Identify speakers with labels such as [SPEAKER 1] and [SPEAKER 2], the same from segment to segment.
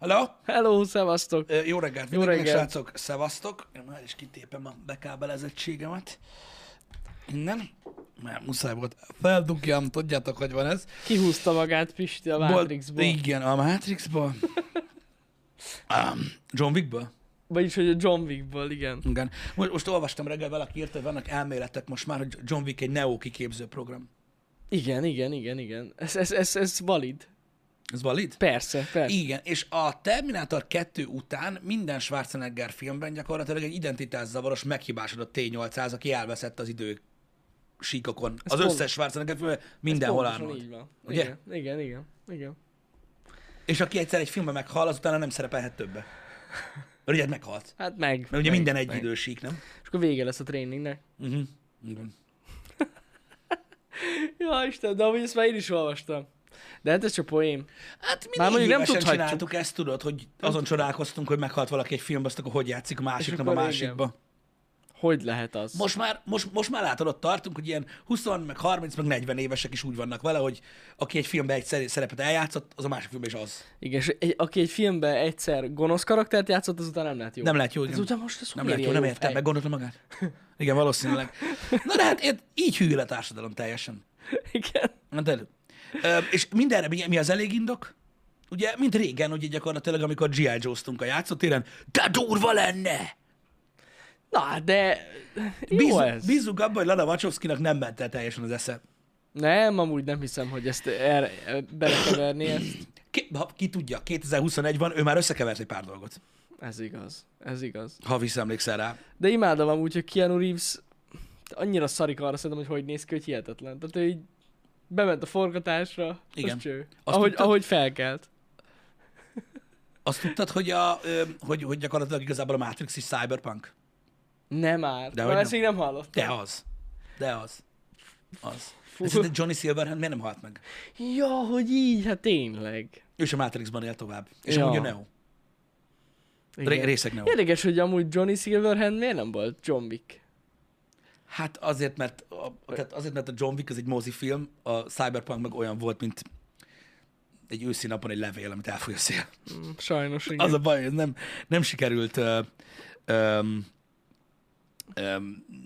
[SPEAKER 1] Hello?
[SPEAKER 2] Hello, szevasztok!
[SPEAKER 1] Ö, Jó reggelt
[SPEAKER 2] Jó
[SPEAKER 1] mindenkinek,
[SPEAKER 2] reggelt.
[SPEAKER 1] srácok, szevasztok. Én már is kitépem a bekábelezettségemet innen, mert muszáj volt feldugjam, tudjátok, hogy van ez.
[SPEAKER 2] Kihúzta magát Pisti a
[SPEAKER 1] Bol-
[SPEAKER 2] Matrixból.
[SPEAKER 1] Igen, a Matrixból. um, John Wickből?
[SPEAKER 2] Vagyis, hogy a John Wickból, igen.
[SPEAKER 1] Igen. Most, most olvastam reggel valaki írta, hogy vannak elméletek most már, hogy John Wick egy neo kiképző program.
[SPEAKER 2] Igen, igen, igen, igen. Ez, ez, ez, ez valid.
[SPEAKER 1] Ez valid?
[SPEAKER 2] Persze, persze.
[SPEAKER 1] Igen, és a Terminátor 2 után minden Schwarzenegger filmben gyakorlatilag egy identitászavaros meghibásodott T-800, aki elveszett az idő síkokon. az
[SPEAKER 2] pont-
[SPEAKER 1] összes Schwarzenegger filmben
[SPEAKER 2] Ez
[SPEAKER 1] mindenhol
[SPEAKER 2] pontosan
[SPEAKER 1] Arnold.
[SPEAKER 2] így van.
[SPEAKER 1] Ugye?
[SPEAKER 2] Igen, igen, igen, igen.
[SPEAKER 1] És aki egyszer egy filmben meghal, az utána nem szerepelhet többe. Mert ugye meghalt.
[SPEAKER 2] Hát meg.
[SPEAKER 1] Mert ugye
[SPEAKER 2] meg,
[SPEAKER 1] minden egy
[SPEAKER 2] meg.
[SPEAKER 1] idősík, nem?
[SPEAKER 2] És akkor vége lesz a tréningnek.
[SPEAKER 1] Uh-huh. Igen.
[SPEAKER 2] Ja, Isten, de amúgy ezt már én is olvastam. De hát ez csak poém.
[SPEAKER 1] Hát mi
[SPEAKER 2] Már
[SPEAKER 1] négy
[SPEAKER 2] mondjuk nem
[SPEAKER 1] évesen
[SPEAKER 2] tudhatjuk.
[SPEAKER 1] csináltuk ezt, tudod, hogy azon csodálkoztunk, hogy meghalt valaki egy filmben, azt akkor hogy játszik a másik,
[SPEAKER 2] És
[SPEAKER 1] nem a
[SPEAKER 2] akkor
[SPEAKER 1] másikba.
[SPEAKER 2] Hogy lehet az?
[SPEAKER 1] Most már, most, most már látod, ott tartunk, hogy ilyen 20, meg 30, meg 40 évesek is úgy vannak vele, hogy aki egy filmben egy szere- szerepet eljátszott, az a másik filmben is az.
[SPEAKER 2] Igen, és egy, aki egy filmben egyszer gonosz karaktert játszott, azután nem lehet jó.
[SPEAKER 1] Nem lehet jó, igen.
[SPEAKER 2] Ez ugye most ez
[SPEAKER 1] nem
[SPEAKER 2] hogy
[SPEAKER 1] lehet jó, nem
[SPEAKER 2] ilyen jó
[SPEAKER 1] értem,
[SPEAKER 2] fej?
[SPEAKER 1] meg gondolta magát. Igen, valószínűleg. Na de hát ért- így hűl a társadalom teljesen.
[SPEAKER 2] Igen.
[SPEAKER 1] Hát elő. Ö, és mindenre mi, mi az elég indok? Ugye, mint régen, ugye gyakorlatilag, amikor G.I. Joe-ztunk a játszótéren, de durva lenne!
[SPEAKER 2] Na, de jó
[SPEAKER 1] Bízunk,
[SPEAKER 2] ez.
[SPEAKER 1] bízunk abban, hogy Lana Wachowskinak nem ment el teljesen az esze.
[SPEAKER 2] Nem, amúgy nem hiszem, hogy ezt erre belekeverni, ezt.
[SPEAKER 1] Ki, ha, ki tudja, 2021 van, ő már összekevert egy pár dolgot.
[SPEAKER 2] Ez igaz, ez igaz.
[SPEAKER 1] ha visszaemlékszel rá.
[SPEAKER 2] De imádom amúgy, hogy Keanu Reeves annyira szarik arra szerintem, hogy hogy néz ki, hogy hihetetlen. Tehát ő így bement a forgatásra,
[SPEAKER 1] Igen.
[SPEAKER 2] az cső.
[SPEAKER 1] Azt
[SPEAKER 2] Ahogy,
[SPEAKER 1] tudtad?
[SPEAKER 2] ahogy felkelt.
[SPEAKER 1] Azt tudtad, hogy, a, ö, hogy, hogy gyakorlatilag igazából a Matrix is cyberpunk?
[SPEAKER 2] Nem már.
[SPEAKER 1] Dehogy
[SPEAKER 2] De Na,
[SPEAKER 1] nem.
[SPEAKER 2] ezt még nem hallottam.
[SPEAKER 1] De az. De az. Az.
[SPEAKER 2] Fú.
[SPEAKER 1] Ez de Johnny Silverhand miért nem halt meg?
[SPEAKER 2] Ja, hogy így, hát tényleg.
[SPEAKER 1] Ő is a Matrixban él tovább. És ja.
[SPEAKER 2] Ja.
[SPEAKER 1] amúgy a Neo. Ré- részeg Neo.
[SPEAKER 2] Érdekes, hogy amúgy Johnny Silverhand miért nem volt John Wick?
[SPEAKER 1] Hát azért, mert a, tehát azért, mert a John Wick az egy mozifilm, a Cyberpunk meg olyan volt, mint egy őszi napon egy levél, amit elfúj a szél.
[SPEAKER 2] Mm, Sajnos, igen.
[SPEAKER 1] Az a baj, ez nem, nem sikerült ö, ö, ö,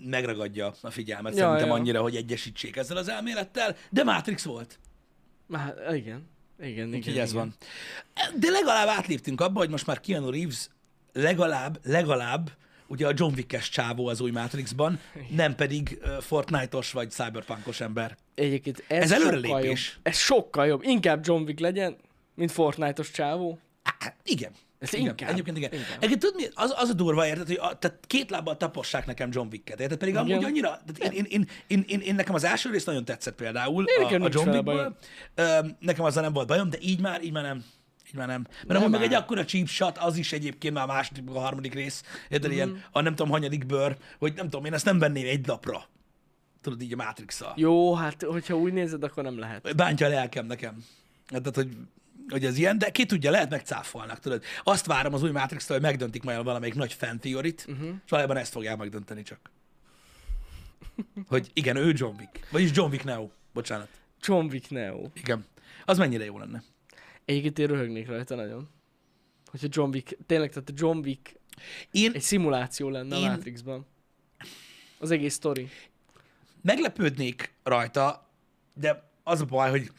[SPEAKER 1] megragadja a figyelmet
[SPEAKER 2] Ja,
[SPEAKER 1] ja, szerintem
[SPEAKER 2] ja.
[SPEAKER 1] ja. annyira, hogy egyesítsék ezzel az elmélettel, de Matrix volt.
[SPEAKER 2] Már, igen. Igen, igen.
[SPEAKER 1] Úgyhogy ez
[SPEAKER 2] igen.
[SPEAKER 1] van. De legalább átléptünk abba, hogy most már Keanu Reeves legalább, legalább ugye a John Wick-es csávó az új Matrixban, nem pedig ö, Fortnite-os vagy cyberpunkos ember.
[SPEAKER 2] Egyébként ez,
[SPEAKER 1] Ez
[SPEAKER 2] sokkal
[SPEAKER 1] előrelépés.
[SPEAKER 2] Jobb. Ez sokkal jobb. Inkább John Wick legyen, mint Fortnite-os csávó.
[SPEAKER 1] Á, Igen.
[SPEAKER 2] Ez
[SPEAKER 1] igen.
[SPEAKER 2] inkább.
[SPEAKER 1] Egyébként igen.
[SPEAKER 2] Inkább.
[SPEAKER 1] Egyébként tudod, mi? Az, az a durva, érted, hogy a, tehát két lábbal tapossák nekem John Wick-et, érted? Pedig igen. amúgy
[SPEAKER 2] Igen.
[SPEAKER 1] annyira, tehát én, én, én, én, én, én, nekem az első rész nagyon tetszett például a,
[SPEAKER 2] Én nekem
[SPEAKER 1] a
[SPEAKER 2] nincs
[SPEAKER 1] John
[SPEAKER 2] vele
[SPEAKER 1] Wick-ből. Öm, Nekem azzal nem volt bajom, de így már, így már nem. Így már nem. Mert amúgy meg
[SPEAKER 2] már.
[SPEAKER 1] egy akkora cheap shot, az is egyébként már a második, meg a harmadik rész, érted,
[SPEAKER 2] Mhm.
[SPEAKER 1] mm. ilyen a nem tudom, hanyadik bőr, hogy nem tudom, én ezt nem venném egy lapra. Tudod, így a matrix
[SPEAKER 2] Jó, hát hogyha úgy nézed, akkor nem lehet.
[SPEAKER 1] bántja a lelkem nekem. Tehát, hogy, hogy ez ilyen, de ki tudja, lehet megcáfolnak, tudod. Azt várom az új matrix hogy megdöntik majd valamelyik nagy fan theory-t, uh-huh. és valójában ezt fogják megdönteni csak. Hogy igen, ő John Wick. Vagyis John Wick Neo. Bocsánat.
[SPEAKER 2] John Wick Neo.
[SPEAKER 1] Igen. Az mennyire jó lenne.
[SPEAKER 2] Egyébként én röhögnék rajta nagyon. Hogyha John Wick, tényleg, tehát a John Wick
[SPEAKER 1] Én
[SPEAKER 2] egy szimuláció lenne
[SPEAKER 1] Én-
[SPEAKER 2] a Matrixban. Az egész sztori.
[SPEAKER 1] meglepődnék rajta, de az a baj, hogy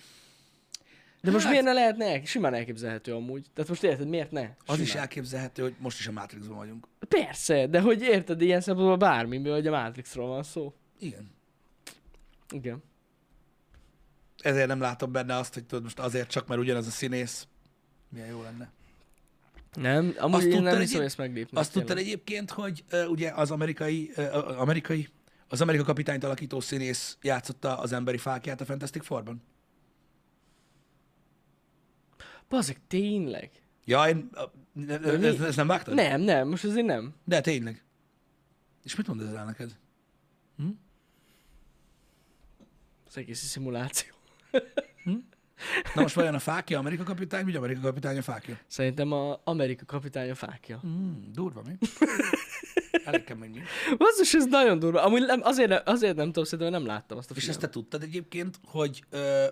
[SPEAKER 2] De most
[SPEAKER 1] Hát-
[SPEAKER 2] miért ne lehetne? el- Simán elképzelhető amúgy. Tehát most érted, miért ne?
[SPEAKER 1] az is
[SPEAKER 2] Simán.
[SPEAKER 1] elképzelhető, hogy most is a Matrixban vagyunk.
[SPEAKER 2] Persze, de hogy érted, ilyen szempontból bármiből, hogy a Matrixról van szó.
[SPEAKER 1] Igen.
[SPEAKER 2] Igen.
[SPEAKER 1] Ezért nem látom benne azt, hogy tudod, most azért csak, mert ugyanaz a színész. Milyen jó lenne.
[SPEAKER 2] Nem, amúgy
[SPEAKER 1] Azt tudtad
[SPEAKER 2] én nem hiszem, hogy
[SPEAKER 1] egyéb-
[SPEAKER 2] ezt meglépni.
[SPEAKER 1] Azt tudtad egyébként, hogy ö, ugye az amerikai, ö, ö, amerikai, az amerikai kapitányt alakító színész játszotta az emberi fákját a Fantastic Fourban?
[SPEAKER 2] Bazeg, tényleg?
[SPEAKER 1] Ja, én, ö, ne- ne- ezt, ezt nem vágtad?
[SPEAKER 2] Nem, nem, most azért nem.
[SPEAKER 1] De tényleg. És mit mond ez rá neked?
[SPEAKER 2] Az egész szimuláció.
[SPEAKER 1] Na most vajon a fákja Amerika kapitány, vagy Amerika kapitány a fákja?
[SPEAKER 2] Szerintem a Amerika kapitánya fákja.
[SPEAKER 1] Hmm, durva, mi? Elég kemény, mi?
[SPEAKER 2] Basszus, ez nagyon durva. Amúgy nem, azért, nem- azért nem tudom, szerintem nem láttam azt a
[SPEAKER 1] És
[SPEAKER 2] filmet.
[SPEAKER 1] ezt te tudtad egyébként, hogy, ö,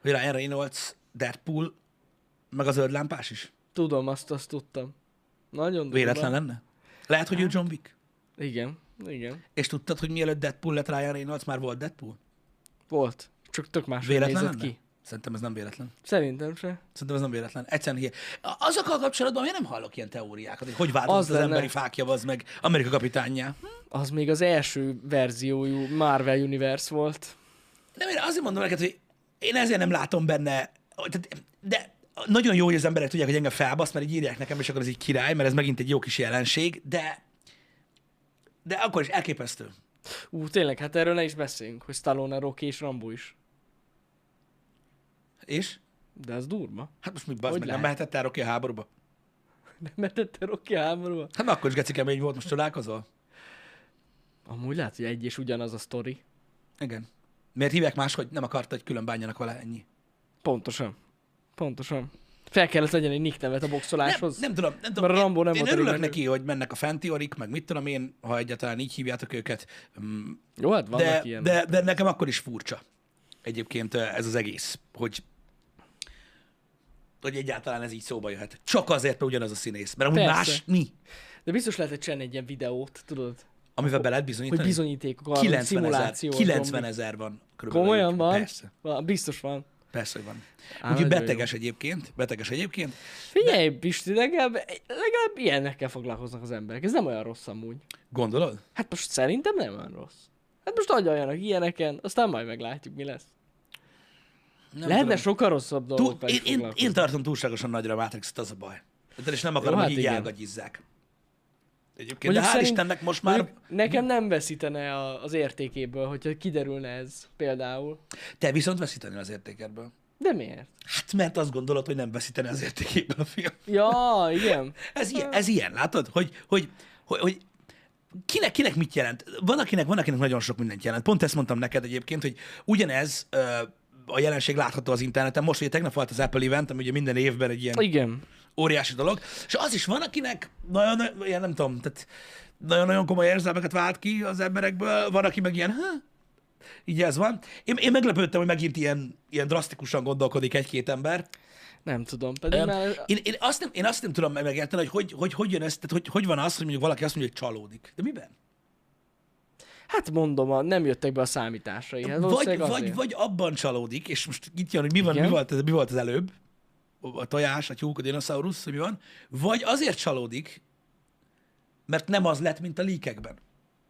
[SPEAKER 1] hogy Ryan Reynolds, Deadpool, meg az zöld lámpás is?
[SPEAKER 2] Tudom, azt, azt tudtam. Nagyon
[SPEAKER 1] Véletlen
[SPEAKER 2] durva.
[SPEAKER 1] lenne? Lehet, hogy ő John Wick.
[SPEAKER 2] Igen, igen.
[SPEAKER 1] És tudtad, hogy mielőtt Deadpool lett Ryan Reynolds, már volt Deadpool?
[SPEAKER 2] Volt. Csak tök máshogy
[SPEAKER 1] Véletlen
[SPEAKER 2] nézett
[SPEAKER 1] lenne?
[SPEAKER 2] ki.
[SPEAKER 1] Ki? Szerintem ez nem véletlen.
[SPEAKER 2] Szerintem se.
[SPEAKER 1] Szerintem ez nem véletlen. Egyszerűen hi- A- Azokkal kapcsolatban miért nem hallok ilyen teóriákat, hogy hogy változott az, az
[SPEAKER 2] lenne.
[SPEAKER 1] emberi fákja, az meg Amerika kapitányjá? Hm?
[SPEAKER 2] Az még az első verziójú Marvel Universe volt.
[SPEAKER 1] Nem, én azért mondom neked, hogy én ezért nem látom benne, tehát- de nagyon jó, hogy az emberek tudják, hogy engem felbasz, mert így írják nekem, és akkor ez így király, mert ez megint egy jó kis jelenség, de de akkor is elképesztő.
[SPEAKER 2] Ú, tényleg, hát erről ne is beszéljünk, hogy Stallone, Rocky és Rambo is.
[SPEAKER 1] És?
[SPEAKER 2] De ez durva.
[SPEAKER 1] Hát most mi bazd
[SPEAKER 2] Hogy
[SPEAKER 1] meg, nem
[SPEAKER 2] lehet?
[SPEAKER 1] mehetett el Rocky a háborúba?
[SPEAKER 2] Nem metette Rocky háborúba?
[SPEAKER 1] Hát na, akkor is geci kemény volt, most találkozol?
[SPEAKER 2] Amúgy lehet, hogy egy és ugyanaz a sztori.
[SPEAKER 1] Igen. Miért hívják máshogy? Nem akarta, hogy külön bánjanak vele ennyi.
[SPEAKER 2] Pontosan. Pontosan. Fel kellett legyen egy nick nevet a
[SPEAKER 1] Nem,
[SPEAKER 2] boxoláshoz.
[SPEAKER 1] nem tudom, nem tudom.
[SPEAKER 2] Mert
[SPEAKER 1] én-
[SPEAKER 2] Rambo nem
[SPEAKER 1] én
[SPEAKER 2] volt
[SPEAKER 1] örülök
[SPEAKER 2] elég menő.
[SPEAKER 1] neki, hogy mennek a fentiorik, meg mit tudom én, ha egyáltalán így hívjátok őket. Mm,
[SPEAKER 2] Jó, hát vannak
[SPEAKER 1] de,
[SPEAKER 2] ilyen.
[SPEAKER 1] de, de nekem akkor is furcsa egyébként eh, ez az egész, hogy hogy egyáltalán ez így szóba jöhet. Csak azért, mert ugyanaz a színész. Mert amúgy
[SPEAKER 2] Persze.
[SPEAKER 1] más mi,
[SPEAKER 2] de biztos lehet, hogy csinálni egy ilyen videót, tudod?
[SPEAKER 1] amivel be lehet
[SPEAKER 2] Hogy
[SPEAKER 1] bizonyítani.
[SPEAKER 2] bizonyítékok arra, hogy
[SPEAKER 1] 90
[SPEAKER 2] szimuláció.
[SPEAKER 1] ezer, 90 ezer van. körülbelül
[SPEAKER 2] Komolyan
[SPEAKER 1] egyébként.
[SPEAKER 2] van?
[SPEAKER 1] Persze,
[SPEAKER 2] van? Biztos van.
[SPEAKER 1] persze, hogy van.
[SPEAKER 2] Á,
[SPEAKER 1] Úgyhogy
[SPEAKER 2] nagyon
[SPEAKER 1] beteges egyébként, beteges egyébként.
[SPEAKER 2] Figyelj, Pisti, legalább, legalább ilyenekkel foglalkoznak az emberek. Ez nem olyan rossz amúgy.
[SPEAKER 1] Gondolod?
[SPEAKER 2] Hát most szerintem nem olyan rossz. Hát most agyaljanak ilyeneken, aztán majd meglátjuk, mi lesz.
[SPEAKER 1] Nem
[SPEAKER 2] Lehetne
[SPEAKER 1] tudom.
[SPEAKER 2] sokkal rosszabb
[SPEAKER 1] Túl,
[SPEAKER 2] dolgokkal is
[SPEAKER 1] én, én, én
[SPEAKER 2] foglalkozni.
[SPEAKER 1] tartom túlságosan nagyra a Matrixot, az a baj. De és nem akarom,
[SPEAKER 2] Jó,
[SPEAKER 1] hogy
[SPEAKER 2] hát
[SPEAKER 1] így
[SPEAKER 2] igen.
[SPEAKER 1] elgagyizzák. Egyébként, de
[SPEAKER 2] Mondjuk
[SPEAKER 1] hál'
[SPEAKER 2] szerint-
[SPEAKER 1] Istennek most már...
[SPEAKER 2] Mondjuk Nekem nem veszítene a- az értékéből, hogyha kiderülne ez például.
[SPEAKER 1] Te viszont veszítenél az értékedből.
[SPEAKER 2] De miért?
[SPEAKER 1] Hát mert azt gondolod, hogy nem veszítene az értékéből a film.
[SPEAKER 2] Ja, igen.
[SPEAKER 1] Ez ilyen, ez ilyen látod? Hogy, hogy, hogy, hogy kinek, kinek mit jelent? Van akinek, van akinek nagyon sok mindent jelent. Pont ezt mondtam neked egyébként, hogy ugyanez ö, a jelenség látható az interneten. Most ugye tegnap volt az Apple event, ami ugye minden évben egy ilyen
[SPEAKER 2] Igen.
[SPEAKER 1] óriási dolog. És az is van, akinek nagyon, ilyen nem tudom, tehát nagyon-nagyon komoly érzelmeket vált ki az emberekből, van, aki meg ilyen, ha? így ez van. Én, én meglepődtem, hogy megint ilyen, ilyen drasztikusan gondolkodik egy-két ember.
[SPEAKER 2] Nem tudom, pedig
[SPEAKER 1] Öm,
[SPEAKER 2] már...
[SPEAKER 1] Én, én, azt nem, én azt nem tudom megérteni, hogy hogy, hogy, hogy jön ez, tehát hogy, hogy van az, hogy mondjuk valaki azt mondja, hogy csalódik. De miben?
[SPEAKER 2] Hát mondom, a- nem jöttek be a számításai. Hát
[SPEAKER 1] Vagy,
[SPEAKER 2] valószínűleg
[SPEAKER 1] vagy,
[SPEAKER 2] azért.
[SPEAKER 1] vagy abban csalódik, és most itt jön, hogy mi, van, mi,
[SPEAKER 2] Igen.
[SPEAKER 1] volt, ez- mi volt az előbb, a tojás, a tyúk, a dinoszaurusz, hogy mi van, vagy azért csalódik, mert nem az lett, mint a líkekben.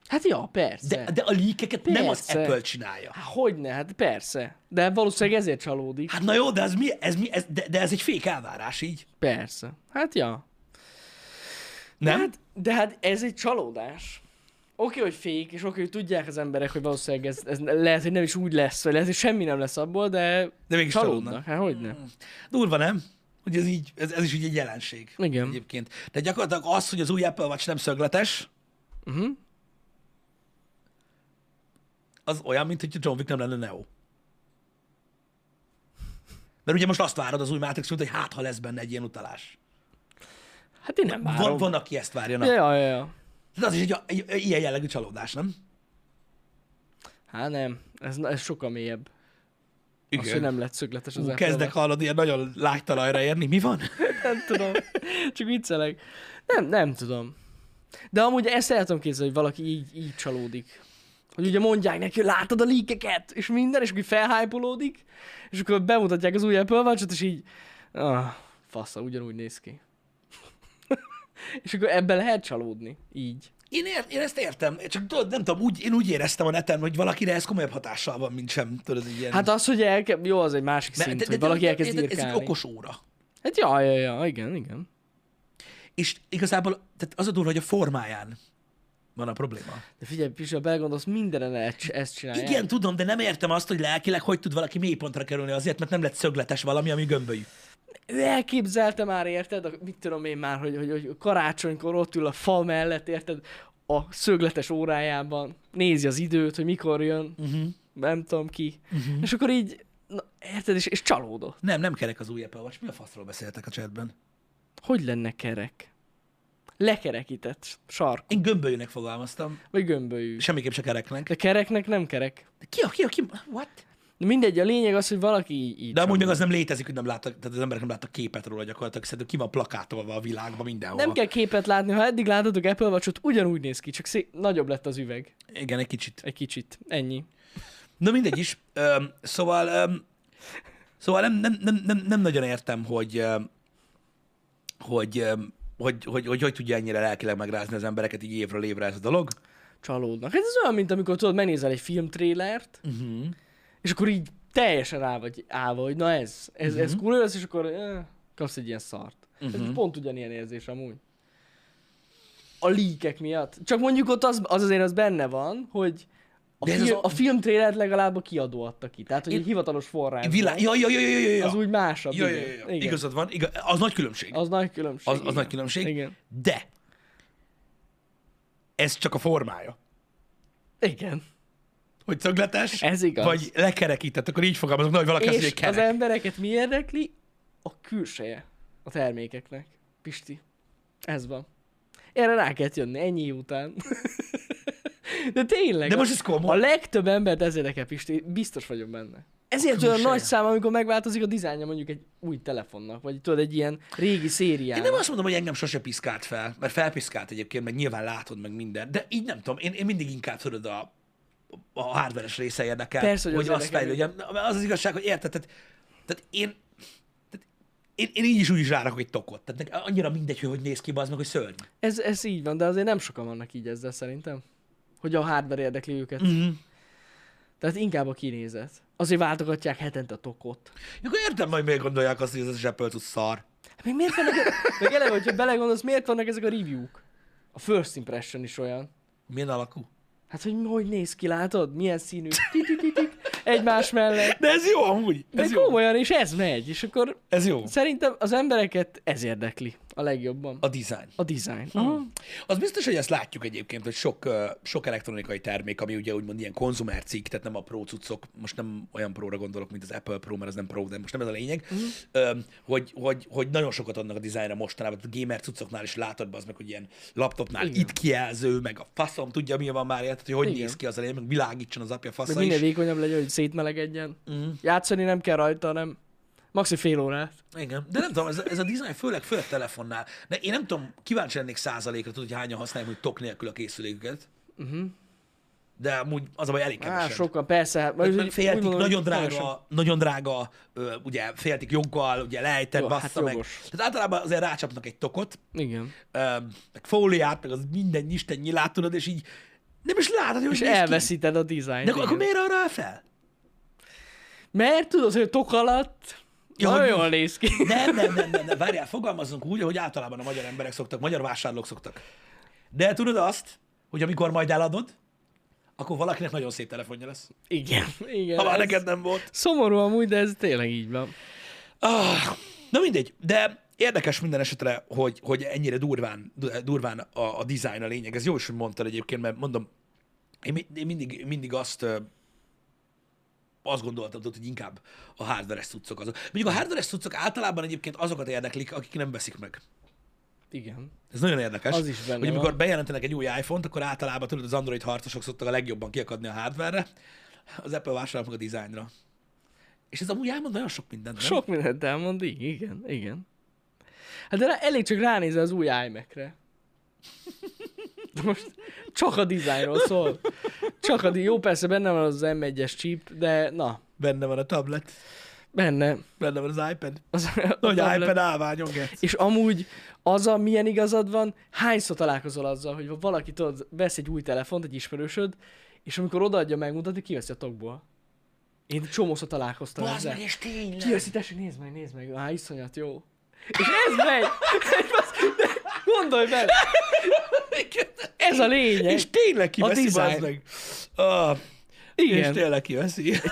[SPEAKER 2] Hát ja, persze.
[SPEAKER 1] De, de a líkeket nem az
[SPEAKER 2] Persze.
[SPEAKER 1] Apple csinálja.
[SPEAKER 2] Hát hogyne, hát persze. De valószínűleg ezért csalódik.
[SPEAKER 1] Hát na jó, de ez mi, ez mi ez, de, de ez egy fék elvárás így,
[SPEAKER 2] Persze. Hát ja.
[SPEAKER 1] nem?
[SPEAKER 2] De
[SPEAKER 1] Hát,
[SPEAKER 2] hát, de hát ez egy csalódás. Oké, hogy fék, és oké, hogy tudják az emberek, hogy valószínűleg ez, ez lehet, hogy nem is úgy lesz, vagy lehet, hogy semmi nem lesz abból, de,
[SPEAKER 1] De mégis csalódnak.
[SPEAKER 2] csalódnak. Hát hogy nem?
[SPEAKER 1] Durva, nem? Hogy ez, így, ez, ez is így egy jelenség.
[SPEAKER 2] Igen.
[SPEAKER 1] Egyébként. De gyakorlatilag az, hogy az új Apple Watch nem szögletes,
[SPEAKER 2] Uh-huh.
[SPEAKER 1] az olyan, mint hogy John Wick nem lenne Neo. Mert ugye most azt várod az új Matrix hogy hát ha lesz benne egy ilyen utalás.
[SPEAKER 2] Hát én nem várom.
[SPEAKER 1] Van, van, aki ezt várja. Na.
[SPEAKER 2] Ja, ja, ja.
[SPEAKER 1] De az is egy, egy, egy ilyen jellegű csalódás, nem?
[SPEAKER 2] Hát nem, ez, ez sokkal mélyebb. Az, hogy nem lett szögletes az
[SPEAKER 1] Ú,
[SPEAKER 2] Apple
[SPEAKER 1] kezdek
[SPEAKER 2] Watch.
[SPEAKER 1] hallani ilyen nagyon lágy talajra érni. Mi van?
[SPEAKER 2] Nem tudom. Csak viccelek. Nem, nem tudom. De amúgy ezt el tudom képzelni, hogy valaki így, így csalódik. Hogy ugye mondják neki, hogy látod a líkeket, és minden, és akkor így felhájpolódik, és akkor bemutatják az új Apple Watch-ot, és így, ah, fasza, ugyanúgy néz ki. és akkor ebben lehet csalódni, így.
[SPEAKER 1] Én, ér, én ezt értem, csak tudod, nem tudom, úgy, én úgy éreztem a neten, hogy valakire ez komolyabb hatással van, mint sem, tudod, egy ilyen...
[SPEAKER 2] Hát az, hogy elke... jó, az egy másik
[SPEAKER 1] Mert-
[SPEAKER 2] szint, de, de, hogy valaki elkezd
[SPEAKER 1] de- de- Ez egy
[SPEAKER 2] írkálni.
[SPEAKER 1] okos óra.
[SPEAKER 2] Hát ja, ja, ja, igen, igen.
[SPEAKER 1] És igazából tehát az a durva, hogy a formáján van a probléma.
[SPEAKER 2] De figyelj, Pisa, ha belegondolsz, mindenen e- ezt csinálják.
[SPEAKER 1] Igen, tudom, de nem értem azt, hogy lelkileg hogy tud valaki mélypontra kerülni azért, mert nem lett szögletes valami, ami gömbölyű.
[SPEAKER 2] ő elképzelte már, érted? A, mit tudom én már, hogy, hogy, hogy karácsonykor ott ül a fa mellett, érted? A szögletes órájában, nézi az időt, hogy mikor jön, uh-huh. nem tudom ki. Uh-huh. És akkor így, na, érted? És, és csalódott.
[SPEAKER 1] Nem, nem kerek az új Apple Watch. Mi a faszról beszéltek a chatben?
[SPEAKER 2] Hogy lenne kerek? Lekerekített sark,
[SPEAKER 1] Én gömbölyűnek fogalmaztam,
[SPEAKER 2] vagy gömbölyű.
[SPEAKER 1] semmiképp se kereknek.
[SPEAKER 2] De kereknek nem kerek.
[SPEAKER 1] De Ki a, ki a, ki? What?
[SPEAKER 2] De mindegy, a lényeg az, hogy valaki így, így
[SPEAKER 1] De amúgy
[SPEAKER 2] csalódik.
[SPEAKER 1] meg az nem létezik, hogy nem láttak, tehát az emberek nem láttak képet róla gyakorlatilag, szerintem ki van plakátolva a világban mindenhol.
[SPEAKER 2] Nem kell képet látni, ha eddig láttatok Apple Watch-ot, ugyanúgy néz ki, csak szé- nagyobb lett az üveg.
[SPEAKER 1] Igen, egy kicsit.
[SPEAKER 2] Egy kicsit. Ennyi.
[SPEAKER 1] Na mindegy is. Öm, szóval öm, szóval nem, nem, nem, nem, nem nagyon értem, hogy, öm, hogy, öm, hogy, hogy, hogy, hogy tudja ennyire lelkileg megrázni az embereket így évről évre ez a dolog.
[SPEAKER 2] Csalódnak. Hát ez olyan, mint amikor tudod, megnézel egy filmtrélert,
[SPEAKER 1] Uh-huh.
[SPEAKER 2] és akkor így teljesen rá vagy állva, hogy na ez, ez, ez
[SPEAKER 1] Mhm.
[SPEAKER 2] cool lesz, és akkor eh, kapsz egy ilyen szart. Ez most pont ugyanilyen érzés amúgy. A líkek miatt. Csak mondjuk ott az, az azért az benne van, hogy a,
[SPEAKER 1] De ez az
[SPEAKER 2] film,
[SPEAKER 1] a-
[SPEAKER 2] a filmtrélert legalább a kiadó adta ki. Tehát, hogy egy hivatalos forrás.
[SPEAKER 1] Világ, ja, ja, ja, ja, ja, ja.
[SPEAKER 2] Az úgy másabb.
[SPEAKER 1] ja, ja,
[SPEAKER 2] igen.
[SPEAKER 1] ja, ja.
[SPEAKER 2] Igen.
[SPEAKER 1] Igazad van, igaz, az nagy különbség.
[SPEAKER 2] Az nagy különbség.
[SPEAKER 1] Az, az
[SPEAKER 2] igen.
[SPEAKER 1] nagy különbség.
[SPEAKER 2] Igen.
[SPEAKER 1] De ez csak a formája.
[SPEAKER 2] Igen.
[SPEAKER 1] Hogy szögletes,
[SPEAKER 2] Ez igaz.
[SPEAKER 1] vagy lekerekített, akkor így fogalmazok, na, hogy valaki azt
[SPEAKER 2] És
[SPEAKER 1] mondja, hogy
[SPEAKER 2] az
[SPEAKER 1] kerek.
[SPEAKER 2] embereket mi érdekli? A külseje a termékeknek. Pisti. Ez van. Erre rá kellett jönni, ennyi után. De tényleg.
[SPEAKER 1] De
[SPEAKER 2] a-
[SPEAKER 1] most ez
[SPEAKER 2] A
[SPEAKER 1] komoly.
[SPEAKER 2] legtöbb embert ez érdekel, Pisti, biztos vagyok benne. Ezért
[SPEAKER 1] külseje.
[SPEAKER 2] olyan nagy szám, amikor megváltozik a dizájnja mondjuk egy új telefonnak, vagy tudod, egy ilyen régi
[SPEAKER 1] Én
[SPEAKER 2] szériának.
[SPEAKER 1] nem azt mondom, hogy engem sose piszkált fel, mert felpiszkált egyébként, meg nyilván látod meg minden, de így nem tudom, én, én mindig inkább tudod a, a hardveres része érdekel,
[SPEAKER 2] Persze, hogy
[SPEAKER 1] hogy
[SPEAKER 2] az
[SPEAKER 1] azt
[SPEAKER 2] érdekel
[SPEAKER 1] fejlődjem. Na, Az az igazság, hogy érted, tehát, tehát én, tehát én, én, így is úgy is rárakok egy tokot. Tehát nekem annyira mindegy, hogy hogy néz ki, az meg, hogy szörny.
[SPEAKER 2] Ez, ez így van, de azért nem sokan vannak így ezzel szerintem. Hogy a hardware érdekli őket.
[SPEAKER 1] Mhm.
[SPEAKER 2] Tehát inkább a kinézet. Azért váltogatják hetente a tokot.
[SPEAKER 1] Akkor értem, hogy miért gondolják azt, hogy ez az Apple tud szar.
[SPEAKER 2] Hát Még miért vannak, meg eleve, hogyha belegondolsz, miért vannak ezek a review-k? A first impression is olyan.
[SPEAKER 1] Milyen alakú?
[SPEAKER 2] Hát, hogy hogy néz ki, látod? Milyen színű? Titititik, egymás mellett.
[SPEAKER 1] De ez jó amúgy.
[SPEAKER 2] De
[SPEAKER 1] Ez jó.
[SPEAKER 2] komolyan, és ez megy, és akkor
[SPEAKER 1] Ez jó.
[SPEAKER 2] szerintem az embereket ez érdekli a legjobban.
[SPEAKER 1] A design.
[SPEAKER 2] A design. Aha.
[SPEAKER 1] Az biztos, hogy ezt látjuk egyébként, hogy sok, ö, sok elektronikai termék, ami ugye úgymond ilyen konzumercikk, tehát nem a pro cuccok, most nem olyan próra gondolok, mint az Apple Pro, mert az nem pro, de most nem ez a lényeg,
[SPEAKER 2] Mhm.
[SPEAKER 1] mm. hogy, hogy, hogy, nagyon sokat adnak a dizájnra mostanában, a gamer cuccoknál is látod be az meg, hogy ilyen laptopnál Igen.
[SPEAKER 2] Igen.
[SPEAKER 1] itt kijelző, meg a faszom, tudja mi van már, érted, hogy hogy
[SPEAKER 2] Igen.
[SPEAKER 1] néz ki az a lényeg, meg világítson az apja
[SPEAKER 2] Meg
[SPEAKER 1] fasza
[SPEAKER 2] minél
[SPEAKER 1] Szóval is.
[SPEAKER 2] vékonyabb legyen, hogy szétmelegedjen.
[SPEAKER 1] Mhm.
[SPEAKER 2] Játszani nem kell rajta, hanem maxi fél órát.
[SPEAKER 1] Igen, de nem tudom, ez, ez a design főleg, főleg telefonnál. De én nem tudom, kíváncsi lennék százalékra, tudod, hogy hányan használják, hogy tok nélkül a készüléküket. Uh-huh. De amúgy az a baj, elég
[SPEAKER 2] Á,
[SPEAKER 1] kevesen.
[SPEAKER 2] sokan, persze. Hát,
[SPEAKER 1] Tehát
[SPEAKER 2] majd
[SPEAKER 1] meg
[SPEAKER 2] úgy-
[SPEAKER 1] féltik,
[SPEAKER 2] úgy mondom, hogy
[SPEAKER 1] nagyon
[SPEAKER 2] teljesen.
[SPEAKER 1] drága, nagyon drága, ö, ugye féltik joggal, ugye lejtett,
[SPEAKER 2] Jó,
[SPEAKER 1] bassza
[SPEAKER 2] hát
[SPEAKER 1] meg.
[SPEAKER 2] jogos.
[SPEAKER 1] Tehát általában azért rácsapnak egy tokot,
[SPEAKER 2] Igen.
[SPEAKER 1] ö, meg fóliát, meg az minden isten nyilát, tudod, és így nem is látod, hogy
[SPEAKER 2] És
[SPEAKER 1] hogy néz ki.
[SPEAKER 2] elveszíted a dizájnt.
[SPEAKER 1] De akkor, akkor
[SPEAKER 2] igen.
[SPEAKER 1] miért arra áll fel?
[SPEAKER 2] Mert tudod, hogy a tok alatt
[SPEAKER 1] Ja,
[SPEAKER 2] ja, nagyon
[SPEAKER 1] hogy-
[SPEAKER 2] jól néz ki.
[SPEAKER 1] Nem, nem, nem, nem, nem. várjál, fogalmazzunk úgy, hogy általában a magyar emberek szoktak, magyar vásárlók szoktak. De tudod azt, hogy amikor majd eladod, akkor valakinek nagyon szép telefonja lesz.
[SPEAKER 2] Igen, igen.
[SPEAKER 1] Ha már
[SPEAKER 2] ez
[SPEAKER 1] neked nem volt.
[SPEAKER 2] Szomorú amúgy, de ez tényleg így van.
[SPEAKER 1] Ah, na mindegy, de érdekes minden esetre, hogy, hogy ennyire durván, durván a, a design a lényeg. Ez jó is, hogy mondtad egyébként, mert mondom, én, mi- én mindig, mindig azt ö, azt gondoltam, tudod, hogy inkább a hardware cuccok azok. Mondjuk a hardware cuccok általában egyébként azokat érdeklik, akik nem veszik meg.
[SPEAKER 2] Igen.
[SPEAKER 1] Ez nagyon érdekes,
[SPEAKER 2] Az is benne
[SPEAKER 1] hogy amikor
[SPEAKER 2] van.
[SPEAKER 1] bejelentenek egy új iPhone-t, akkor általában tudod, az Android harcosok szoktak a legjobban kiakadni a hardware az Apple vásárol meg a designra. És ez amúgy elmond nagyon sok mindent, nem?
[SPEAKER 2] Sok mindent elmond, így, igen, igen. Hát de rá, elég csak ránézel az új iMac-re. De Most csak a dizájnról szól. Csak a di- Jó, persze benne van az M1-es chip, de na,
[SPEAKER 1] Benne van a tablet,
[SPEAKER 2] benne.
[SPEAKER 1] benne van az iPad.
[SPEAKER 2] Az, a
[SPEAKER 1] Nagy
[SPEAKER 2] tablet.
[SPEAKER 1] iPad állványon, Gec.
[SPEAKER 2] És amúgy az, a milyen igazad van, hányszor találkozol azzal, hogy ha valaki tudod, vesz egy új telefont, egy ismerősöd, és amikor odaadja megmutatni, kiveszi a tokból. Én csomószor találkoztam
[SPEAKER 1] Bazd
[SPEAKER 2] ezzel.
[SPEAKER 1] meg, és tényleg.
[SPEAKER 2] Kiveszi, tessék, nézd meg, nézd meg, á, iszonyat jó. És ez megy! De Gondolj bele! Ez a lényeg.
[SPEAKER 1] És tényleg
[SPEAKER 2] A
[SPEAKER 1] kiveszi,
[SPEAKER 2] design.
[SPEAKER 1] bazd meg. Ah, és
[SPEAKER 2] Igen,
[SPEAKER 1] tényleg kiveszi.
[SPEAKER 2] mindig,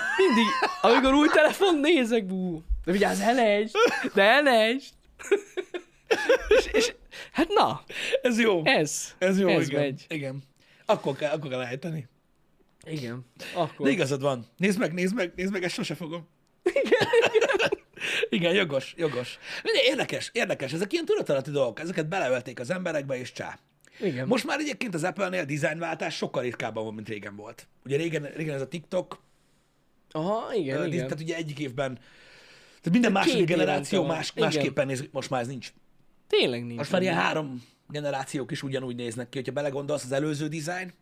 [SPEAKER 2] amikor új telefon nézek, bú, de vigyázz, elejtsd, de elejtsd. És, és, hát na,
[SPEAKER 1] Ez jó.
[SPEAKER 2] ez.
[SPEAKER 1] Ez jó,
[SPEAKER 2] ez
[SPEAKER 1] igen.
[SPEAKER 2] megy.
[SPEAKER 1] Igen. Akkor kell, akkor kell állítani.
[SPEAKER 2] Igen. Akkor.
[SPEAKER 1] De igazad van. Nézd meg, nézd meg, nézd meg, ezt sose fogom. Igen, jogos, jogos. Mindegy, Érdekes, érdekes. Ezek ilyen tudatalatti dolgok. Ezeket beleölték az emberekbe, és csá.
[SPEAKER 2] Igen.
[SPEAKER 1] Most már egyébként az Apple-nél dizájnváltás sokkal ritkábban van, mint régen volt. Ugye régen, régen ez a TikTok,
[SPEAKER 2] Aha, igen,
[SPEAKER 1] Ö,
[SPEAKER 2] igen.
[SPEAKER 1] Disney- Tehát ugye egyik évben, tehát minden második
[SPEAKER 2] két évente
[SPEAKER 1] generáció
[SPEAKER 2] van.
[SPEAKER 1] más,
[SPEAKER 2] Igen.
[SPEAKER 1] másképpen néz, most már ez nincs.
[SPEAKER 2] Tényleg nincs.
[SPEAKER 1] Most már ilyen három generációk is ugyanúgy néznek ki, hogyha belegondolsz, az előző design,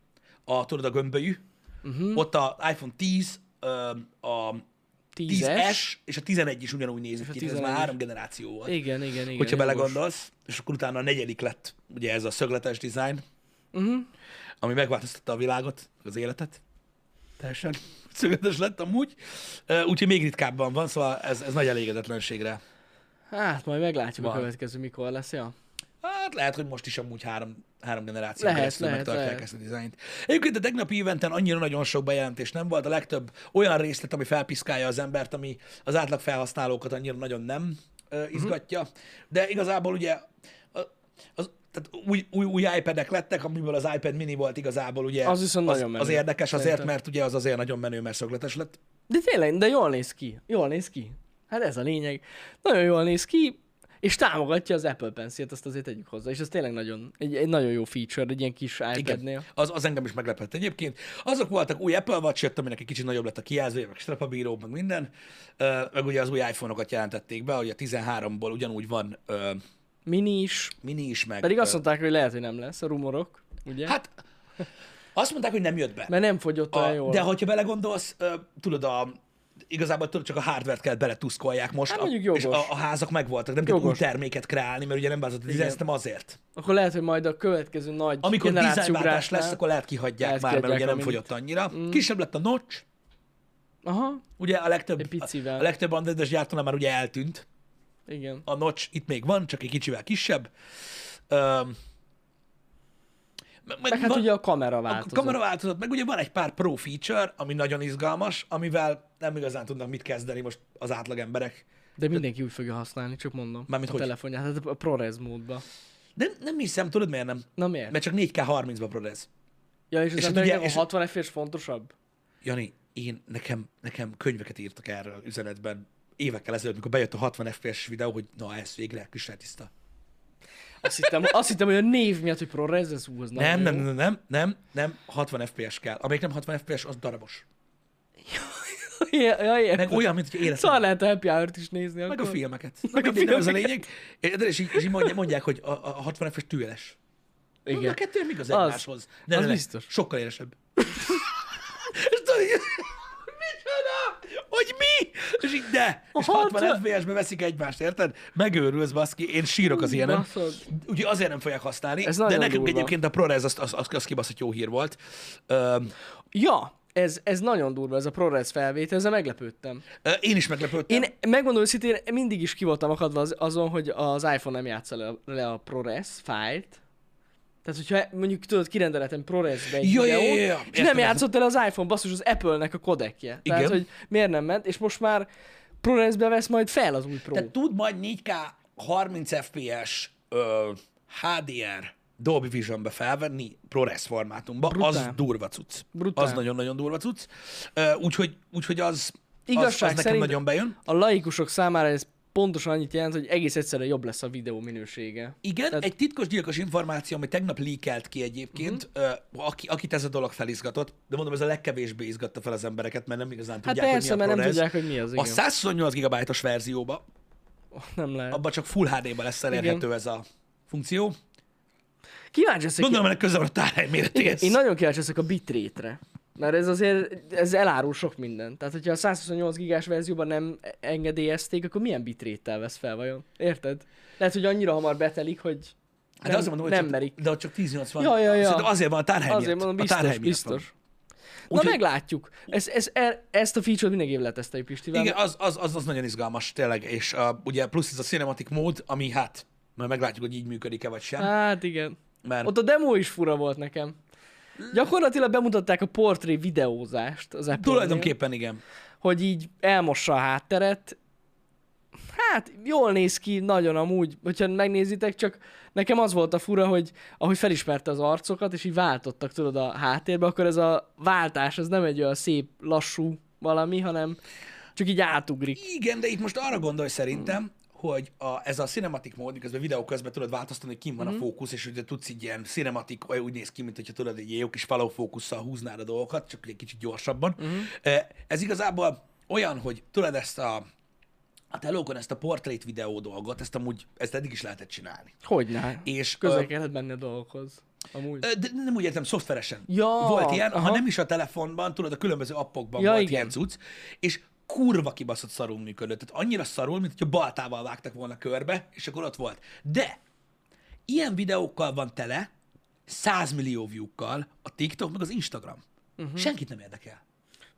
[SPEAKER 1] a, tudod, a gömbölyű, uh-huh. ott a iPhone 10, a
[SPEAKER 2] 10-es.
[SPEAKER 1] 10S és a 11 is ugyanúgy nézett
[SPEAKER 2] a
[SPEAKER 1] ki, tehát ez
[SPEAKER 2] 11
[SPEAKER 1] már
[SPEAKER 2] is.
[SPEAKER 1] három generáció volt. Igen,
[SPEAKER 2] Igen, igen, igen.
[SPEAKER 1] hogyha
[SPEAKER 2] jogos.
[SPEAKER 1] belegondolsz, és akkor utána a negyedik lett ugye ez a szögletes design,
[SPEAKER 2] Mhm.
[SPEAKER 1] ami megváltoztatta a világot, az életet. Teljesen szögletes lett amúgy. Ö, Úgyhogy még ritkábban van, szóval ez, ez nagy elégedetlenségre.
[SPEAKER 2] Hát majd meglátjuk
[SPEAKER 1] Van.
[SPEAKER 2] a következő, mikor lesz, ja.
[SPEAKER 1] Hát lehet, hogy most is amúgy három, három generáció
[SPEAKER 2] Lehet,
[SPEAKER 1] keresztül
[SPEAKER 2] lehet,
[SPEAKER 1] megtartják
[SPEAKER 2] lehet.
[SPEAKER 1] ezt a dizájnt. Egyébként a tegnapi éventen annyira nagyon sok bejelentés nem volt. A legtöbb olyan részlet, ami felpiszkálja az embert, ami az átlag felhasználókat annyira nagyon nem ö,
[SPEAKER 2] Mhm.
[SPEAKER 1] izgatja. De igazából ugye a- az, tehát új, új, új iPad-ek lettek, amiből az iPad mini volt igazából ugye
[SPEAKER 2] Az viszont
[SPEAKER 1] az,
[SPEAKER 2] nagyon menő,
[SPEAKER 1] az érdekes, azért,
[SPEAKER 2] szerintem.
[SPEAKER 1] mert ugye az azért nagyon menő, mert szögletes lett.
[SPEAKER 2] De tényleg, de jól néz ki. Jól néz ki. Hát ez a lényeg. Nagyon jól néz ki, és támogatja az Apple Pencil-t, azt azért tegyük hozzá. És ez tényleg nagyon, egy, egy nagyon jó feature, egy ilyen kis iPad-nél.
[SPEAKER 1] Igen, az, az engem is meglepett egyébként. Azok voltak új Apple Watch, jött, aminek egy kicsit nagyobb lett a kijelzője, meg strapabíró, meg minden. Ö, Meg ugye az új iPhone-okat jelentették be, hogy a 13-ból ugyanúgy van ö,
[SPEAKER 2] Mini is.
[SPEAKER 1] mini is, meg...
[SPEAKER 2] Pedig
[SPEAKER 1] ö,
[SPEAKER 2] azt mondták, hogy lehet, hogy nem lesz a rumorok, ugye?
[SPEAKER 1] Hát, azt mondták, hogy nem jött be.
[SPEAKER 2] Mert nem fogyott olyan
[SPEAKER 1] A,
[SPEAKER 2] jól.
[SPEAKER 1] de hogyha belegondolsz, ö, tudod, a, igazából tudod, csak a hardvert kell beletuszkolják most,
[SPEAKER 2] Hát
[SPEAKER 1] a,
[SPEAKER 2] mondjuk jogos.
[SPEAKER 1] és a, a, házak megvoltak, nem kell új
[SPEAKER 2] Jogos.
[SPEAKER 1] terméket kreálni, mert ugye nem változott a design,
[SPEAKER 2] Igen.
[SPEAKER 1] szerintem azért.
[SPEAKER 2] Akkor lehet, hogy majd a következő nagy
[SPEAKER 1] Amikor dizájnváltás
[SPEAKER 2] generációugrásnál-
[SPEAKER 1] lesz, akkor lehet kihagyják
[SPEAKER 2] Lehet
[SPEAKER 1] már, mert ugye
[SPEAKER 2] kihagyják Mm.
[SPEAKER 1] nem
[SPEAKER 2] a minit.
[SPEAKER 1] fogyott annyira. Kisebb lett a notch,
[SPEAKER 2] Aha,
[SPEAKER 1] Ugye a legtöbb,
[SPEAKER 2] Egy picivel.
[SPEAKER 1] A legtöbb androides gyártónál már ugye eltűnt.
[SPEAKER 2] igen.
[SPEAKER 1] A notch itt még van, csak egy kicsivel kisebb. Öm, meg, meg
[SPEAKER 2] Meg hát
[SPEAKER 1] van,
[SPEAKER 2] ugye a kamera
[SPEAKER 1] a
[SPEAKER 2] változott.
[SPEAKER 1] kamera változott, meg ugye van egy pár pro feature, ami nagyon izgalmas, amivel nem igazán tudnak mit kezdeni most az átlag emberek.
[SPEAKER 2] De mindenki úgy fogja használni, csak mondom.
[SPEAKER 1] Mármint
[SPEAKER 2] a
[SPEAKER 1] hogy?
[SPEAKER 2] telefonját, hát a ProRes módba.
[SPEAKER 1] De nem hiszem, tudod miért nem?
[SPEAKER 2] Na miért?
[SPEAKER 1] Mert csak 4K30-ba prorez.
[SPEAKER 2] Ja, és
[SPEAKER 1] És
[SPEAKER 2] az és
[SPEAKER 1] hát
[SPEAKER 2] embereknek
[SPEAKER 1] ugye- és-
[SPEAKER 2] a 60 FPS fontosabb?
[SPEAKER 1] Jani, én, nekem, nekem könyveket írtak erről üzenetben évekkel ezelőtt, mikor bejött a 60 FPS videó, hogy na ez végre, kisre tiszta.
[SPEAKER 2] Azt hittem, azt hittem hogy a név miatt, hogy ProRes, ez ú, az
[SPEAKER 1] Nem,
[SPEAKER 2] nagyon
[SPEAKER 1] nem,
[SPEAKER 2] jó.
[SPEAKER 1] nem, nem, nem, nem, 60 FPS kell. Amelyik nem 60 FPS, az darabos.
[SPEAKER 2] Ja, ja,
[SPEAKER 1] Meg
[SPEAKER 2] értem.
[SPEAKER 1] olyan, mint hogy életem.
[SPEAKER 2] Szóval lehet a Happy Hour-t is nézni
[SPEAKER 1] Meg a
[SPEAKER 2] akkor.
[SPEAKER 1] filmeket. Meg a filmeket. Nem ez a lényeg. De és így, és így mondják, mondják, hogy a, a 60 FPS tűeles. Igen. A
[SPEAKER 2] Igen.
[SPEAKER 1] kettő még az
[SPEAKER 2] Az.
[SPEAKER 1] egymáshoz. Ne,
[SPEAKER 2] Az
[SPEAKER 1] ne, ne,
[SPEAKER 2] biztos.
[SPEAKER 1] Sokkal élesebb. és tudod, így, micsoda? Hogy mi? És így de. És
[SPEAKER 2] A
[SPEAKER 1] 60
[SPEAKER 2] 60
[SPEAKER 1] FPS-be veszik egymást, érted? Megőrülsz, baszki. Én sírok az ilyenem.
[SPEAKER 2] Baszod.
[SPEAKER 1] Ugye azért nem fogják használni.
[SPEAKER 2] Ez
[SPEAKER 1] de
[SPEAKER 2] nagyon
[SPEAKER 1] nekünk
[SPEAKER 2] durva.
[SPEAKER 1] egyébként a ProRes az, az, az, az kibaszott jó hír volt. Öm,
[SPEAKER 2] Ja, ez, ez nagyon durva, ez a ProRes felvétel, ezzel meglepődtem.
[SPEAKER 1] Ö, Én is meglepődtem.
[SPEAKER 2] Én megmondom őszintén, mindig is ki voltam akadva az, azon, hogy az iPhone nem játsza le, le a ProRes fájlt. Tehát, hogyha mondjuk tudod, kirendeletem ProRes-be egy
[SPEAKER 1] Ja,
[SPEAKER 2] videót,
[SPEAKER 1] ja, ja, ja.
[SPEAKER 2] és
[SPEAKER 1] Értem,
[SPEAKER 2] nem játszott el az iPhone, basszus, az Apple-nek a kodekje. Tehát,
[SPEAKER 1] Igen.
[SPEAKER 2] hogy miért nem ment, és most már ProRes-be vesz majd fel az új Pro.
[SPEAKER 1] Tehát tud majd 4K 30 FPS ö, HDR Dolby Vision-be felvenni ProRes formátumba, Brutál. az
[SPEAKER 2] Brutál.
[SPEAKER 1] durva cucc.
[SPEAKER 2] Brutál.
[SPEAKER 1] Az nagyon-nagyon durva cucc. Ö, Úgyhogy, úgyhogy az, az, az
[SPEAKER 2] Igazság
[SPEAKER 1] nekem
[SPEAKER 2] szerint-
[SPEAKER 1] nagyon bejön.
[SPEAKER 2] A laikusok számára ez pontosan annyit jelent, hogy egész egyszerűen jobb lesz a videó minősége.
[SPEAKER 1] Igen,
[SPEAKER 2] Tehát-
[SPEAKER 1] Tehát... egy titkos gyilkos információ, ami tegnap leakelt ki egyébként,
[SPEAKER 2] Mhm.
[SPEAKER 1] uh-huh. aki, akit ez a dolog felizgatott, de mondom, ez a legkevésbé izgatta fel az embereket, mert nem igazán
[SPEAKER 2] Hát
[SPEAKER 1] tudják,
[SPEAKER 2] persze,
[SPEAKER 1] hogy mi a
[SPEAKER 2] mert nem
[SPEAKER 1] ProRes.
[SPEAKER 2] tudják, hogy mi az,
[SPEAKER 1] A
[SPEAKER 2] igen.
[SPEAKER 1] 128 GB-os verzióba
[SPEAKER 2] Nem lehet.
[SPEAKER 1] abban csak Full HD-ba lesz elérhető ez a funkció.
[SPEAKER 2] Kíváncsi leszek,
[SPEAKER 1] Gondolom, ennek közel van a tárhely méretéhez.
[SPEAKER 2] Én nagyon kíváncsi leszek a bitrate-re. Mert ez azért, ez elárul sok mindent. Tehát, hogyha a 128 gigás verzióban nem engedélyezték, akkor milyen bitrate-tel vesz fel vajon? Érted? Lehet, hogy annyira hamar betelik, hogy
[SPEAKER 1] Hát
[SPEAKER 2] nem,
[SPEAKER 1] de azért mondom, hogy
[SPEAKER 2] nem
[SPEAKER 1] csak,
[SPEAKER 2] merik.
[SPEAKER 1] De ott csak 1080.
[SPEAKER 2] Ja, ja, ja.
[SPEAKER 1] Szerintem azért van a tárhely
[SPEAKER 2] Azért
[SPEAKER 1] miatt.
[SPEAKER 2] mondom,
[SPEAKER 1] a tárhely
[SPEAKER 2] biztos,
[SPEAKER 1] miatt
[SPEAKER 2] biztos. Na
[SPEAKER 1] Úgyhogy-
[SPEAKER 2] meglátjuk. Ez, ez, e- ezt a feature-t mindenképp leteszteljük Pistivel.
[SPEAKER 1] Van. Igen, az, az, az, az nagyon izgalmas, tényleg. És a, ugye plusz ez a cinematic mód, ami hát, majd meglátjuk, hogy így működik-e vagy sem.
[SPEAKER 2] Hát igen.
[SPEAKER 1] Mert
[SPEAKER 2] Ott a demo is fura volt nekem. Gyakorlatilag bemutatták a portré videózást az apple
[SPEAKER 1] tulajdonképpen igen.
[SPEAKER 2] hogy így elmossa a hátteret. Hát, jól néz ki, nagyon amúgy, hogyha megnézitek, csak nekem az volt a fura, hogy ahogy felismerte az arcokat, és így váltottak, tudod, a háttérbe, akkor ez a váltás, ez nem egy olyan szép, lassú valami, hanem csak így átugrik.
[SPEAKER 1] Igen, de itt most arra gondolj szerintem, hogy a, ez a cinematic mód, miközben videó közben tudod változtatni, hogy kim van a fókusz, és ugye tudsz így ilyen cinematic, olyan úgy néz ki, mint hogyha tudod, egy ilyen jó kis follow fókusszal húznád a dolgokat, csak egy kicsit gyorsabban. E, Ez igazából olyan, hogy tudod ezt a, a telókon ezt a portrét videó dolgot, ezt amúgy, ezt eddig is lehetett csinálni.
[SPEAKER 2] Hogy ne?
[SPEAKER 1] És
[SPEAKER 2] Közel kellett menni a dolgokhoz. Amúgy.
[SPEAKER 1] Ö, De nem úgy értem, szoftveresen.
[SPEAKER 2] Ja,
[SPEAKER 1] volt ilyen, aha. ha
[SPEAKER 2] aha.
[SPEAKER 1] nem is a telefonban, tudod, a különböző appokban ja,
[SPEAKER 2] Ja,
[SPEAKER 1] volt igen.
[SPEAKER 2] igen.
[SPEAKER 1] ilyen cucc, és kurva kibaszott szarul működött. Tehát annyira szarul, mint hogyha baltával vágtak volna körbe, és akkor ott volt. De ilyen videókkal van tele, 100 millió view-kkal a TikTok, meg az Instagram. Uh-huh. Senkit nem érdekel.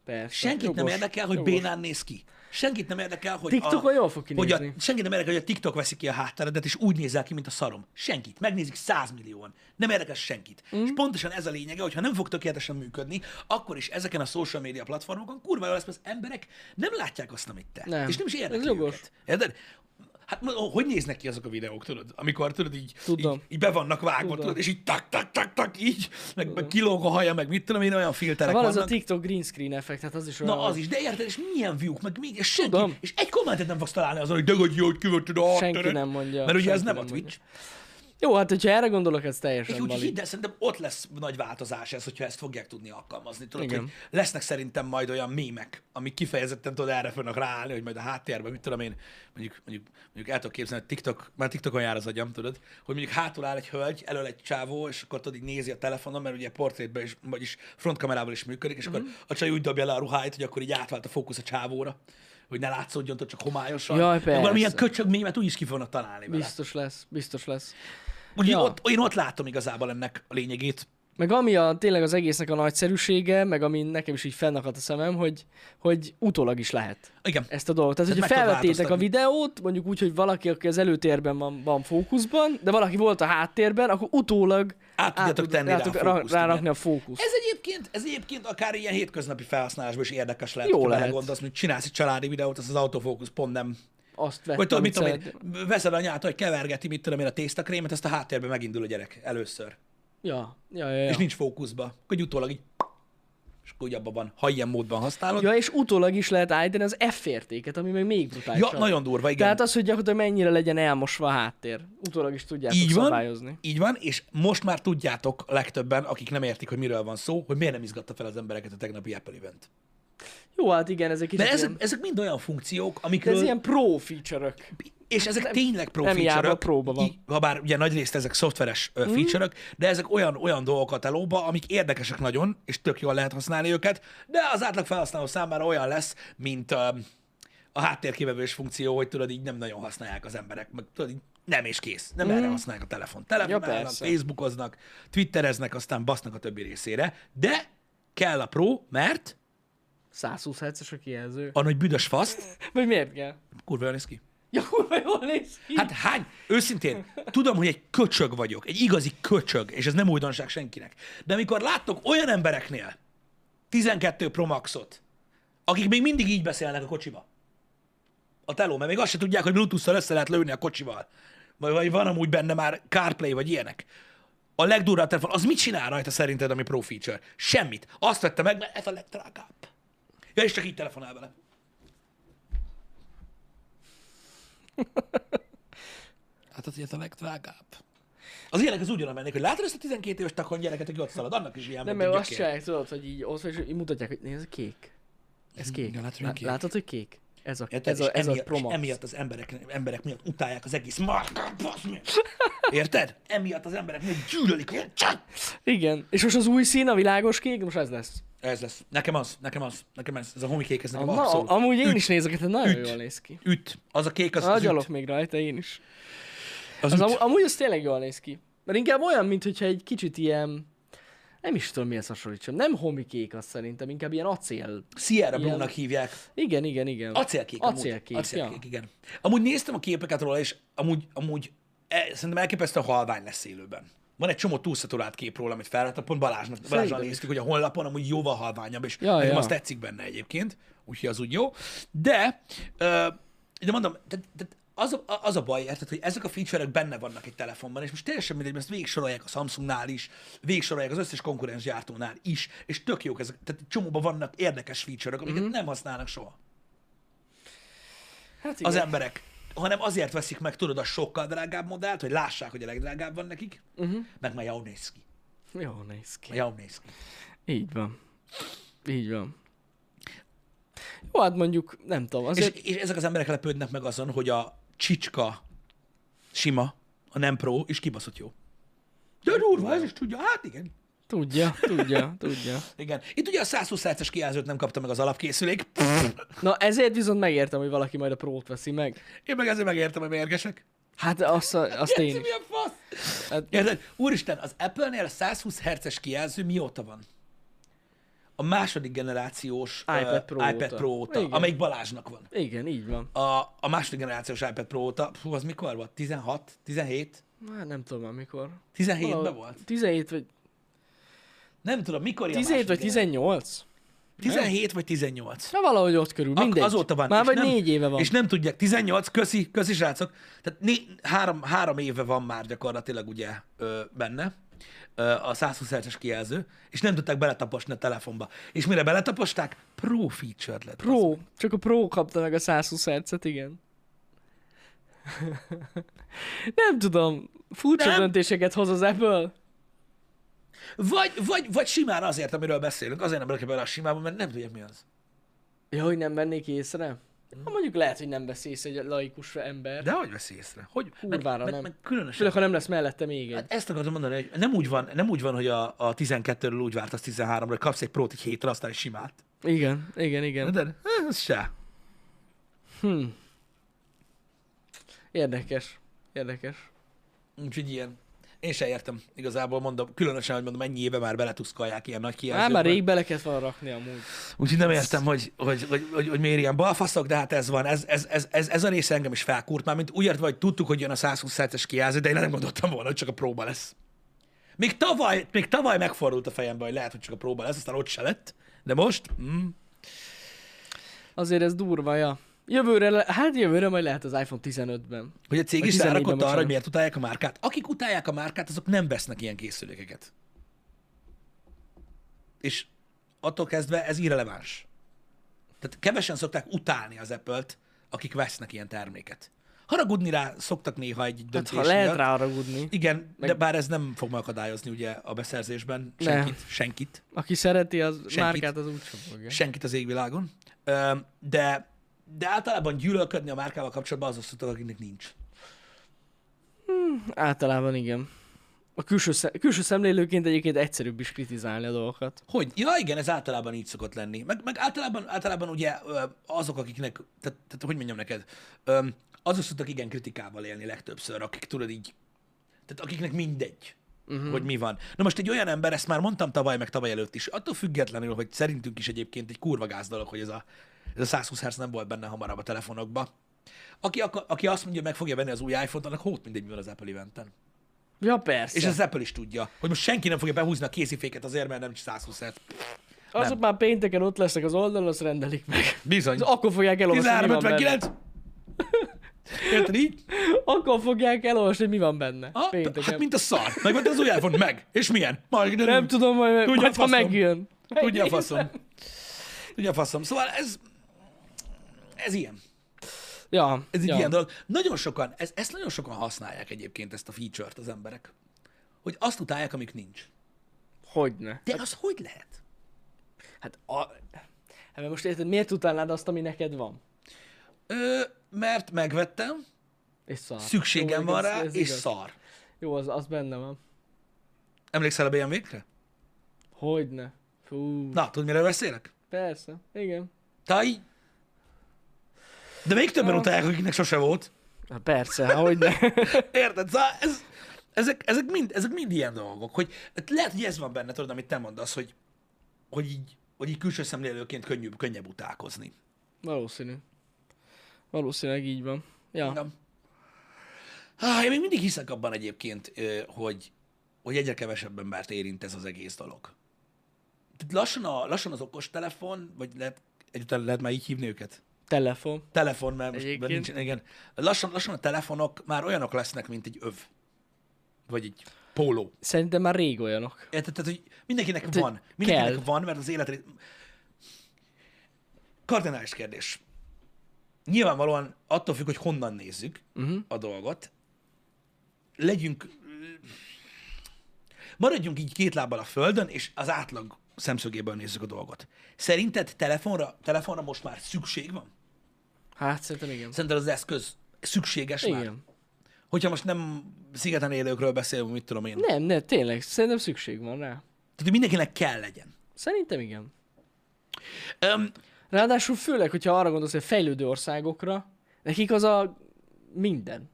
[SPEAKER 2] Persze.
[SPEAKER 1] Senkit
[SPEAKER 2] jogos,
[SPEAKER 1] nem érdekel, hogy
[SPEAKER 2] jogos.
[SPEAKER 1] bénán néz ki. Senkit nem érdekel, hogy
[SPEAKER 2] TikTokon jól fog
[SPEAKER 1] hogy a,
[SPEAKER 2] kinézni.
[SPEAKER 1] senkit nem érdekel, hogy a TikTok veszi ki a hátteredet, és úgy nézel ki, mint a szarom. Senkit. Megnézik százmillióan. Nem érdekel senkit. Mm. És pontosan ez a lényege, hogy ha nem fog tökéletesen működni, akkor is ezeken a social media platformokon kurva jól lesz, mert az emberek nem látják azt, amit te.
[SPEAKER 2] Nem.
[SPEAKER 1] És nem is
[SPEAKER 2] Ez
[SPEAKER 1] érdekli
[SPEAKER 2] jogos.
[SPEAKER 1] őket. Érted? Hát mo- hogy néznek ki azok a videók, tudod? Amikor tudod, így,
[SPEAKER 2] Tudom.
[SPEAKER 1] így, így be vannak vágva, tudod.
[SPEAKER 2] Tudom.
[SPEAKER 1] és így tak, tak, tak, tak, így, meg, meg kilóg a haja, meg mit tudom én, olyan filterek
[SPEAKER 2] Hát Van
[SPEAKER 1] vannak.
[SPEAKER 2] az a TikTok green screen effekt, hát az is olyan.
[SPEAKER 1] Na az is, de érted, és milyen view meg még, és senki,
[SPEAKER 2] Tudom.
[SPEAKER 1] és egy kommentet nem fogsz találni azon, hogy de hogy jó, hogy kivetted a
[SPEAKER 2] Senki
[SPEAKER 1] háttered.
[SPEAKER 2] nem mondja.
[SPEAKER 1] Mert ugye ez
[SPEAKER 2] senki
[SPEAKER 1] nem a
[SPEAKER 2] mondja.
[SPEAKER 1] Twitch.
[SPEAKER 2] Jó, hát hogyha erre gondolok, ez
[SPEAKER 1] És
[SPEAKER 2] teljesen
[SPEAKER 1] úgy
[SPEAKER 2] bali.
[SPEAKER 1] hidd el, szerintem ott lesz nagy változás ez, hogyha ezt fogják tudni alkalmazni. Tudod,
[SPEAKER 2] Igen.
[SPEAKER 1] hogy lesznek szerintem majd olyan mémek, amik kifejezetten tudod erre fognak ráállni, hogy majd a háttérben, mit tudom én, mondjuk, mondjuk, mondjuk el tudok képzelni, hogy TikTok, már TikTokon jár az agyam, tudod, hogy mondjuk hátul áll egy hölgy, elől egy csávó, és akkor tudod így nézi a telefonon, mert ugye portrétben is, vagyis frontkamerával is működik, és akkor
[SPEAKER 2] Mhm.
[SPEAKER 1] a csaj úgy dobja le a ruháit, hogy akkor így átvált a fókusz a csávóra hogy ne látszódjon, tudod, csak homályosan.
[SPEAKER 2] Jaj,
[SPEAKER 1] Meg Valamilyen
[SPEAKER 2] persze.
[SPEAKER 1] köcsög mémet úgy is ki fognak találni vele.
[SPEAKER 2] Biztos lesz, biztos lesz.
[SPEAKER 1] Úgyhogy
[SPEAKER 2] Ja.
[SPEAKER 1] ott, én ott látom igazából ennek a lényegét.
[SPEAKER 2] Meg ami a, tényleg az egésznek a nagyszerűsége, meg ami nekem is így fennakadt a szemem, hogy, hogy utólag is lehet
[SPEAKER 1] Igen.
[SPEAKER 2] ezt a dolgot. Tehát,
[SPEAKER 1] Tehát
[SPEAKER 2] hogyha
[SPEAKER 1] meg tudod
[SPEAKER 2] felvettétek a
[SPEAKER 1] változtatni.
[SPEAKER 2] videót, mondjuk úgy, hogy valaki, aki az előtérben van, van fókuszban, de valaki volt a háttérben, akkor utólag
[SPEAKER 1] Át tudjátok
[SPEAKER 2] tud-
[SPEAKER 1] tenni rá a
[SPEAKER 2] tudok
[SPEAKER 1] fókuszt, igen.
[SPEAKER 2] rárakni a fókuszt.
[SPEAKER 1] Ez egyébként, ez egyébként akár ilyen hétköznapi felhasználásban is érdekes lehet,
[SPEAKER 2] Jó
[SPEAKER 1] hogyha
[SPEAKER 2] lehet.
[SPEAKER 1] belegondolsz, hogy csinálsz egy családi videót, az az autofókusz pont nem.
[SPEAKER 2] Azt vettem,
[SPEAKER 1] Vagy tudod, mit tudom
[SPEAKER 2] szeret-
[SPEAKER 1] én, veszed anyát, hogy kevergeti, mit tudom én, a tésztakrémet, ezt a háttérben megindul a gyerek először. Ja.
[SPEAKER 2] Ja, ja, ja. ja.
[SPEAKER 1] És nincs fókuszba. Akkor így utólag így, és akkor úgy abban van, ha ilyen módban használod. Ja,
[SPEAKER 2] Ja, és utólag is lehet állítani az F értéket, ami meg még brutálisabb.
[SPEAKER 1] ja nagyon durva, igen.
[SPEAKER 2] Tehát az, hogy gyakorlatilag mennyire legyen elmosva a háttér. Utólag is tudjátok
[SPEAKER 1] így van,
[SPEAKER 2] szabályozni.
[SPEAKER 1] így van, és most már tudjátok legtöbben, akik nem értik, hogy miről van szó, hogy miért nem izgatta fel az embereket a tegnapi Apple event.
[SPEAKER 2] Jó, hát igen, ezek kicsit
[SPEAKER 1] Mert ezek,
[SPEAKER 2] ilyen,
[SPEAKER 1] ezek mind olyan funkciók,
[SPEAKER 2] de
[SPEAKER 1] amikről...
[SPEAKER 2] ez ilyen pro feature-ök.
[SPEAKER 1] És ezek nem, tényleg pro
[SPEAKER 2] nem hiába
[SPEAKER 1] feature-ök,
[SPEAKER 2] próba van. Mhm.
[SPEAKER 1] í- ha bár ugye nagy részt ezek szoftveres mm. feature-ök, de ezek olyan, olyan dolgok a telóba, amik érdekesek nagyon, és tök jól lehet használni őket, de az átlag felhasználó számára olyan lesz, mint um, a háttérkibevős funkció, hogy tudod, így nem nagyon használják az emberek, meg tudod, így nem és kész. Nem mm. erre használják a telefon. Telefonálnak,
[SPEAKER 2] Mhm. persze.
[SPEAKER 1] Facebookoznak, Twittereznek, aztán basznak a többi részére, de kell a pro, mert
[SPEAKER 2] 120 hz a kijelző.
[SPEAKER 1] a nagy büdös faszt,
[SPEAKER 2] Vagy miért kell?
[SPEAKER 1] kurva jól néz ki.
[SPEAKER 2] Ja, kurva jól néz ki.
[SPEAKER 1] Hát hány? Őszintén, tudom, hogy egy köcsög vagyok, egy igazi köcsög, és ez nem újdonság senkinek. De amikor láttok olyan embereknél 12 Pro Maxot, akik még mindig így beszélnek a kocsiba, a teló, mert még azt se tudják, hogy Bluetooth-szal össze lehet lőni a kocsival, vagy, vagy van amúgy benne már CarPlay, vagy ilyenek. A legdurvább telefon, az mit csinál rajta szerinted, ami pro feature? Semmit. Azt vette meg, mert ez a legdrágább. Ja, és csak így telefonál vele. Hát az ilyet a legdrágább. Az ilyenek az ugyanaz mennék, hogy látod ezt a 12 éves takon gyereket, aki ott szalad, annak is ilyen,
[SPEAKER 2] nem,
[SPEAKER 1] mint
[SPEAKER 2] mert
[SPEAKER 1] egy
[SPEAKER 2] azt
[SPEAKER 1] gyökér.
[SPEAKER 2] csinálják, tudod, hogy így ott vagy, és így mutatják, hogy nézd, kék. Ez kék.
[SPEAKER 1] ja, látod, hogy
[SPEAKER 2] Lá-
[SPEAKER 1] kék.
[SPEAKER 2] Látod, hogy kék? Ez a,
[SPEAKER 1] Érted?
[SPEAKER 2] ez a,
[SPEAKER 1] és
[SPEAKER 2] ez a
[SPEAKER 1] emiatt, és
[SPEAKER 2] promo.
[SPEAKER 1] emiatt az emberek, emberek miatt utálják az egész márkát, bassz meg! Érted? Emiatt az emberek miatt gyűlölik, hogy csak!
[SPEAKER 2] Igen. És most az új szín, a világos kék, most ez lesz.
[SPEAKER 1] Ez lesz. Nekem az, nekem az, nekem ez, ez a homikék, ez nekem
[SPEAKER 2] Na,
[SPEAKER 1] abszolút.
[SPEAKER 2] amúgy én
[SPEAKER 1] üt,
[SPEAKER 2] is nézek, hát nagyon
[SPEAKER 1] Üt.
[SPEAKER 2] jól néz ki.
[SPEAKER 1] Üt. Az a kék, az, az üt.
[SPEAKER 2] Agyalok még rajta, én is.
[SPEAKER 1] Az,
[SPEAKER 2] Az
[SPEAKER 1] üt.
[SPEAKER 2] amú, amúgy az tényleg jól néz ki. Mert inkább olyan, mintha egy kicsit ilyen... Nem is tudom, mihez hasonlítsam. Nem homikék az szerintem, inkább ilyen acél.
[SPEAKER 1] Sierra
[SPEAKER 2] ilyen-
[SPEAKER 1] Blue-nak hívják.
[SPEAKER 2] Igen, igen, igen.
[SPEAKER 1] Acélkék. amúgy.
[SPEAKER 2] Acélkék,
[SPEAKER 1] Acélkék,
[SPEAKER 2] ja.
[SPEAKER 1] igen. Amúgy néztem a képeket róla, és amúgy, amúgy e, szerintem elképesztően halvány lesz élőben. Van egy csomó túlszaturált kép róla, amit felvettem, pont Balázsnak, Balázsral
[SPEAKER 2] is.
[SPEAKER 1] néztük, hogy a honlapon amúgy jóval halványabb, és
[SPEAKER 2] Ja,
[SPEAKER 1] nekem
[SPEAKER 2] ja.
[SPEAKER 1] azt tetszik benne egyébként, úgyhogy az úgy jó. De, ö, de mondom, tehát, tehát az, a, az a baj, érted, hogy ezek a feature-ek benne vannak egy telefonban, és most teljesen mindegy, mert ezt végsorolják a Samsungnál is, végsorolják az összes konkurens gyártónál is, és tök jók ezek, tehát csomóban vannak
[SPEAKER 2] Mhm.
[SPEAKER 1] érdekes feature-ök, amiket nem használnak soha
[SPEAKER 2] Hát igen.
[SPEAKER 1] az emberek. hanem azért veszik meg, tudod, a sokkal drágább modellt, hogy lássák, hogy a legdrágább van nekik, uh-huh. meg már jól néz ki.
[SPEAKER 2] Jó néz ki.
[SPEAKER 1] Már jól néz ki.
[SPEAKER 2] Így van. Így van. Jó, hát mondjuk, nem tudom, azért...
[SPEAKER 1] És, és ezek az emberek lepődnek meg azon, hogy a csicska sima, a nem pro, és kibaszott jó. De durva, ez is tudja. Hát igen.
[SPEAKER 2] Tudja, tudja, tudja.
[SPEAKER 1] Igen. Itt ugye a 120 Hz-es kijelzőt nem kapta meg az alapkészülék.
[SPEAKER 2] Na ezért viszont megértem, hogy valaki majd a prót veszi meg.
[SPEAKER 1] Én meg ezért megértem, hogy mérgesek.
[SPEAKER 2] Hát azt, a- azt én
[SPEAKER 1] Geci,
[SPEAKER 2] is.
[SPEAKER 1] milyen fasz?
[SPEAKER 2] Hát,
[SPEAKER 1] Érted? Úristen, az Apple-nél a 120 Hz-es kijelző mióta van? A második generációs ö,
[SPEAKER 2] iPad Pro
[SPEAKER 1] iPad
[SPEAKER 2] óta.
[SPEAKER 1] Pro óta
[SPEAKER 2] Igen.
[SPEAKER 1] amelyik Balázsnak van.
[SPEAKER 2] igen, így van.
[SPEAKER 1] A, a második generációs iPad Pro óta, fú, az mikor volt? 16? 17?
[SPEAKER 2] Már Hát nem tudom már mikor.
[SPEAKER 1] 17-ben
[SPEAKER 2] Valahogy
[SPEAKER 1] volt?
[SPEAKER 2] 17 vagy,
[SPEAKER 1] Nem tudom, mikor
[SPEAKER 2] 17 vagy 18?
[SPEAKER 1] 17 vagy 18.
[SPEAKER 2] Na valahogy ott körül,
[SPEAKER 1] Ak-
[SPEAKER 2] mindegy.
[SPEAKER 1] Azóta van.
[SPEAKER 2] Már
[SPEAKER 1] és
[SPEAKER 2] vagy
[SPEAKER 1] nem-
[SPEAKER 2] 4 éve van.
[SPEAKER 1] És nem tudják, 18, köszi, köszi srácok. Tehát né, három, három éve van már gyakorlatilag ugye ö, benne ö, a 120 Hz-es kijelző, és nem tudták beletaposni a telefonba. És mire beletaposták, pro feature lett. az.
[SPEAKER 2] Pro, csak a Pro kapta meg a 120 hercet, igen. nem tudom, furcsa
[SPEAKER 1] Nem.
[SPEAKER 2] döntéseket hoz az Apple.
[SPEAKER 1] Vagy, vagy, vagy simán azért, amiről beszélünk, azért nem rakja bele a simában, mert nem tudják mi az.
[SPEAKER 2] Ja, hogy nem vennék észre? Ha mondjuk lehet, hogy nem vesz észre egy laikus ember.
[SPEAKER 1] De hogy veszi észre? Hogy?
[SPEAKER 2] Kurvára nem.
[SPEAKER 1] különösen.
[SPEAKER 2] Főleg, ha nem lesz mellette még egy.
[SPEAKER 1] Hát ezt akartam mondani, hogy nem úgy van, nem úgy van hogy a, a 12-ről úgy vártasz 13-ra, hogy kapsz egy prót egy hétre, aztán egy simát.
[SPEAKER 2] Igen, igen, igen.
[SPEAKER 1] De, ez se.
[SPEAKER 2] Érdekes. Érdekes.
[SPEAKER 1] Úgyhogy ilyen. Én se értem, igazából mondom, különösen, hogy mondom, ennyi éve már beletuszkalják ilyen nagy
[SPEAKER 2] Á,
[SPEAKER 1] kijelzőkbe.
[SPEAKER 2] már rég bele kellett volna rakni amúgy.
[SPEAKER 1] Úgyhogy nem értem, hogy, hogy, hogy, hogy, hogy miért ilyen balfaszok, de hát ez van. Ez, ez, ez, ez, ez a része engem is felkúrt már, mint úgy értve, hogy tudtuk, hogy jön a 120 es kijelző, de én nem gondoltam volna, hogy csak a próba lesz. Még tavaly, még tavaly megfordult a fejembe, hogy lehet, hogy csak a próba lesz, aztán ott se lett. De most? Mm.
[SPEAKER 2] Azért ez durva, ja. Jövőre, le- hát jövőre majd lehet az iPhone 15-ben.
[SPEAKER 1] Hogy a cég
[SPEAKER 2] Vagy
[SPEAKER 1] is
[SPEAKER 2] 14-ben,
[SPEAKER 1] rárakott arra,
[SPEAKER 2] bocsánat.
[SPEAKER 1] hogy miért utálják a márkát. Akik utálják a márkát, azok nem vesznek ilyen készülékeket. És attól kezdve ez irreleváns. Tehát kevesen szokták utálni az Apple-t, akik vesznek ilyen terméket. Haragudni rá szoktak néha egy
[SPEAKER 2] Hát,
[SPEAKER 1] döntés
[SPEAKER 2] ha lehet
[SPEAKER 1] miatt.
[SPEAKER 2] ráragudni.
[SPEAKER 1] Igen, de bár ez nem fog megakadályozni ugye a beszerzésben senkit, senkit,
[SPEAKER 2] Aki szereti, az Senkit. márkát az úgy fogja.
[SPEAKER 1] senkit az égvilágon. Ö, De, de általában gyűlölködni a márkával kapcsolatban azok szoktak, akiknek nincs.
[SPEAKER 2] Általában igen. A külső, szem, külső szemlélőként egyébként egyszerűbb is kritizálni a dolgokat.
[SPEAKER 1] Hogy? Ja, igen, ez általában így szokott lenni. Meg, meg általában, általában ugye ö, azok, akiknek, tehát, tehát hogy mondjam neked, ö, azok szoktak igen kritikával élni legtöbbször, akik tudod így, tehát akiknek mindegy, uh-huh. hogy mi van. Na most egy olyan ember, ezt már mondtam tavaly, meg tavaly előtt is, attól függetlenül, hogy szerintünk is egyébként egy kurva gáz dolog, hogy ez a, ez a 120 Hz nem volt benne hamarabb a telefonokba. Aki, akar, aki azt mondja, hogy meg fogja venni az új iPhone-t, annak hót mindegy, mi van az Apple eventen.
[SPEAKER 2] Ja, persze.
[SPEAKER 1] És
[SPEAKER 2] És
[SPEAKER 1] ez az Apple is tudja, hogy most senki nem fogja behúzni a kéziféket azért, mert nem 120 Hz.
[SPEAKER 2] Azok már pénteken ott lesznek az oldalon, azt rendelik meg.
[SPEAKER 1] Bizony.
[SPEAKER 2] Az akkor fogják elolvasni, mi van benne.
[SPEAKER 1] 1359! Érted így?
[SPEAKER 2] Akkor fogják elolvasni, hogy mi van benne.
[SPEAKER 1] Ha?
[SPEAKER 2] pénteken.
[SPEAKER 1] Hát mint a szar. Megvett az új iPhone, meg. És milyen? Majd de
[SPEAKER 2] Nem tudom, majd,
[SPEAKER 1] Tudja
[SPEAKER 2] majd
[SPEAKER 1] a
[SPEAKER 2] ha
[SPEAKER 1] faszom.
[SPEAKER 2] megjön.
[SPEAKER 1] Tudja a faszom. Tudja a faszom. Szóval ez... Ez ilyen.
[SPEAKER 2] Ja,
[SPEAKER 1] Ez egy
[SPEAKER 2] ja.
[SPEAKER 1] ilyen dolog. Nagyon sokan, ez, ezt nagyon sokan használják egyébként, ezt a feature-t az emberek. Hogy azt utálják, amik nincs.
[SPEAKER 2] Hogyne.
[SPEAKER 1] De az hogy lehet?
[SPEAKER 2] Hát a... Hát mert most érted, miért utálnád azt, ami neked van?
[SPEAKER 1] Ö, mert megvettem,
[SPEAKER 2] És szar.
[SPEAKER 1] szükségem
[SPEAKER 2] Jó,
[SPEAKER 1] van
[SPEAKER 2] ez-
[SPEAKER 1] rá,
[SPEAKER 2] ez
[SPEAKER 1] és
[SPEAKER 2] igaz.
[SPEAKER 1] szar.
[SPEAKER 2] Jó, az, az benne van.
[SPEAKER 1] Emlékszel a BMW-kre?
[SPEAKER 2] Hogyne. Fú,
[SPEAKER 1] Na, tudod, mire beszélek?
[SPEAKER 2] persze. Igen.
[SPEAKER 1] Tai. De még többen utálják, akiknek sose volt.
[SPEAKER 2] Hát persze, hát hogyne.
[SPEAKER 1] Érted? Szóval ez, ezek, ezek, mind, ezek mind ilyen dolgok, hogy hát lehet, hogy ez van benne, tudod, amit te mondasz, hogy, hogy így, hogy így külső szemlélőként könnyűbb, könnyebb utálkozni.
[SPEAKER 2] Valószínű. Valószínűleg így van. Ja.
[SPEAKER 1] Nem? Há, Ah, én még mindig hiszek abban egyébként, ö, hogy, hogy egyre kevesebb embert érint ez az egész dolog. Tehát lassan, a, lassan az okostelefon, vagy lehet, egyáltalán lehet már így hívni őket?
[SPEAKER 2] Telefon.
[SPEAKER 1] telefon, mert most
[SPEAKER 2] Egyébként.
[SPEAKER 1] nincs, igen. Lassan, lassan a telefonok már olyanok lesznek, mint egy öv. Vagy egy póló.
[SPEAKER 2] Szerintem már rég olyanok.
[SPEAKER 1] Érted? Tehát, hogy mindenkinek
[SPEAKER 2] Hát, hogy
[SPEAKER 1] van. Mindenkinek
[SPEAKER 2] kell.
[SPEAKER 1] van, mert az élet... Kardinális kérdés. nyilvánvalóan attól függ, hogy honnan nézzük
[SPEAKER 2] Mhm.
[SPEAKER 1] uh-huh. a dolgot, legyünk, maradjunk így két lábbal a földön, és az átlag szemszögéből nézzük a dolgot. Szerinted telefonra, telefonra most már szükség van?
[SPEAKER 2] Hát szerintem igen.
[SPEAKER 1] Szerinted az eszköz szükséges már?
[SPEAKER 2] Igen.
[SPEAKER 1] Hogyha most nem szigeten élőkről beszélünk, mit tudom én. Ne.
[SPEAKER 2] Nem, nem, tényleg, szerintem szükség van rá.
[SPEAKER 1] Tehát hogy mindenkinek kell legyen.
[SPEAKER 2] Szerintem igen.
[SPEAKER 1] Öm,
[SPEAKER 2] Ráadásul főleg, hogyha arra gondolsz, hogy fejlődő országokra, nekik az a minden.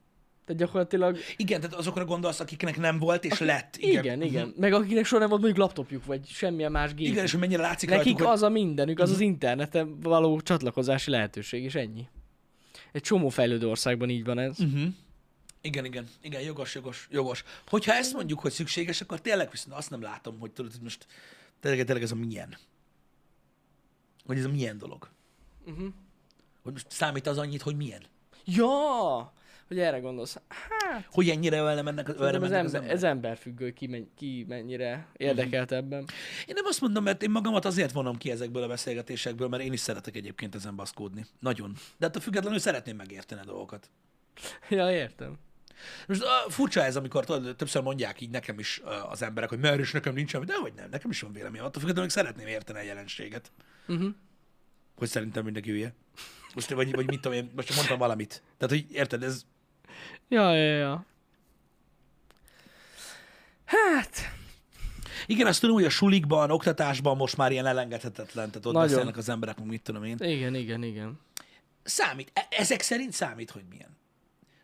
[SPEAKER 2] Tehát gyakorlatilag,
[SPEAKER 1] igen, tehát azokra gondolsz, akiknek nem volt és lett.
[SPEAKER 2] igen, Mhm. igen. igen. Meg akiknek soha nem volt mondjuk laptopjuk, vagy semmilyen más gép.
[SPEAKER 1] Igen, és hogy mennyire látszik
[SPEAKER 2] Nekik
[SPEAKER 1] rajtuk,
[SPEAKER 2] az a mindenük, az az interneten való csatlakozási lehetőség, és ennyi. Egy csomó fejlődő országban így van ez. Uh-huh.
[SPEAKER 1] Igen, igen, igen, jogos, jogos, jogos. Hogyha ezt mondjuk, hogy szükséges, akkor tényleg viszont azt nem látom, hogy tudod, hogy most tényleg, tényleg ez a milyen. Hogy ez a milyen dolog. Uh-huh.
[SPEAKER 2] Mhm.
[SPEAKER 1] Hogy most számít az annyit, hogy milyen.
[SPEAKER 2] Ja! Hogy erre gondolsz. Hát,
[SPEAKER 1] Hogy ennyire ölne mennek, ölne
[SPEAKER 2] szerintem
[SPEAKER 1] mennek
[SPEAKER 2] ez,
[SPEAKER 1] az
[SPEAKER 2] ember,
[SPEAKER 1] ember.
[SPEAKER 2] ez emberfüggő, ki, men, ki mennyire érdekelt ebben.
[SPEAKER 1] Én nem azt mondom, mert én magamat azért vonom ki ezekből a beszélgetésekből, mert én is szeretek egyébként ezen baszkódni. Nagyon. De attól függetlenül szeretném megérteni a dolgokat.
[SPEAKER 2] Ja, értem.
[SPEAKER 1] Most uh, furcsa ez, amikor tudod, többször mondják így nekem is uh, az emberek, hogy mert is nekem nincs semmi, de hogy nem, nekem is van véleményem, attól függetlenül hogy szeretném érteni a jelenséget. Uh-huh. Hogy szerintem mindenki hülye. Most, vagy, vagy mit tudom én, most csak mondtam valamit. Tehát, hogy érted, ez
[SPEAKER 2] Ja, ja, ja. Hát,
[SPEAKER 1] igen, azt tudom, hogy a sulikban, oktatásban most már ilyen elengedhetetlen, tehát ott
[SPEAKER 2] Nagyon.
[SPEAKER 1] Nagyon. beszélnek az emberek, meg mit tudom én.
[SPEAKER 2] igen, igen, igen.
[SPEAKER 1] Számít, e- ezek szerint számít, hogy milyen.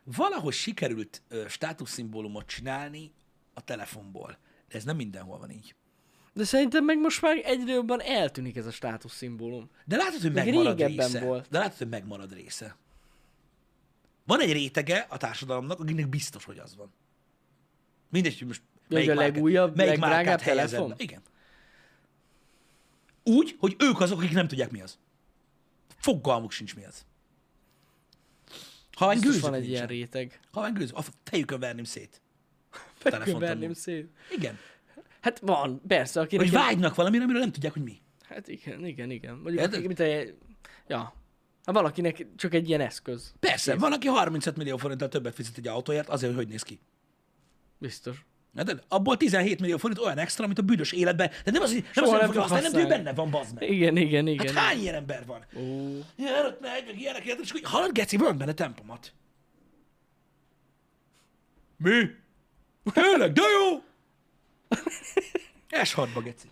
[SPEAKER 1] Valahogy sikerült ö, státuszszimbólumot csinálni a telefonból, de ez nem mindenhol van így.
[SPEAKER 2] De szerintem meg most már egyre jobban eltűnik ez a státuszszimbólum.
[SPEAKER 1] De látod, hogy
[SPEAKER 2] Még
[SPEAKER 1] megmarad
[SPEAKER 2] régebben
[SPEAKER 1] része.
[SPEAKER 2] volt.
[SPEAKER 1] Volt. De látod, hogy megmarad része. Van egy rétege a társadalomnak, akinek biztos, hogy az van. Mindegy, hogy most
[SPEAKER 2] a
[SPEAKER 1] márkát-
[SPEAKER 2] legújabb,
[SPEAKER 1] melyik
[SPEAKER 2] legdrágább
[SPEAKER 1] márkát helyezed
[SPEAKER 2] telefon?
[SPEAKER 1] be. Igen. Úgy, hogy ők azok, akik nem tudják, mi az. Fogalmuk sincs, mi az. Ha van
[SPEAKER 2] Biztos
[SPEAKER 1] gőzük
[SPEAKER 2] van egy
[SPEAKER 1] nincsen.
[SPEAKER 2] ilyen réteg.
[SPEAKER 1] Ha van gőzük, a fejükön verném szét. Telefontamú.
[SPEAKER 2] Megköverném szét.
[SPEAKER 1] Igen.
[SPEAKER 2] Hát van, persze, aki
[SPEAKER 1] Hogy
[SPEAKER 2] nekem-
[SPEAKER 1] vágynak valamire, amiről nem tudják, hogy mi.
[SPEAKER 2] Hát igen, igen, igen. Mondjuk,
[SPEAKER 1] Érted?
[SPEAKER 2] akik, mint egy... Ja. Ha valakinek csak egy ilyen eszköz.
[SPEAKER 1] Persze, van, aki 35 millió forinttal többet fizet egy autóért, azért, hogy hogy néz ki.
[SPEAKER 2] Biztos.
[SPEAKER 1] Érted? Abból 17 millió forint olyan extra, amit a büdös életben. De nem az, hogy nem az, hogy
[SPEAKER 2] nem
[SPEAKER 1] nem fogja
[SPEAKER 2] fog
[SPEAKER 1] használni, hanem ő
[SPEAKER 2] használni.
[SPEAKER 1] benne van, bazd meg.
[SPEAKER 2] Igen, igen, igen.
[SPEAKER 1] Hát hány ilyen ember van?
[SPEAKER 2] Ó,
[SPEAKER 1] Ilyen előtt megy, meg ilyenek, ilyenek, és akkor így, hallod, Geci, van benne tempomat. Mi? Tényleg, de jó! S6-ba, Geci.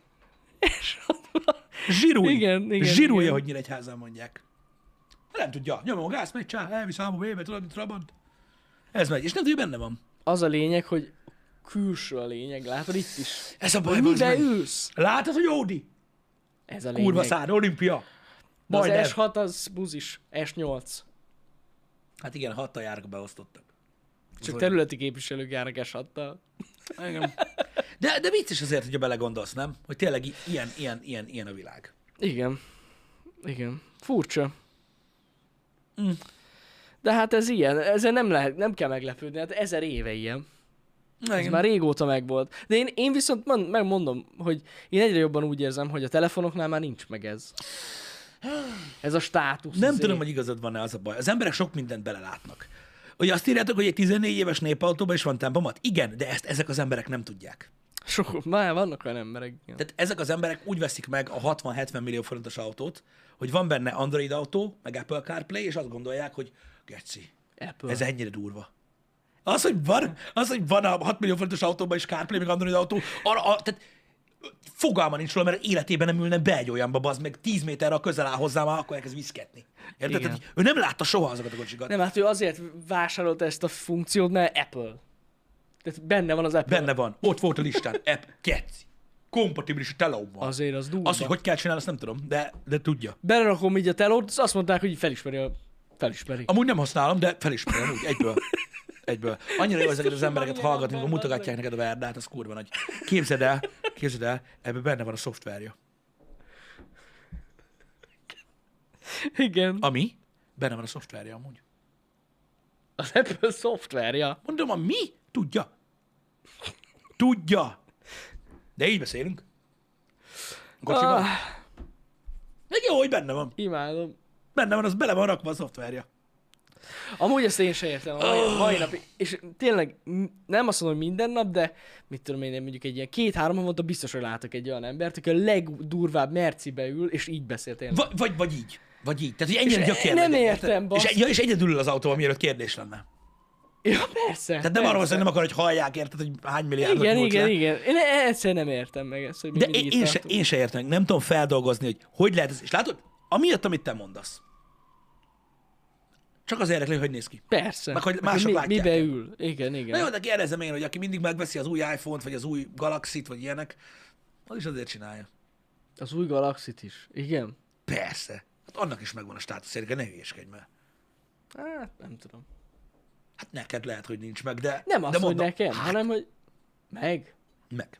[SPEAKER 1] Zsirulj.
[SPEAKER 2] Igen, igen,
[SPEAKER 1] Zsirulja,
[SPEAKER 2] igen.
[SPEAKER 1] hogy Nyíregyházán mondják. Nem tudja. Nyomom a gáz, megy, csá, elvisz álmom éve, tudod, mint Trabant. Ez megy, és nem tudja, hogy benne van.
[SPEAKER 2] az a lényeg, hogy külső a lényeg, látod itt is.
[SPEAKER 1] Ez a baj,
[SPEAKER 2] Hogy
[SPEAKER 1] bazd
[SPEAKER 2] mibe
[SPEAKER 1] meg.
[SPEAKER 2] ülsz?
[SPEAKER 1] Látod, hogy Ódi?
[SPEAKER 2] Ez a lényeg.
[SPEAKER 1] Kurva szád, olimpia.
[SPEAKER 2] De az
[SPEAKER 1] Majdnem.
[SPEAKER 2] S6 az buzis, S8.
[SPEAKER 1] Hát igen, hattal járok beosztottak.
[SPEAKER 2] Csak
[SPEAKER 1] Zoli.
[SPEAKER 2] területi képviselők járnak S6-tal.
[SPEAKER 1] Igen. De, de vicces azért, hogyha belegondolsz, nem? Hogy tényleg i- ilyen, ilyen, ilyen, ilyen a világ.
[SPEAKER 2] Igen. Igen. Furcsa. Mm.
[SPEAKER 1] Mm.
[SPEAKER 2] De hát ez ilyen, ezen nem, lehet, nem kell meglepődni, hát ezer éve ilyen.
[SPEAKER 1] Na,
[SPEAKER 2] Ez
[SPEAKER 1] igen.
[SPEAKER 2] már régóta megvolt. De én, én viszont mond, megmondom, hogy én egyre jobban úgy érzem, hogy a telefonoknál már nincs meg ez. Ez a státusz.
[SPEAKER 1] Nem
[SPEAKER 2] izé.
[SPEAKER 1] tudom, hogy igazad van-e az a baj. Az emberek sok mindent belelátnak. Hogy azt írjátok, hogy egy 14 éves népautóban is van tempomat? Igen, de ezt ezek az emberek nem tudják.
[SPEAKER 2] Sok, már vannak olyan emberek. igen.
[SPEAKER 1] Tehát ezek az emberek úgy veszik meg a 60-70 millió forintos autót, hogy van benne Android autó, meg Apple CarPlay, és azt gondolják, hogy geci,
[SPEAKER 2] Apple.
[SPEAKER 1] Ez ennyire durva. Az, hogy van, az, hogy van a 6 millió forintos autóban is CarPlay, meg Android autó, arra, a, tehát fogalma nincs róla, mert életében nem ülne be egy olyanba, bazd meg 10 méterre a közel áll hozzá, már akkor elkezd viszketni. Érted?
[SPEAKER 2] Igen.
[SPEAKER 1] Tehát, így ő nem látta soha azokat a kocsikat. Nem.
[SPEAKER 2] Nem, hát ő azért vásárolta ezt a funkciót, mert Apple. Tehát benne van az Apple.
[SPEAKER 1] Benne van, ott volt a listán, app, keci. Kompatibilis a telóban.
[SPEAKER 2] Azért az durva.
[SPEAKER 1] Az, hogy hogy kell csinálni, azt nem tudom, de, de tudja.
[SPEAKER 2] Belerakom így a telót, azt mondták, hogy így felismeri a... Felismeri.
[SPEAKER 1] Amúgy nem használom, de felismerem úgy, egyből. Egyből. Annyira jó ezeket az embereket hallgatni, amikor mutogatják neked a verdát, az kurva nagy. Képzeld el, képzeld el, ebben benne van a szoftverja.
[SPEAKER 2] Igen.
[SPEAKER 1] Ami? Benne van a szoftverje amúgy.
[SPEAKER 2] Az Apple szoftverja.
[SPEAKER 1] Mondom, a mi? Tudja. Tudja. De így beszélünk. Kocsiban.
[SPEAKER 2] Ah,
[SPEAKER 1] Meg jó, hogy benne van.
[SPEAKER 2] imádom.
[SPEAKER 1] benne van, az bele van rakva a szoftverje.
[SPEAKER 2] Amúgy ezt én sem értem a mai, mai napig. És tényleg m- nem azt mondom, hogy minden nap, de mit tudom én, mondjuk egy ilyen két-három havonta biztos, hogy látok egy olyan embert, aki a legdurvább mercibe ül, és így beszél tényleg.
[SPEAKER 1] Vagy, vagy, vagy így. Vagy így. Tehát, hogy ennyire
[SPEAKER 2] És
[SPEAKER 1] gyökér
[SPEAKER 2] nem
[SPEAKER 1] legyen,
[SPEAKER 2] értem,
[SPEAKER 1] érted? és,
[SPEAKER 2] basz.
[SPEAKER 1] ja, és egyedül ül az autóban, mielőtt kérdés lenne.
[SPEAKER 2] Ja, persze.
[SPEAKER 1] Tehát nem arról van szó, hogy nem akar, hogy hallják, érted, hogy hány milliárdot
[SPEAKER 2] Igen,
[SPEAKER 1] nyújt
[SPEAKER 2] igen,
[SPEAKER 1] le.
[SPEAKER 2] igen. Én e- egyszer nem értem meg ezt, hogy mi
[SPEAKER 1] De
[SPEAKER 2] mindig
[SPEAKER 1] én,
[SPEAKER 2] itt
[SPEAKER 1] én, se,
[SPEAKER 2] tartunk.
[SPEAKER 1] én se értem, nem tudom feldolgozni, hogy hogy lehet ez. És látod, amiatt, amit te mondasz, csak az érdekli, hogy néz ki.
[SPEAKER 2] Persze.
[SPEAKER 1] Meg, hogy
[SPEAKER 2] Meg
[SPEAKER 1] mások
[SPEAKER 2] mi,
[SPEAKER 1] látják.
[SPEAKER 2] Mibe ül. Igen, igen.
[SPEAKER 1] Na jó, de kérdezem én, hogy aki mindig megveszi az új iPhone-t, vagy az új Galaxy-t, vagy ilyenek, az is azért csinálja.
[SPEAKER 2] Az új galaxit is. Igen.
[SPEAKER 1] Persze. Hát annak is megvan a státusz érke, ne hülyeskedj már.
[SPEAKER 2] Hát nem tudom.
[SPEAKER 1] Hát neked lehet, hogy nincs meg, de...
[SPEAKER 2] Nem
[SPEAKER 1] de
[SPEAKER 2] azt, hogy
[SPEAKER 1] mondom,
[SPEAKER 2] nekem,
[SPEAKER 1] hát,
[SPEAKER 2] hanem hogy meg.
[SPEAKER 1] Meg.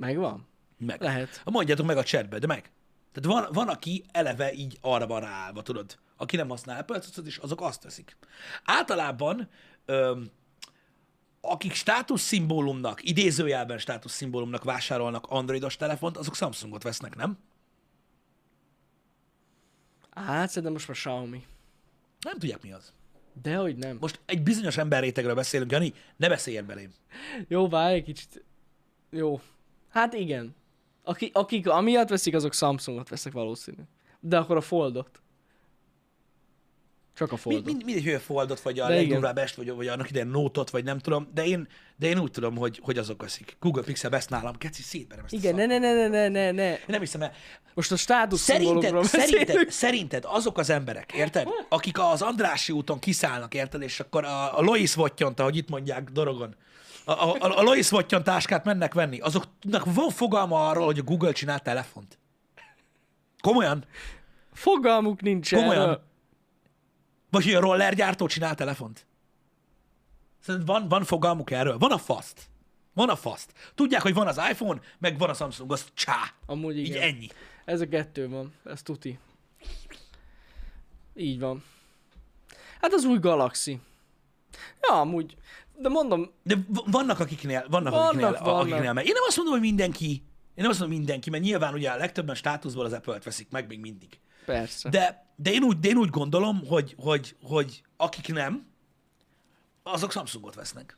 [SPEAKER 2] Megvan.
[SPEAKER 1] Meg.
[SPEAKER 2] Lehet.
[SPEAKER 1] Mondjátok meg a chatbe, de meg. Tehát van, van, aki eleve így arra van ráállva, tudod? Aki nem használ Apple cuccot, és azok azt veszik. Általában, öm, akik státuszszimbólumnak, idézőjelben státuszszimbólumnak vásárolnak androidos telefont, azok Samsungot vesznek, nem?
[SPEAKER 2] Hát szerintem most már Xiaomi.
[SPEAKER 1] Nem tudják mi az.
[SPEAKER 2] Dehogy nem.
[SPEAKER 1] Most egy bizonyos emberrétegről beszélünk, Jani, ne beszéljen belém.
[SPEAKER 2] Jó, várj egy kicsit. Jó. Hát igen. Aki, akik amiatt veszik, azok Samsungot veszek valószínű. De akkor a Foldot. Csak a
[SPEAKER 1] Mind,
[SPEAKER 2] Foldot.
[SPEAKER 1] mind, mindegy, hogy a foldot, vagy a
[SPEAKER 2] De igen.
[SPEAKER 1] legdurvább est, vagy, vagy annak idején nótot, vagy nem tudom, de én, de én úgy tudom, hogy, hogy azok veszik. Google Pixel Best nálam, keci, szétverem ezt a
[SPEAKER 2] Igen,
[SPEAKER 1] szart.
[SPEAKER 2] ne, ne, ne, ne, ne, ne, ne.
[SPEAKER 1] Én nem hiszem el.
[SPEAKER 2] Most a státusz
[SPEAKER 1] Szerinted,
[SPEAKER 2] szimbólumról
[SPEAKER 1] szerinted,
[SPEAKER 2] beszélünk.
[SPEAKER 1] szerinted azok az emberek, érted? Akik az Andrássy úton kiszállnak, érted? És akkor a, a Lois Vottyont, ahogy itt mondják Dorogon, a, a, a Lois Vottyont táskát mennek venni, azoknak van fogalma arról, hogy a Google csinál telefont. Komolyan?
[SPEAKER 2] Fogalmuk nincs
[SPEAKER 1] Komolyan?
[SPEAKER 2] erről.
[SPEAKER 1] Vagy hogy a rollergyártó csinál telefont? Szerinted van, van fogalmuk erről? Van a faszt. Van a faszt. Tudják, hogy van az iPhone, meg van a Samsung, az csá.
[SPEAKER 2] Amúgy
[SPEAKER 1] Így
[SPEAKER 2] igen.
[SPEAKER 1] ennyi.
[SPEAKER 2] Ez a kettő van, ez tuti. Így van. Hát az új Galaxy. Ja, amúgy. De mondom,
[SPEAKER 1] De v- vannak akiknél, vannak,
[SPEAKER 2] Vannak,
[SPEAKER 1] vannak akiknél,
[SPEAKER 2] vannak.
[SPEAKER 1] vannak. akiknél megy. Én nem azt mondom, hogy mindenki, én nem azt mondom mindenki, mert nyilván ugye a legtöbben státuszból az Apple-t veszik meg még mindig.
[SPEAKER 2] persze.
[SPEAKER 1] De, de én, úgy, de én úgy gondolom, hogy, hogy, hogy akik nem, azok Samsungot vesznek.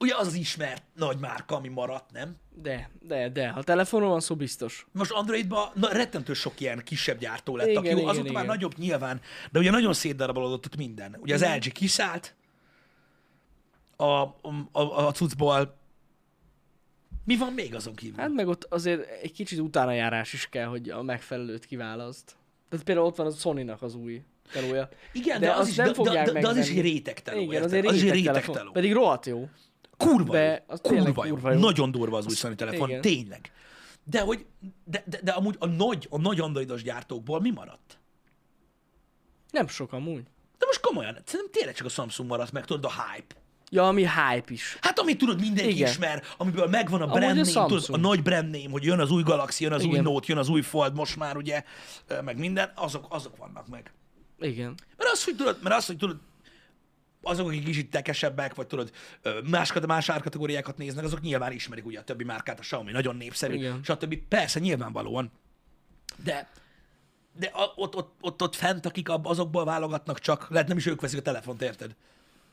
[SPEAKER 1] Ugye az az ismert nagy márka, ami maradt, nem?
[SPEAKER 2] De, de, de. Ha telefonról van szó, biztos.
[SPEAKER 1] Most Androidban na, rettentő sok ilyen kisebb gyártó lett,
[SPEAKER 2] Igen,
[SPEAKER 1] igen, aki jó,
[SPEAKER 2] igen,
[SPEAKER 1] azóta már
[SPEAKER 2] igen.
[SPEAKER 1] nagyobb nyilván, de ugye nagyon szétdarabolódott ott minden. Ugye
[SPEAKER 2] Mhm.
[SPEAKER 1] az LG kiszállt a, a, a, a cuccból. Mi van még azon kívül?
[SPEAKER 2] Hát meg ott azért egy kicsit utánajárás is kell, hogy a megfelelőt kiválaszt. Tehát például ott van a Sony-nak az új telója.
[SPEAKER 1] Igen,
[SPEAKER 2] de
[SPEAKER 1] de,
[SPEAKER 2] azt
[SPEAKER 1] az, is,
[SPEAKER 2] nem
[SPEAKER 1] de, de,
[SPEAKER 2] fogják
[SPEAKER 1] de, de az is egy
[SPEAKER 2] megvenni.
[SPEAKER 1] rétegteló.
[SPEAKER 2] Igen,
[SPEAKER 1] érted?
[SPEAKER 2] azért
[SPEAKER 1] az is
[SPEAKER 2] réteg
[SPEAKER 1] egy
[SPEAKER 2] telefon.
[SPEAKER 1] rétegteló.
[SPEAKER 2] Pedig rohadt jó.
[SPEAKER 1] Kurva
[SPEAKER 2] De
[SPEAKER 1] jó.
[SPEAKER 2] az tényleg
[SPEAKER 1] kurva, jó.
[SPEAKER 2] kurva jó.
[SPEAKER 1] Nagyon durva az új Sony telefon,
[SPEAKER 2] igen.
[SPEAKER 1] tényleg. De, hogy, de, de, de amúgy a nagy, a nagy androidos gyártókból mi maradt?
[SPEAKER 2] Nem sok amúgy.
[SPEAKER 1] De most komolyan, szerintem tényleg csak a Samsung maradt meg, tudod, a hype.
[SPEAKER 2] Ja, ami hype is.
[SPEAKER 1] Hát amit tudod, mindenki
[SPEAKER 2] Igen.
[SPEAKER 1] Igen. ismer, amiből megvan a
[SPEAKER 2] Amúgy a
[SPEAKER 1] brand name, tudod, a
[SPEAKER 2] Samsung.
[SPEAKER 1] nagy brand name, hogy jön az új Galaxy, jön az
[SPEAKER 2] Igen.
[SPEAKER 1] új Note, jön az új Fold most már, ugye, ö, meg minden, azok, azok vannak meg.
[SPEAKER 2] Igen.
[SPEAKER 1] Mert az, hogy tudod, mert az, hogy tudod, azok, akik kicsit tekesebbek, vagy tudod, ö, más, kate- más árkategóriákat néznek, azok nyilván ismerik ugye a többi márkát, a Xiaomi nagyon népszerű,
[SPEAKER 2] Igen.
[SPEAKER 1] Igen. stb. Persze, nyilvánvalóan. De, de a, ott, ott, ott, ott fent, akik ab- azokból válogatnak csak, lehet nem is ők veszik a telefont, érted?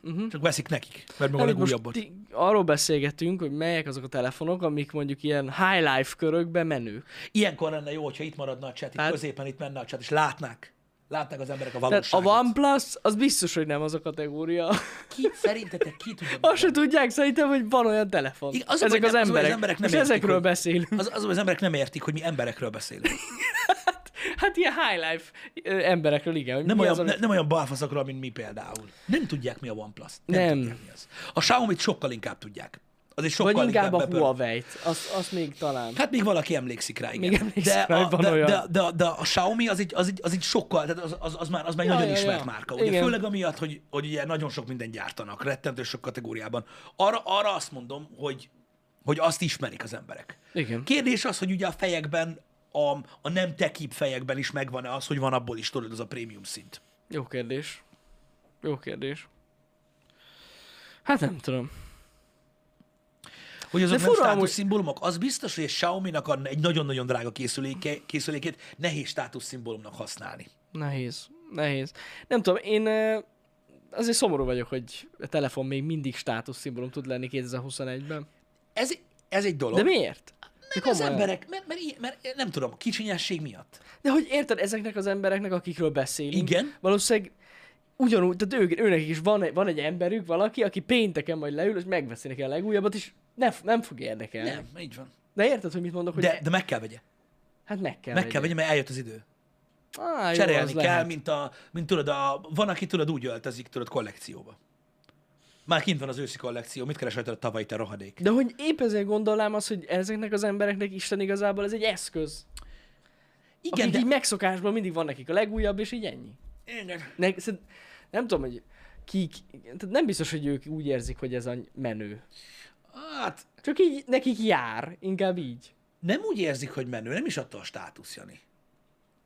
[SPEAKER 1] Uh-huh. Csak veszik nekik, mert meg a
[SPEAKER 2] Mhm. Hát itt most
[SPEAKER 1] legújabbat.
[SPEAKER 2] ti, arról beszélgetünk, hogy melyek azok a telefonok, amik mondjuk ilyen high life körökben menők.
[SPEAKER 1] Ilyenkor lenne jó, hogyha itt maradna a chat, itt
[SPEAKER 2] Hát-
[SPEAKER 1] középen itt menne a chat, és látnák. Látnák az emberek a
[SPEAKER 2] Tehát a
[SPEAKER 1] valóságot.
[SPEAKER 2] OnePlus, az biztos, hogy nem az a kategória.
[SPEAKER 1] Ki, szerintetek ki tudja?
[SPEAKER 2] Azt se tudják szerintem, hogy van olyan telefon.
[SPEAKER 1] Igen,
[SPEAKER 2] Az
[SPEAKER 1] az,
[SPEAKER 2] ezek
[SPEAKER 1] hogy
[SPEAKER 2] az
[SPEAKER 1] nem- az, hogy
[SPEAKER 2] emberek.
[SPEAKER 1] az emberek nem
[SPEAKER 2] és
[SPEAKER 1] értik,
[SPEAKER 2] ezekről
[SPEAKER 1] hogy-
[SPEAKER 2] beszélünk.
[SPEAKER 1] Az, az, az emberek nem értik, hogy mi emberekről beszélünk.
[SPEAKER 2] Hát ilyen high life ö, emberekről, igen. Hogy
[SPEAKER 1] Nem,
[SPEAKER 2] mi
[SPEAKER 1] olyan,
[SPEAKER 2] az, amit...
[SPEAKER 1] ne, nem olyan balfaszokról, mint mi például. Nem tudják, mi a OnePlus. Nem, nem.
[SPEAKER 2] Nem.
[SPEAKER 1] tudják, mi az. A Xiaomi-t sokkal inkább tudják. Az egy sokkal
[SPEAKER 2] Vagy inkább a
[SPEAKER 1] bepör-
[SPEAKER 2] Huawei-t. Azt, azt még talán.
[SPEAKER 1] Hát még valaki emlékszik rá, igen.
[SPEAKER 2] Még emlékszik rá, hogy
[SPEAKER 1] a,
[SPEAKER 2] van
[SPEAKER 1] de,
[SPEAKER 2] olyan.
[SPEAKER 1] de, de, de, a Xiaomi az egy, az egy, az egy sokkal, tehát az, az, az már, az már
[SPEAKER 2] Ja,
[SPEAKER 1] ja, nagyon
[SPEAKER 2] ja,
[SPEAKER 1] ja, ismert
[SPEAKER 2] ja.
[SPEAKER 1] márka. Ugye?
[SPEAKER 2] Igen.
[SPEAKER 1] Főleg amiatt, hogy, hogy ugye nagyon sok mindent gyártanak, rettentő sok kategóriában. Arra, arra azt mondom, hogy, hogy azt ismerik az emberek.
[SPEAKER 2] Igen.
[SPEAKER 1] Kérdés az, hogy ugye a fejekben, a, a nem tekibb fejekben is megvan-e az, hogy van abból is, tudod, az a prémium szint.
[SPEAKER 2] Jó kérdés. Jó kérdés. Hát nem tudom.
[SPEAKER 1] Hogy azok nem
[SPEAKER 2] fura amúgy-
[SPEAKER 1] státuszszimbólumok? Az biztos, hogy a Xiaomi-nak a- egy nagyon-nagyon drága készüléke, készülékét nehéz státuszszimbólumnak használni.
[SPEAKER 2] Nehéz, nehéz. Nem tudom, én ö, azért szomorú vagyok, hogy a telefon még mindig státuszszimbólum tud lenni 2021-ben.
[SPEAKER 1] Ez, ez egy dolog.
[SPEAKER 2] De miért?
[SPEAKER 1] Nem az
[SPEAKER 2] komolyan.
[SPEAKER 1] emberek, mert, mert, ilyen- mert nem tudom, a kicsinyesség miatt.
[SPEAKER 2] De hogy érted, ezeknek az embereknek, akikről beszélünk,
[SPEAKER 1] Igen.
[SPEAKER 2] valószínűleg ugyanúgy, tehát ők, őnek is van, egy- van egy emberük, valaki, aki pénteken majd leül, és megveszi neki a legújabbat, és ne, f- nem fog érdekelni. Nem.
[SPEAKER 1] Nem, így van.
[SPEAKER 2] De érted, hogy mit mondok? Hogy
[SPEAKER 1] De, de meg kell vegye.
[SPEAKER 2] hát meg kell
[SPEAKER 1] Meg kell
[SPEAKER 2] vegyem.
[SPEAKER 1] vegye, mert eljött az idő.
[SPEAKER 2] Á, jó,
[SPEAKER 1] Cserélni
[SPEAKER 2] az
[SPEAKER 1] kell,
[SPEAKER 2] lehet.
[SPEAKER 1] mint, a, mint tudod, a, van, aki tudod úgy öltözik, tudod, kollekcióba. Már kint van az őszi kollekció, mit keres rajta a tavaly te rohadék?
[SPEAKER 2] De hogy épp ezért gondolnám azt, hogy ezeknek az embereknek Isten igazából ez egy eszköz. Igen,
[SPEAKER 1] Igen,
[SPEAKER 2] akik
[SPEAKER 1] de...
[SPEAKER 2] így megszokásban mindig van nekik a legújabb, és így ennyi.
[SPEAKER 1] Igen.
[SPEAKER 2] Ne, szerint, nem tudom, hogy kik, tehát nem biztos, hogy ők úgy érzik, hogy ez a menő.
[SPEAKER 1] Hát,
[SPEAKER 2] Csak így nekik jár, inkább így.
[SPEAKER 1] nem úgy érzik, hogy menő, nem is attól a státusz, Jani.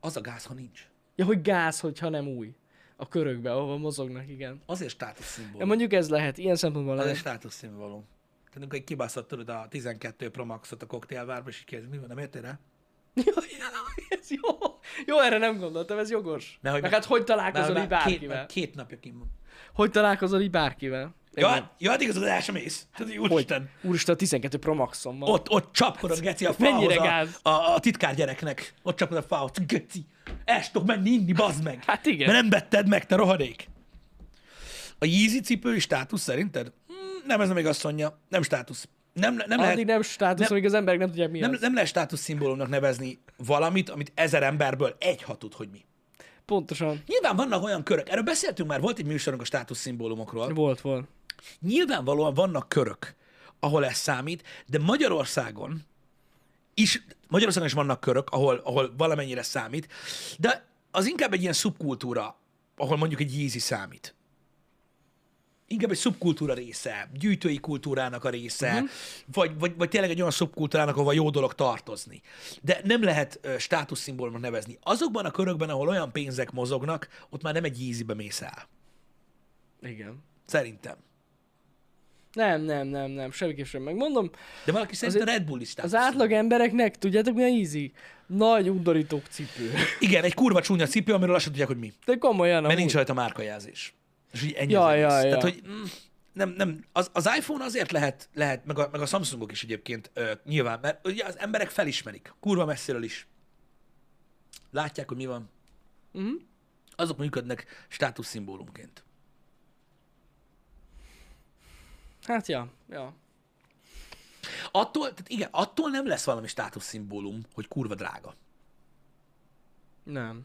[SPEAKER 1] Az a gáz, ha nincs.
[SPEAKER 2] Ja, hogy gáz, hogyha nem új. A körökbe, ahova mozognak, igen.
[SPEAKER 1] Azért státuszszimbólum.
[SPEAKER 2] Ja, mondjuk ez lehet, ilyen szempontból
[SPEAKER 1] Az egy
[SPEAKER 2] lehet.
[SPEAKER 1] státuszszimbólum. Tehát amikor egy kibászott tudod a 12 Pro Max-ot a koktélvárba, és így kérdezik, mi van, nem értél rá?
[SPEAKER 2] Jaj, ez jó. Jó, erre nem gondoltam, ez jogos.
[SPEAKER 1] Ne, hogy
[SPEAKER 2] Meg
[SPEAKER 1] meg-
[SPEAKER 2] hát hogy találkozol így
[SPEAKER 1] Már- már két,
[SPEAKER 2] bárkivel?
[SPEAKER 1] már két napja kim van.
[SPEAKER 2] Hogy találkozol így bárkivel?
[SPEAKER 1] Ja,
[SPEAKER 2] Igen.
[SPEAKER 1] hát- ja, hát igazad, el sem ész. Tudod, így,
[SPEAKER 2] Hogy?
[SPEAKER 1] úristen.
[SPEAKER 2] Úristen, a 12 Pro Maxom van.
[SPEAKER 1] Ott, ott csapkodod, Geci, a
[SPEAKER 2] Mennyire
[SPEAKER 1] falhoz a,
[SPEAKER 2] gáz.
[SPEAKER 1] a, a, titkár gyereknek. Ott csapkodod a falhoz. Geci, el se tudok menni inni, bazd meg.
[SPEAKER 2] Hát igen.
[SPEAKER 1] Mert nem vetted meg, te rohadék. A Yeezy cipő is státusz szerinted? Hm, Nem, ez nem igazszonja. Nem státusz. Nem, nem, lehet,
[SPEAKER 2] Addig nem státusz,
[SPEAKER 1] nem-
[SPEAKER 2] amíg az emberek nem tudják mi
[SPEAKER 1] nem,
[SPEAKER 2] az.
[SPEAKER 1] nem lehet státuszszimbólumnak nevezni valamit, amit ezer emberből egy ha tud, hogy mi.
[SPEAKER 2] Pontosan.
[SPEAKER 1] Nyilván vannak olyan körök, erről beszéltünk már, volt egy műsorunk a státuszszimbólumokról.
[SPEAKER 2] Volt, volt.
[SPEAKER 1] Nyilvánvalóan vannak körök, ahol ez számít, de Magyarországon is, Magyarországon is vannak körök, ahol, ahol valamennyire számít, de az inkább egy ilyen szubkultúra, ahol mondjuk egy Yeezy számít. Inkább egy szubkultúra része, gyűjtői kultúrának a része, uh-huh. vagy, vagy, vagy tényleg egy olyan szubkultúrának, ahol jó dolog tartozni. De nem lehet ö, státuszszimbólumnak nevezni. Azokban a körökben, ahol olyan pénzek mozognak, ott már nem egy Yeezybe mész el.
[SPEAKER 2] Igen.
[SPEAKER 1] Szerintem.
[SPEAKER 2] Nem, nem, nem, nem, semmiképp sem. Megmondom,
[SPEAKER 1] De valaki szerint a Red Bull is
[SPEAKER 2] az
[SPEAKER 1] státuszszimbólum.
[SPEAKER 2] átlag embereknek, tudjátok mi a easy? Nagy undorító cipő.
[SPEAKER 1] Igen, egy kurva csúnya cipő, amiről azt sem tudják, hogy mi.
[SPEAKER 2] De komolyan,
[SPEAKER 1] Mert
[SPEAKER 2] amúgy.
[SPEAKER 1] nincs rajta márkajelzés. És így ennyi
[SPEAKER 2] Ja,
[SPEAKER 1] az egész.
[SPEAKER 2] ja,
[SPEAKER 1] Tehát,
[SPEAKER 2] ja.
[SPEAKER 1] hogy mm, nem, nem. Az, az iPhone azért lehet, lehet meg, a, meg a Samsungok is egyébként ö, nyilván, mert ugye az emberek felismerik, kurva messziről is. Látják, hogy mi van. Uh-huh. Azok működnek státuszszimbólumként.
[SPEAKER 2] Hát ja, ja.
[SPEAKER 1] Attól, tehát igen, attól nem lesz valami státuszszimbólum, hogy kurva drága.
[SPEAKER 2] Nem.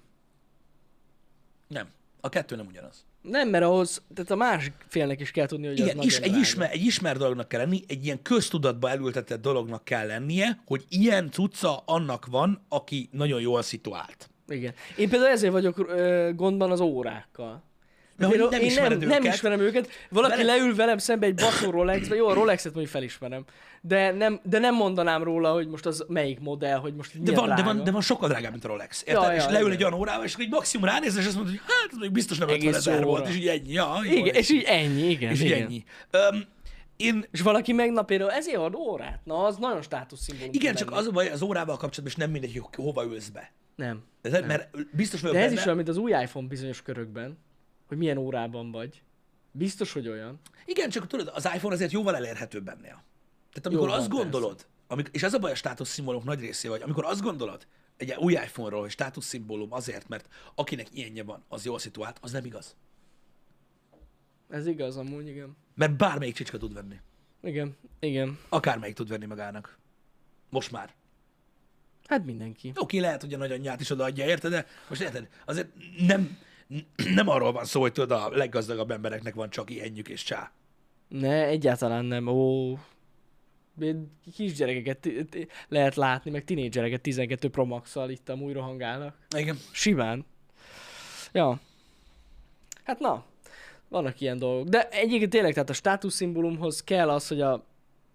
[SPEAKER 1] Nem. A kettő nem ugyanaz.
[SPEAKER 2] Nem, mert ahhoz, tehát a másik félnek is kell tudni, hogy
[SPEAKER 1] Igen,
[SPEAKER 2] az
[SPEAKER 1] is,
[SPEAKER 2] nagyon
[SPEAKER 1] egy,
[SPEAKER 2] drága.
[SPEAKER 1] ismer, egy ismer dolognak kell lenni, egy ilyen köztudatba elültetett dolognak kell lennie, hogy ilyen cucca annak van, aki nagyon jól szituált.
[SPEAKER 2] Igen. Én például ezért vagyok ö, gondban az órákkal.
[SPEAKER 1] Mert hogy
[SPEAKER 2] Például
[SPEAKER 1] nem
[SPEAKER 2] én
[SPEAKER 1] ismered
[SPEAKER 2] nem,
[SPEAKER 1] őket.
[SPEAKER 2] nem ismerem őket. Valaki
[SPEAKER 1] Veled-
[SPEAKER 2] leül velem szembe egy baszó Rolexbe, jó, a Rolexet mondjuk felismerem, de nem, de nem mondanám róla, hogy most az melyik modell, hogy most
[SPEAKER 1] De van, de, van, de van sokkal drágább, mint a Rolex. Érted?
[SPEAKER 2] Ja,
[SPEAKER 1] és
[SPEAKER 2] ja,
[SPEAKER 1] leül
[SPEAKER 2] igen.
[SPEAKER 1] egy olyan órával, és akkor egy maximum ránéz, és azt mondod, hogy hát, ez még biztos nem 50
[SPEAKER 2] Egész
[SPEAKER 1] ezer
[SPEAKER 2] jó
[SPEAKER 1] volt,
[SPEAKER 2] óra.
[SPEAKER 1] és így ennyi. Ja, jó,
[SPEAKER 2] Igen, és így ennyi, igen.
[SPEAKER 1] és így
[SPEAKER 2] igen.
[SPEAKER 1] ennyi. Öm, én,
[SPEAKER 2] És valaki meg na például ezért ad órát, na az nagyon státuszszimbólum.
[SPEAKER 1] igen,
[SPEAKER 2] tud
[SPEAKER 1] csak
[SPEAKER 2] lenni.
[SPEAKER 1] az a baj az órával kapcsolatban, és nem mindegy, hogy hova ülsz be.
[SPEAKER 2] Nem.
[SPEAKER 1] Ez, mert biztos vagyok
[SPEAKER 2] De ez
[SPEAKER 1] benne,
[SPEAKER 2] is olyan, mint az új iPhone bizonyos körökben, hogy milyen órában vagy. Biztos, hogy olyan.
[SPEAKER 1] Igen, csak tudod, az iPhone azért jóval elérhetőbb ennél. Tehát amikor
[SPEAKER 2] Jóval,
[SPEAKER 1] azt gondolod, amik, és ez a baj a státuszszimbólumok nagy része, vagy amikor azt gondolod egy új iPhone-ról, hogy státuszszimbólum azért, mert akinek ilyenje van, az jól szituált, az nem igaz.
[SPEAKER 2] Ez igaz amúgy, igen.
[SPEAKER 1] Mert bármelyik csicska tud venni.
[SPEAKER 2] Igen, igen.
[SPEAKER 1] Akármelyik tud venni magának. Most már.
[SPEAKER 2] Hát mindenki.
[SPEAKER 1] Oké, lehet, hogy a nagyanyját is odaadja, érted? De most érted, azért nem, nem arról van szó, hogy tudod, a leggazdagabb embereknek van csak ilyenjük és csá.
[SPEAKER 2] Ne, egyáltalán nem. Ó, Én kisgyerekeket ti- ti- lehet látni, meg tinédzsereket 12 Pro Max-szal itt amúgy rohangálnak.
[SPEAKER 1] Igen.
[SPEAKER 2] Simán. Ja. Hát na, vannak ilyen dolgok. De egyébként tényleg, tehát a státuszszimbólumhoz kell az, hogy a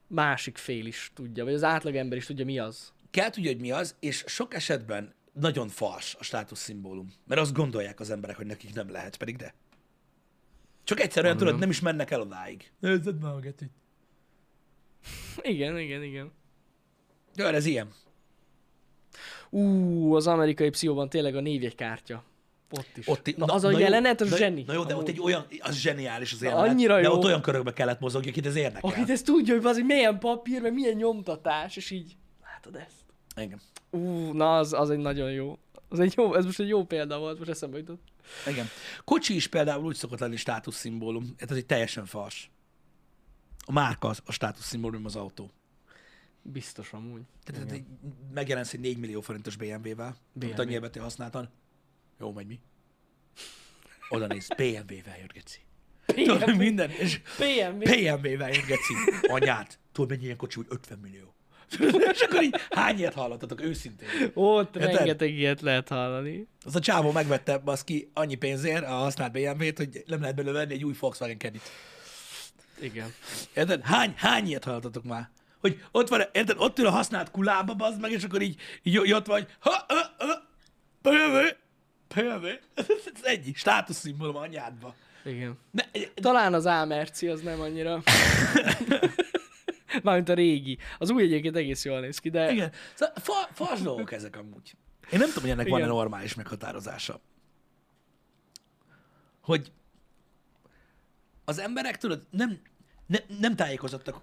[SPEAKER 2] másik fél is tudja, vagy az átlagember is tudja, mi az.
[SPEAKER 1] kell tudja, hogy mi az, és sok esetben nagyon fals a státuszszimbólum. Mert azt gondolják az emberek, hogy nekik nem lehet, pedig de. Csak egyszerűen tudod, nem is mennek el odáig. Nézzed már a getit.
[SPEAKER 2] Igen, igen, igen.
[SPEAKER 1] Jó, ez ilyen.
[SPEAKER 2] Ú, az amerikai pszichóban tényleg a névjegykártya. Ott is.
[SPEAKER 1] Ott,
[SPEAKER 2] na, az a jelenet, az
[SPEAKER 1] na,
[SPEAKER 2] zseni.
[SPEAKER 1] Na jó, de
[SPEAKER 2] Amúgy.
[SPEAKER 1] ott egy olyan, az zseniális az
[SPEAKER 2] Na,
[SPEAKER 1] jelenet.
[SPEAKER 2] annyira
[SPEAKER 1] de
[SPEAKER 2] jó.
[SPEAKER 1] ott olyan körökbe kellett mozogni, akit ez érdekel.
[SPEAKER 2] Akit ezt tudja, hogy az milyen papír, meg milyen nyomtatás, és így látod ezt.
[SPEAKER 1] Igen.
[SPEAKER 2] Ú, na az, az egy nagyon jó. Az egy jó, ez most egy jó példa volt, most eszembe jutott.
[SPEAKER 1] Igen. Kocsi is például úgy szokott lenni státuszszimbólum. Hát ez egy teljesen fals. A márka az, a státuszszimbólum az autó.
[SPEAKER 2] Biztos amúgy.
[SPEAKER 1] Tehát tehát így megjelensz egy 4 millió forintos BMW-vel, amit
[SPEAKER 2] BMW.
[SPEAKER 1] annyi ebető használtan. Jó, megy mi? Oda néz, BMW-vel jött, geci. Tudod, minden, és
[SPEAKER 2] PM,
[SPEAKER 1] BMW-vel jött, geci. Anyád, tudod, mennyi ilyen kocsi, hogy 50 millió. És akkor így hány ilyet hallottatok őszintén?
[SPEAKER 2] Ott
[SPEAKER 1] Érted?
[SPEAKER 2] rengeteg ilyet lehet hallani.
[SPEAKER 1] Az a csávó megvette baszki annyi pénzért a használt BMW-t, hogy nem lehet belőle venni egy új Volkswagen Caddy-t.
[SPEAKER 2] Igen.
[SPEAKER 1] Érted? Hány, hány ilyet hallottatok már? Hogy ott van, érted, ott ül a használt kulába, bazd meg, és akkor így, így ott vagy, ha, ha, ha, pöjövő, pöjövő. Ez ennyi, státuszszimbólum anyádba.
[SPEAKER 2] Igen.
[SPEAKER 1] Ne,
[SPEAKER 2] Talán az Ámerci az nem annyira... Mármint a régi. Az új egyébként egész jól néz ki, de...
[SPEAKER 1] igen, szóval fa, fals dolgok ezek amúgy. Én nem tudom, hogy ennek van-e
[SPEAKER 2] Igen.
[SPEAKER 1] normális meghatározása. Hogy az emberek, tudod, nem, ne, nem tájékozottak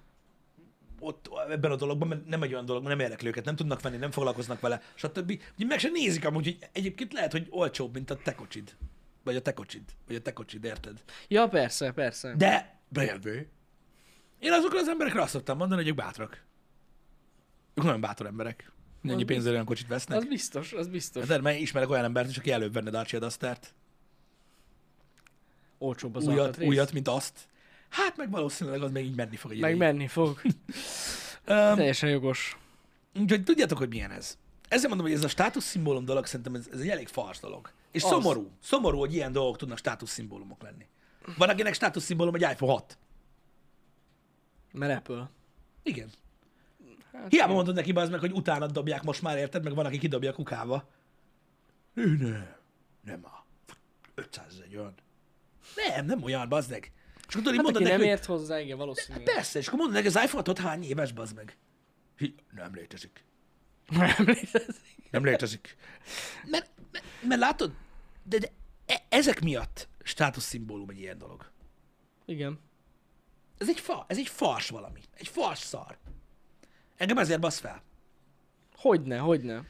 [SPEAKER 1] ott ebben a dologban, mert nem egy olyan dolog, nem érdekli őket, nem tudnak venni, nem foglalkoznak vele, stb. Ugye meg se nézik amúgy, hogy egyébként lehet, hogy olcsóbb, mint a te kocsid. Vagy a te kocsid, vagy a te kocsid, érted?
[SPEAKER 2] Ja, persze, persze.
[SPEAKER 1] De bejövő. Én azokra az emberekre azt szoktam mondani, hogy ők bátrak. Ők nagyon bátor emberek. Ennyi
[SPEAKER 2] biztos.
[SPEAKER 1] pénzért olyan kocsit vesznek.
[SPEAKER 2] Az biztos, az biztos.
[SPEAKER 1] De mert ismerek olyan embert is, aki előbb venne Dacia Duster-t.
[SPEAKER 2] Olcsóbb az
[SPEAKER 1] Újat,
[SPEAKER 2] alkatrész.
[SPEAKER 1] újat, mint azt. Hát meg valószínűleg az még így menni fog egy
[SPEAKER 2] Meg
[SPEAKER 1] ideig.
[SPEAKER 2] menni fog.
[SPEAKER 1] Öm,
[SPEAKER 2] Teljesen jogos.
[SPEAKER 1] Úgyhogy tudjátok, hogy milyen ez. Ezért mondom, hogy ez a státuszszimbólum dolog szerintem ez, ez egy elég fars dolog. És
[SPEAKER 2] Az.
[SPEAKER 1] az. szomorú. Szomorú, hogy ilyen dolgok tudnak státuszszimbólumok lenni. Van, akinek státuszszimbólum egy iPhone 6.
[SPEAKER 2] Mert Apple.
[SPEAKER 1] Igen.
[SPEAKER 2] Hát,
[SPEAKER 1] Hiába mondod neki az meg, hogy utána dobják most már, érted? Meg van, aki kidobja a kukába. Ő nem. Nem a. 500 ez egy olyan. Nem, nem olyan, bazd meg. És akkor tudod, így
[SPEAKER 2] hát
[SPEAKER 1] mondod
[SPEAKER 2] aki
[SPEAKER 1] neki,
[SPEAKER 2] nem
[SPEAKER 1] hogy- Hát
[SPEAKER 2] ért hozzá, igen, valószínűleg.
[SPEAKER 1] Persze, és akkor mondod neki, az iPhone-ot hány éves, bazd meg. Hi, nem létezik.
[SPEAKER 2] Nem létezik.
[SPEAKER 1] Nem létezik. Mert, mert, mert látod, de, de e- ezek miatt státuszszimbólum egy ilyen dolog.
[SPEAKER 2] Igen.
[SPEAKER 1] Ez egy, fa, ez egy fars valami. Egy fars szar. Engem ezért basz fel.
[SPEAKER 2] Hogyne, hogyne.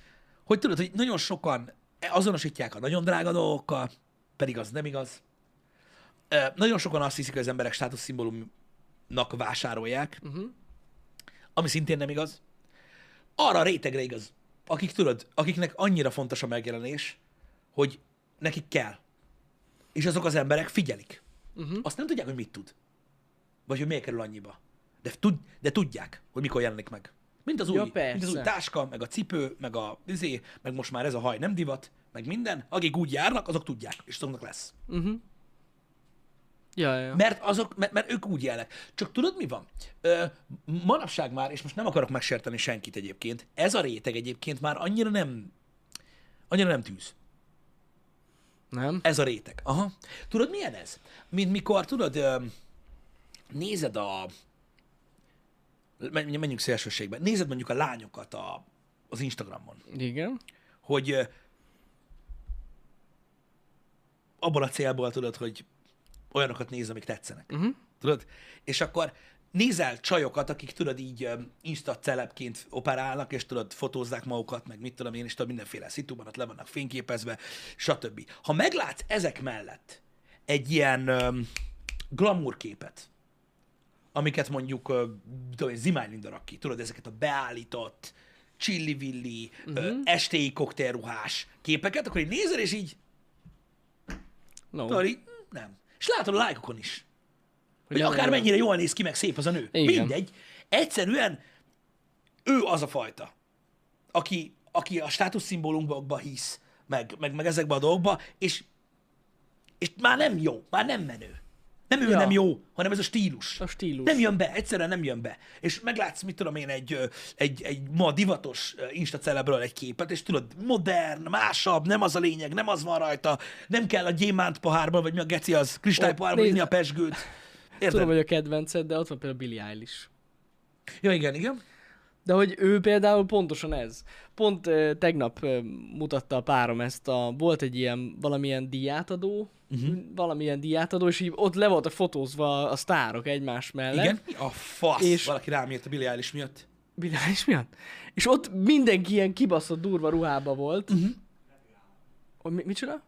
[SPEAKER 1] Hogy tudod, hogy nagyon sokan azonosítják a nagyon drága dolgokkal, pedig az nem igaz. Ö, Nagyon sokan azt hiszik, hogy az emberek státuszszimbólumnak vásárolják,
[SPEAKER 2] Mhm.
[SPEAKER 1] uh-huh. ami szintén nem igaz. Arra a rétegre igaz, akik tudod, akiknek annyira fontos a megjelenés, hogy nekik kell. És azok az emberek figyelik.
[SPEAKER 2] Mhm.
[SPEAKER 1] Uh-huh. Azt nem tudják, hogy mit tud. Vagy hogy miért kerül annyiba. De, tud, de tudják, hogy mikor jelenik meg. Mint az új,
[SPEAKER 2] Ja,
[SPEAKER 1] mint az új
[SPEAKER 2] persze.
[SPEAKER 1] táska, meg a cipő, meg a izé, meg most már ez a haj nem divat, meg minden. Akik úgy járnak, azok tudják, és azoknak lesz.
[SPEAKER 2] Ja, ja.
[SPEAKER 1] Mert azok, mert, mert ők úgy élnek. Csak tudod, mi van? Ö, manapság már, és most nem akarok megsérteni senkit egyébként, ez a réteg egyébként már annyira nem, annyira nem tűz.
[SPEAKER 2] Nem?
[SPEAKER 1] Ez a réteg. Aha. Tudod, milyen ez? Mint mikor, tudod, ö, nézed a... men- Menjünk szélsőségbe. Nézed mondjuk a lányokat a, az Instagramon,
[SPEAKER 2] Igen.
[SPEAKER 1] hogy ö, abból a célból tudod, hogy olyanokat néz, amik tetszenek. Uh-huh. Tudod? És akkor nézel csajokat, akik tudod így ö, insta celebként operálnak, és tudod, fotózzák magukat, meg mit tudom én, és tudod, mindenféle szituban ott le vannak fényképezve, stb. Ha meglátsz ezek mellett egy ilyen öm, glamour képet, amiket mondjuk ö, tudom, én, Zimány Linda rak ki, tudod, ezeket a beállított, csillivilli, uh-huh. estéi koktélruhás képeket, akkor így nézel, és így,
[SPEAKER 2] No.
[SPEAKER 1] tudod, így hm, nem. És látod a lájkokon is, hogy
[SPEAKER 2] olyan-
[SPEAKER 1] akármennyire jól néz ki, meg szép az a nő.
[SPEAKER 2] Igen.
[SPEAKER 1] Mindegy. Egyszerűen ő az a fajta, aki, aki a státuszszimbólumokba hisz, meg, meg, meg ezekbe a dolgokba, és, és már nem jó, már nem menő. Nem ő
[SPEAKER 2] Ja.
[SPEAKER 1] ja. nem jó, hanem ez a stílus.
[SPEAKER 2] A stílus.
[SPEAKER 1] Nem jön be, egyszerűen nem jön be. És meglátsz, mit tudom én, egy, ö, egy, egy ma divatos ö, Insta celebről egy képet, és tudod, modern, másabb, nem az a lényeg, nem az van rajta, nem kell a gyémánt pohárban, vagy mi a geci az, kristálypohárban
[SPEAKER 2] Ó,
[SPEAKER 1] inni a
[SPEAKER 2] nézd.
[SPEAKER 1] pesgőt. Érted?
[SPEAKER 2] Tudom, hogy a kedvenced, de ott van például Billie Eilish.
[SPEAKER 1] Ja, igen, igen.
[SPEAKER 2] De hogy ő például pontosan ez. Pont ö, tegnap ö, mutatta a párom ezt a, volt egy ilyen valamilyen diátadó, uh-huh. valamilyen diátadó, és így ott le voltak fotózva a sztárok egymás mellett.
[SPEAKER 1] Igen. A fasz. És...
[SPEAKER 2] És-
[SPEAKER 1] Valaki rám írt a Billie Eilish miatt.
[SPEAKER 2] Bilális miatt? És ott mindenki ilyen kibaszott durva ruhába volt. Uh-huh. Hogy mi, micsoda?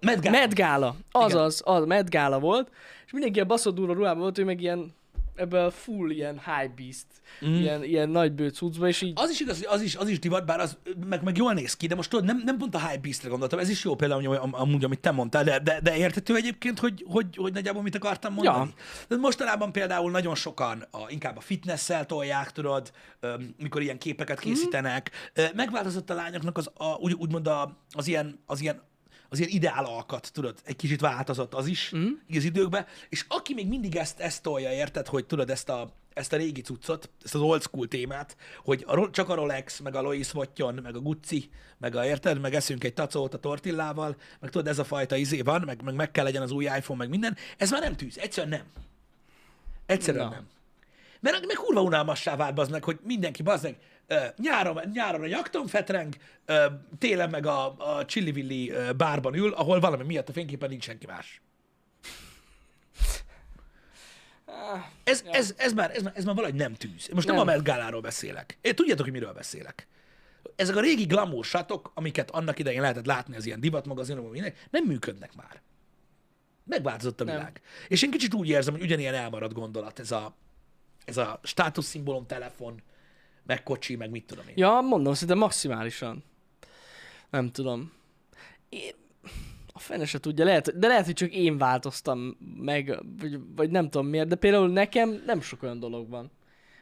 [SPEAKER 1] Medgál.
[SPEAKER 2] Met Gala. Azaz, az, Met Gala volt. És mindenki ilyen baszott durva ruhában volt, ő meg ilyen ebbe a full ilyen high beast, mm. ilyen, ilyen nagy bő cuccba, és így...
[SPEAKER 1] Az is igaz, hogy az is, az is divat, bár az meg, meg jól néz ki, de most tudod, nem, nem pont a high beast gondoltam, ez is jó például amúgy, am- amúgy amit te mondtál, de, de, de értető egyébként, hogy, hogy, hogy nagyjából mit akartam mondani. Ja. De mostanában például nagyon sokan a, inkább a fitnessel tolják, tudod, öm, mikor ilyen képeket készítenek. Ö, Megváltozott a lányoknak az, a, úgy, úgymond a, az ilyen, az ilyen az ilyen ideál alkat, tudod, egy kicsit változott az is mm. az időkben, és aki még mindig ezt, ezt tolja, érted, hogy tudod, ezt a, ezt a régi cuccot, ezt az old school témát, hogy a, Ro- csak a Rolex, meg a Louis Vuitton, meg a Gucci, meg a, érted, meg eszünk egy tacót a tortillával, meg tudod, ez a fajta izé van, meg, meg meg kell legyen az új iPhone, meg minden, ez már nem tűz, egyszerűen nem. Egyszerűen
[SPEAKER 2] Na.
[SPEAKER 1] nem. Mert meg kurva unalmassá vált baznak, hogy mindenki baznak, ö, nyáron, nyáron a jakton fetreng, ö, télen meg a, a Chili bárban ül, ahol valami miatt a fényképen nincs senki más. Ez, ez, ez, már, ez, már, ez már valahogy nem tűz. Most nem, nem
[SPEAKER 2] Nem.
[SPEAKER 1] a Met Gáláról beszélek. Én tudjátok, hogy miről beszélek. Ezek a régi glamour satok, amiket annak idején lehetett látni az ilyen divatmagazinokban, mindenek, nem működnek már. Megváltozott a
[SPEAKER 2] Nem.
[SPEAKER 1] világ. És én kicsit úgy érzem, hogy ugyanilyen elmaradt gondolat ez a, ez a státuszszimbólum, telefon, meg kocsi, meg mit tudom én.
[SPEAKER 2] Ja, mondom, szinte maximálisan. Nem tudom. Én... A fene se tudja, lehet, de lehet, hogy csak én változtam meg, vagy, vagy nem tudom miért, de például nekem nem sok olyan dolog van,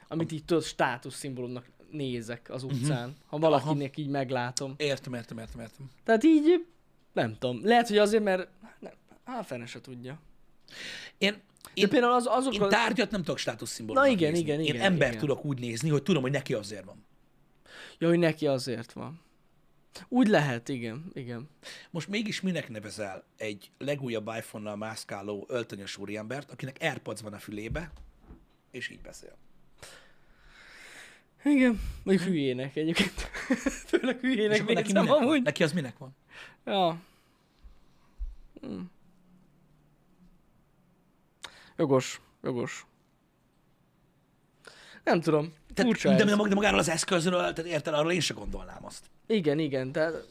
[SPEAKER 2] amit így tudod, státuszszimbólumnak nézek
[SPEAKER 1] Mhm.
[SPEAKER 2] az utcán, uh-huh. ha valakinek Aha. így meglátom.
[SPEAKER 1] Értem, értem, értem, értem.
[SPEAKER 2] Tehát így, nem tudom. Lehet, hogy azért, mert nem, á, fene se tudja.
[SPEAKER 1] Én,
[SPEAKER 2] De
[SPEAKER 1] én,
[SPEAKER 2] például az, azok
[SPEAKER 1] én
[SPEAKER 2] a...
[SPEAKER 1] tárgyat nem tudok státuszszimbólumnak
[SPEAKER 2] Na igen,
[SPEAKER 1] nézni.
[SPEAKER 2] igen,
[SPEAKER 1] Én
[SPEAKER 2] igen,
[SPEAKER 1] embert
[SPEAKER 2] igen.
[SPEAKER 1] tudok úgy nézni, hogy tudom, hogy neki azért van.
[SPEAKER 2] Ja, hogy neki azért van. Úgy lehet, igen, igen.
[SPEAKER 1] Most mégis minek nevezel egy legújabb iPhone-nal mászkáló öltönyös úriembert, akinek Airpods van a fülébe, és így beszél.
[SPEAKER 2] Igen. Vagy hülyének egyébként. Főleg
[SPEAKER 1] és
[SPEAKER 2] hülyének
[SPEAKER 1] akkor neki,
[SPEAKER 2] nézem
[SPEAKER 1] minek van?
[SPEAKER 2] amúgy.
[SPEAKER 1] neki az minek van?
[SPEAKER 2] Ja. Hm. Jogos, jogos. Nem tudom.
[SPEAKER 1] Tehát,
[SPEAKER 2] Furcsa
[SPEAKER 1] de, de
[SPEAKER 2] ez.
[SPEAKER 1] mag- de magáról az eszközről, tehát érted, arról én se gondolnám azt.
[SPEAKER 2] Igen, igen, tehát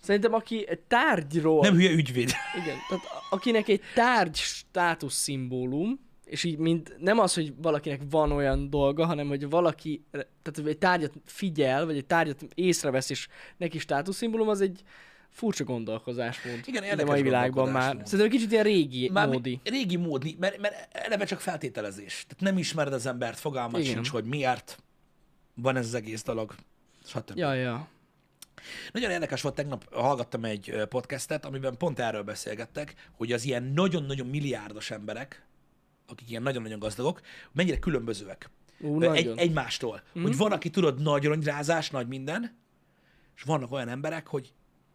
[SPEAKER 2] szerintem aki egy tárgyról...
[SPEAKER 1] Nem hülye ügyvéd.
[SPEAKER 2] Igen, tehát a- akinek egy tárgy státusz szimbólum, és így mind, nem az, hogy valakinek van olyan dolga, hanem hogy valaki, tehát hogy egy tárgyat figyel, vagy egy tárgyat észrevesz, és neki státusz szimbólum, az egy furcsa gondolkozásmód.
[SPEAKER 1] Igen,
[SPEAKER 2] így
[SPEAKER 1] érdekes
[SPEAKER 2] a mai világban már.
[SPEAKER 1] gondolkodásmód.
[SPEAKER 2] Szerintem kicsit ilyen régi
[SPEAKER 1] Már
[SPEAKER 2] Már módi.
[SPEAKER 1] Régi módi, mert, mert eleve csak feltételezés. Tehát nem ismered az embert, fogalmat
[SPEAKER 2] Igen.
[SPEAKER 1] sincs, hogy miért van ez az egész dolog, stb.
[SPEAKER 2] Ja, ja.
[SPEAKER 1] Nagyon érdekes volt, tegnap hallgattam egy ö, podcastet, amiben pont erről beszélgettek, hogy az ilyen nagyon-nagyon milliárdos emberek, akik ilyen nagyon-nagyon gazdagok, mennyire különbözőek
[SPEAKER 2] Ú,
[SPEAKER 1] Ö, egy,
[SPEAKER 2] nagyon. Mhm.
[SPEAKER 1] egymástól. Mm. Hogy van, aki tudod, nagy rongyrázás, nagy minden, és vannak olyan emberek, hogy,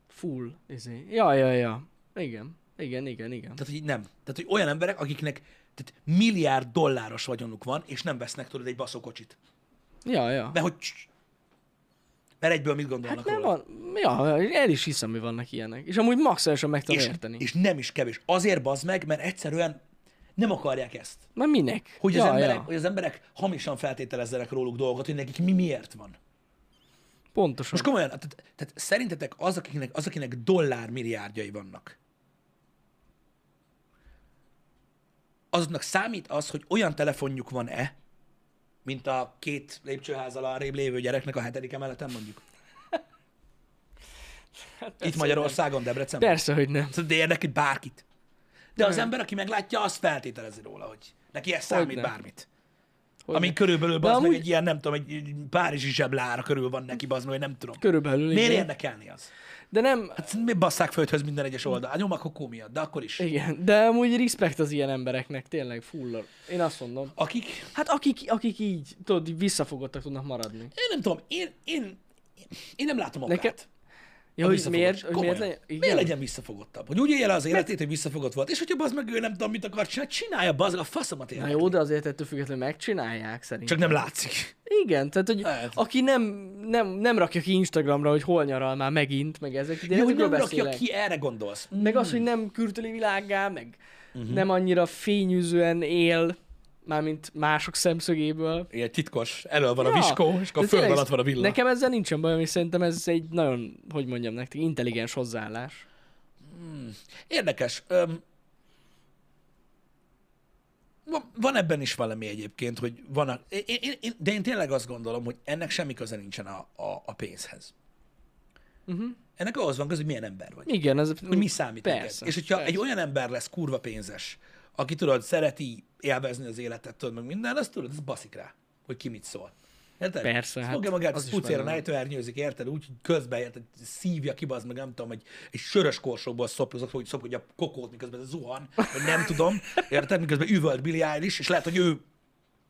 [SPEAKER 2] Full. Izé. Ja, ja, ja. Igen. Igen, igen, igen.
[SPEAKER 1] tehát, hogy így nem. Tehát, hogy olyan emberek, akiknek tehát milliárd dolláros vagyonuk van, és nem vesznek tudod egy baszókocsit.
[SPEAKER 2] Ja, ja.
[SPEAKER 1] Mert hogy... Mert egyből mit gondolnak
[SPEAKER 2] Hát nem
[SPEAKER 1] róla?
[SPEAKER 2] van. Ja, ja, el is hiszem, hogy vannak ilyenek. És amúgy maximálisan meg tudom
[SPEAKER 1] és,
[SPEAKER 2] érteni.
[SPEAKER 1] és nem is kevés. Azért bazd meg, mert egyszerűen nem akarják ezt.
[SPEAKER 2] Már minek?
[SPEAKER 1] hogy,
[SPEAKER 2] ja,
[SPEAKER 1] az emberek,
[SPEAKER 2] ja.
[SPEAKER 1] hogy az emberek hamisan feltételezzenek róluk dolgot, hogy nekik mi miért van.
[SPEAKER 2] Pontosan.
[SPEAKER 1] Most komolyan, tehát, tehát szerintetek az, akinek, az, akinek dollármilliárdjai vannak, azoknak számít az, hogy olyan telefonjuk van-e, mint a két lépcsőházal arrébb lévő gyereknek a hetedik emeleten mondjuk? Itt Magyarországon, Debrecenben?
[SPEAKER 2] Hát Persze, hogy nem.
[SPEAKER 1] Szóval, De érdekel bárkit. De az ember, aki meglátja, azt feltételezi róla, hogy neki ez számít
[SPEAKER 2] Hogyne.
[SPEAKER 1] bármit.
[SPEAKER 2] Hogy
[SPEAKER 1] Ami
[SPEAKER 2] ne.
[SPEAKER 1] körülbelül bazd meg
[SPEAKER 2] amúgy-
[SPEAKER 1] egy ilyen, nem tudom, egy- egy párizsi zseblára körül van neki, bazd meg, vagy nem tudom.
[SPEAKER 2] Körülbelül
[SPEAKER 1] Miért
[SPEAKER 2] igen.
[SPEAKER 1] érdekelni az?
[SPEAKER 2] De nem...
[SPEAKER 1] Hát mi basszák földhöz minden egyes oldal? Nyom a kokó miatt, de akkor is.
[SPEAKER 2] Igen, de amúgy respekt az ilyen embereknek, tényleg full. Én azt mondom.
[SPEAKER 1] Akik,
[SPEAKER 2] Hát akik, akik így, tudod, így visszafogottak tudnak maradni.
[SPEAKER 1] én nem tudom, én, én, én nem látom okát.
[SPEAKER 2] Nekem- Ja, hogy
[SPEAKER 1] visszafogott.
[SPEAKER 2] miért, hogy miért
[SPEAKER 1] Komolyan.
[SPEAKER 2] legyen? Igen.
[SPEAKER 1] Miért legyen visszafogottabb? Hogy úgy élje le az életét, hogy visszafogott volt. És hogyha bazd meg ő nem tudom, mit akar csinálni, csinálja bazd meg, a faszomat
[SPEAKER 2] Na
[SPEAKER 1] ér.
[SPEAKER 2] jó, de azért ettől függetlenül megcsinálják szerintem.
[SPEAKER 1] Csak nem látszik.
[SPEAKER 2] Igen, tehát hogy
[SPEAKER 1] Lehet.
[SPEAKER 2] aki nem, nem, nem rakja ki Instagramra, hogy hol nyaral már megint, meg ezek, de
[SPEAKER 1] Jó, hogy
[SPEAKER 2] ezekről
[SPEAKER 1] nem rakja
[SPEAKER 2] beszélek.
[SPEAKER 1] ki, Hmm. erre gondolsz.
[SPEAKER 2] Meg az, hogy nem kürtöli világgá, meg
[SPEAKER 1] Mhm.
[SPEAKER 2] nem annyira fényűzően él, mármint mások szemszögéből.
[SPEAKER 1] Ilyen titkos, elől van a
[SPEAKER 2] Ja,
[SPEAKER 1] viskó, és akkor föld
[SPEAKER 2] de tényleg,
[SPEAKER 1] alatt van a villa.
[SPEAKER 2] Nekem ezzel nincsen bajom, és szerintem ez egy nagyon, hogy mondjam nektek, intelligens hozzáállás.
[SPEAKER 1] Érdekes. Öm, van- van ebben is valami egyébként, hogy van a, én, én, én, de én tényleg azt gondolom, hogy ennek semmi köze nincsen a, a, a pénzhez. Uh-huh. Ennek ahhoz van köze, hogy milyen ember vagy.
[SPEAKER 2] Igen, ez...
[SPEAKER 1] Hogy mi számít neked.
[SPEAKER 2] Persze,
[SPEAKER 1] És hogyha
[SPEAKER 2] persze.
[SPEAKER 1] egy olyan ember lesz kurva pénzes, aki tudod, szereti élvezni az életet, tudod, meg minden, azt tudod, ez baszik rá, hogy ki mit szól. Érted?
[SPEAKER 2] Persze,
[SPEAKER 1] Ezt
[SPEAKER 2] hát
[SPEAKER 1] Fogja magát,
[SPEAKER 2] az
[SPEAKER 1] az
[SPEAKER 2] is
[SPEAKER 1] pucéra
[SPEAKER 2] benne van.
[SPEAKER 1] nejtőernyőzik, érted? Úgy, hogy közben érted, szívja ki, bazd meg, nem tudom, egy, egy sörös korsóból szopja, hogy szopkodja a kokót, miközben ez zuhan, vagy nem tudom, érted? Miközben üvölt Billy Eilish, és lehet, hogy ő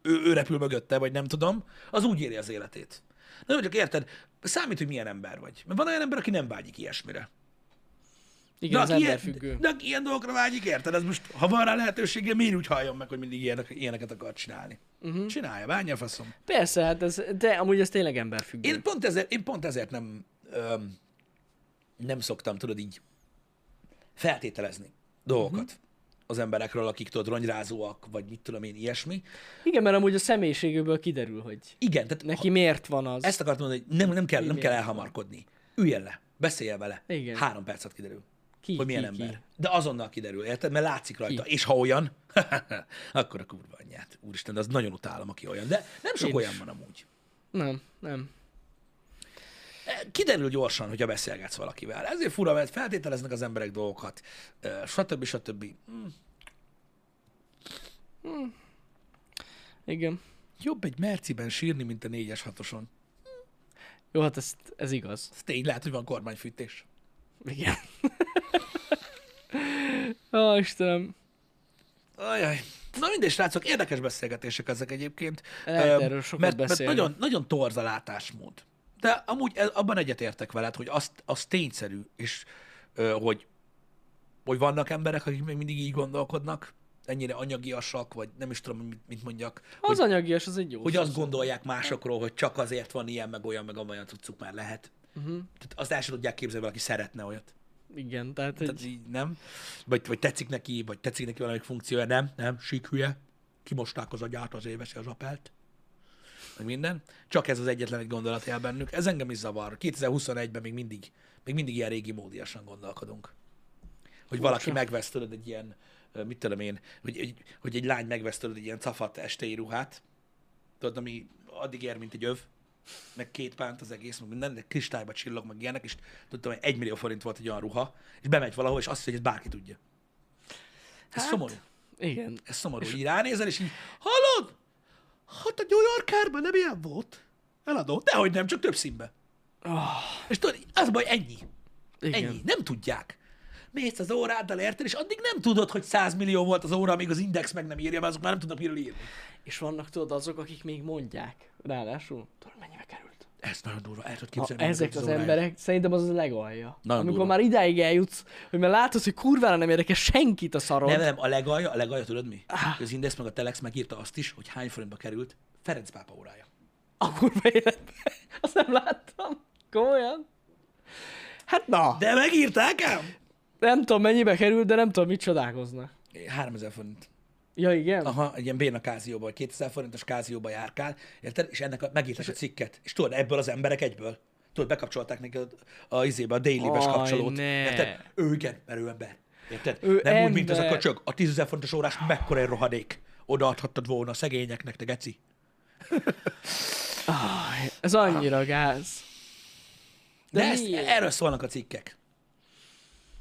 [SPEAKER 1] ő, ő repül mögötte, vagy nem tudom, az úgy éli az életét. Na jó, csak érted, számít, hogy milyen ember vagy. Mert van olyan ember, aki nem vágyik ilyesmire.
[SPEAKER 2] Igen, az
[SPEAKER 1] aki ilyen-
[SPEAKER 2] emberfüggő.
[SPEAKER 1] de aki ilyen dolgokra vágyik, érted? Ez most, ha van rá lehetősége, miért úgy halljon meg, hogy mindig ilyenek, ilyeneket akar csinálni?
[SPEAKER 2] Mhm.
[SPEAKER 1] Uh-huh. Csinálja, bánja a faszom.
[SPEAKER 2] Persze, hát ez, de amúgy ez tényleg emberfüggő.
[SPEAKER 1] Én pont ezért, én pont ezért nem, öm, nem szoktam, tudod, így feltételezni dolgokat
[SPEAKER 2] Mhm.
[SPEAKER 1] uh-huh. az emberekről, akik tudod, rongyrázóak, vagy mit tudom én, ilyesmi.
[SPEAKER 2] Igen, mert amúgy a személyiségéből kiderül, hogy
[SPEAKER 1] Igen, tehát
[SPEAKER 2] neki miért van az.
[SPEAKER 1] Ezt akartam mondani, hogy nem, nem, kell, nem kell elhamarkodni. Üljön le, beszéljen vele.
[SPEAKER 2] Igen.
[SPEAKER 1] Három percet kiderül.
[SPEAKER 2] Ki,
[SPEAKER 1] hogy milyen
[SPEAKER 2] ki, ki.
[SPEAKER 1] ember. De azonnal kiderül, érted? Mert látszik rajta. És ha olyan, akkor a kurva anyját. Úristen, de az nagyon utálom, aki olyan. De nem sok
[SPEAKER 2] Én
[SPEAKER 1] olyan van amúgy. E,
[SPEAKER 2] Nem, nem.
[SPEAKER 1] Kiderül gyorsan, hogyha beszélgetsz valakivel. Ezért fura, mert feltételeznek az emberek dolgokat, ö, stb. stb. Mm,
[SPEAKER 2] Igen.
[SPEAKER 1] Jobb egy merciben sírni, mint a négyes hatoson.
[SPEAKER 2] Jó, hát ez, ez igaz.
[SPEAKER 1] Ez tény, lehet, hogy van kormányfűtés.
[SPEAKER 2] Igen. Ó, Istenem.
[SPEAKER 1] Ajaj. Na mindegy, srácok, érdekes beszélgetések ezek egyébként.
[SPEAKER 2] Lehet
[SPEAKER 1] Öm,
[SPEAKER 2] erről sokat
[SPEAKER 1] mert, mert
[SPEAKER 2] beszélni.
[SPEAKER 1] nagyon, nagyon torz a látásmód. De amúgy e- abban egyetértek veled, hogy az, az tényszerű, és ö, hogy, hogy vannak emberek, akik még mindig így gondolkodnak, ennyire anyagiasak, vagy nem is tudom, mit, mit mondjak,
[SPEAKER 2] Az anyagias, az egy jó.
[SPEAKER 1] hogy
[SPEAKER 2] szó.
[SPEAKER 1] azt gondolják másokról, hogy csak azért van ilyen, meg olyan, meg amolyan cuccuk már lehet.
[SPEAKER 2] Mhm.
[SPEAKER 1] Uh-huh. Tehát azt el sem tudják képzelni, valaki szeretne olyat.
[SPEAKER 2] Igen, tehát
[SPEAKER 1] Tehát
[SPEAKER 2] egy...
[SPEAKER 1] így nem. Vagy, vagy tetszik neki, vagy tetszik neki valamelyik funkciója, nem, nem, sík hülye. Kimosták az agyát, azért veszi az apelt. Meg minden. Csak ez az egyetlen egy gondolat el bennük. Ez engem is zavar. 2021-ben még mindig, még mindig ilyen régi módiasan gondolkodunk. Hogy valaki megvesz tőled egy ilyen, ö, mit tudom én, hogy, egy, hogy egy lány megvesz tőled egy ilyen cafat estei ruhát, tudod, ami addig ér, mint egy öv, meg két pánt az egész, meg minden, de kristályba csillog, meg ilyenek, és tudtam, hogy egy millió forint volt egy olyan ruha, és bemegy valahol, és azt, hogy ezt bárki tudja. Ez
[SPEAKER 2] Hát.
[SPEAKER 1] szomorú.
[SPEAKER 2] Igen.
[SPEAKER 1] Ez szomorú. Így ránézel, és így, hallod? Hát a New Yorkerben nem ilyen volt. Eladó. Dehogy nem, csak több színbe. Ah.
[SPEAKER 2] Oh,
[SPEAKER 1] És tudod, az a baj, ennyi.
[SPEAKER 2] igen.
[SPEAKER 1] Ennyi. Nem tudják. Mész az óráddal, érted, és addig nem tudod, hogy 100 millió volt az óra, amíg az index meg nem írja, mert azok már nem tudnak miről írni.
[SPEAKER 2] És vannak tudod azok, akik még mondják. Ráadásul. Tudod, mennyibe került?
[SPEAKER 1] Ez nagyon durva, el tudod
[SPEAKER 2] Ha
[SPEAKER 1] képzelni.
[SPEAKER 2] ezek
[SPEAKER 1] hogy
[SPEAKER 2] az
[SPEAKER 1] órája.
[SPEAKER 2] emberek, szerintem az a legalja.
[SPEAKER 1] Nagyon
[SPEAKER 2] Amikor
[SPEAKER 1] durva.
[SPEAKER 2] már idáig eljutsz, hogy már látod, hogy kurvára nem érdekel senkit a szarod.
[SPEAKER 1] Nem, nem, a legalja, a legalja tudod mi?
[SPEAKER 2] Ah.
[SPEAKER 1] Az Index meg a Telex megírta azt is, hogy hány forintba került Ferenc pápa órája.
[SPEAKER 2] A kurva életben. Azt nem láttam. Komolyan. Hát na,
[SPEAKER 1] De megírták ám?
[SPEAKER 2] nem tudom mennyibe kerül, de nem tudom, mit csodálkoznak.
[SPEAKER 1] 3000 forint.
[SPEAKER 2] Ja, igen?
[SPEAKER 1] Aha, egy ilyen béna kázióba, vagy 2000 forintos kázióba járkál, érted? És ennek a, megírták a cikket. És tudod, ebből az emberek egyből. Tudod, bekapcsolták neki a, a, izébe, a daily-bes
[SPEAKER 2] Aj,
[SPEAKER 1] kapcsolót.
[SPEAKER 2] ne.
[SPEAKER 1] Érted? Ő igen, mert ő ember. Érted?
[SPEAKER 2] Ő
[SPEAKER 1] Nem úgy, mint az a
[SPEAKER 2] ember.
[SPEAKER 1] köcsög. A 10 000 forintos órás mekkora egy rohadék. Odaadhattad volna a szegényeknek, te geci.
[SPEAKER 2] Aj, ez annyira gáz.
[SPEAKER 1] De,
[SPEAKER 2] De
[SPEAKER 1] De ezt,
[SPEAKER 2] miért?
[SPEAKER 1] erről szólnak a cikkek.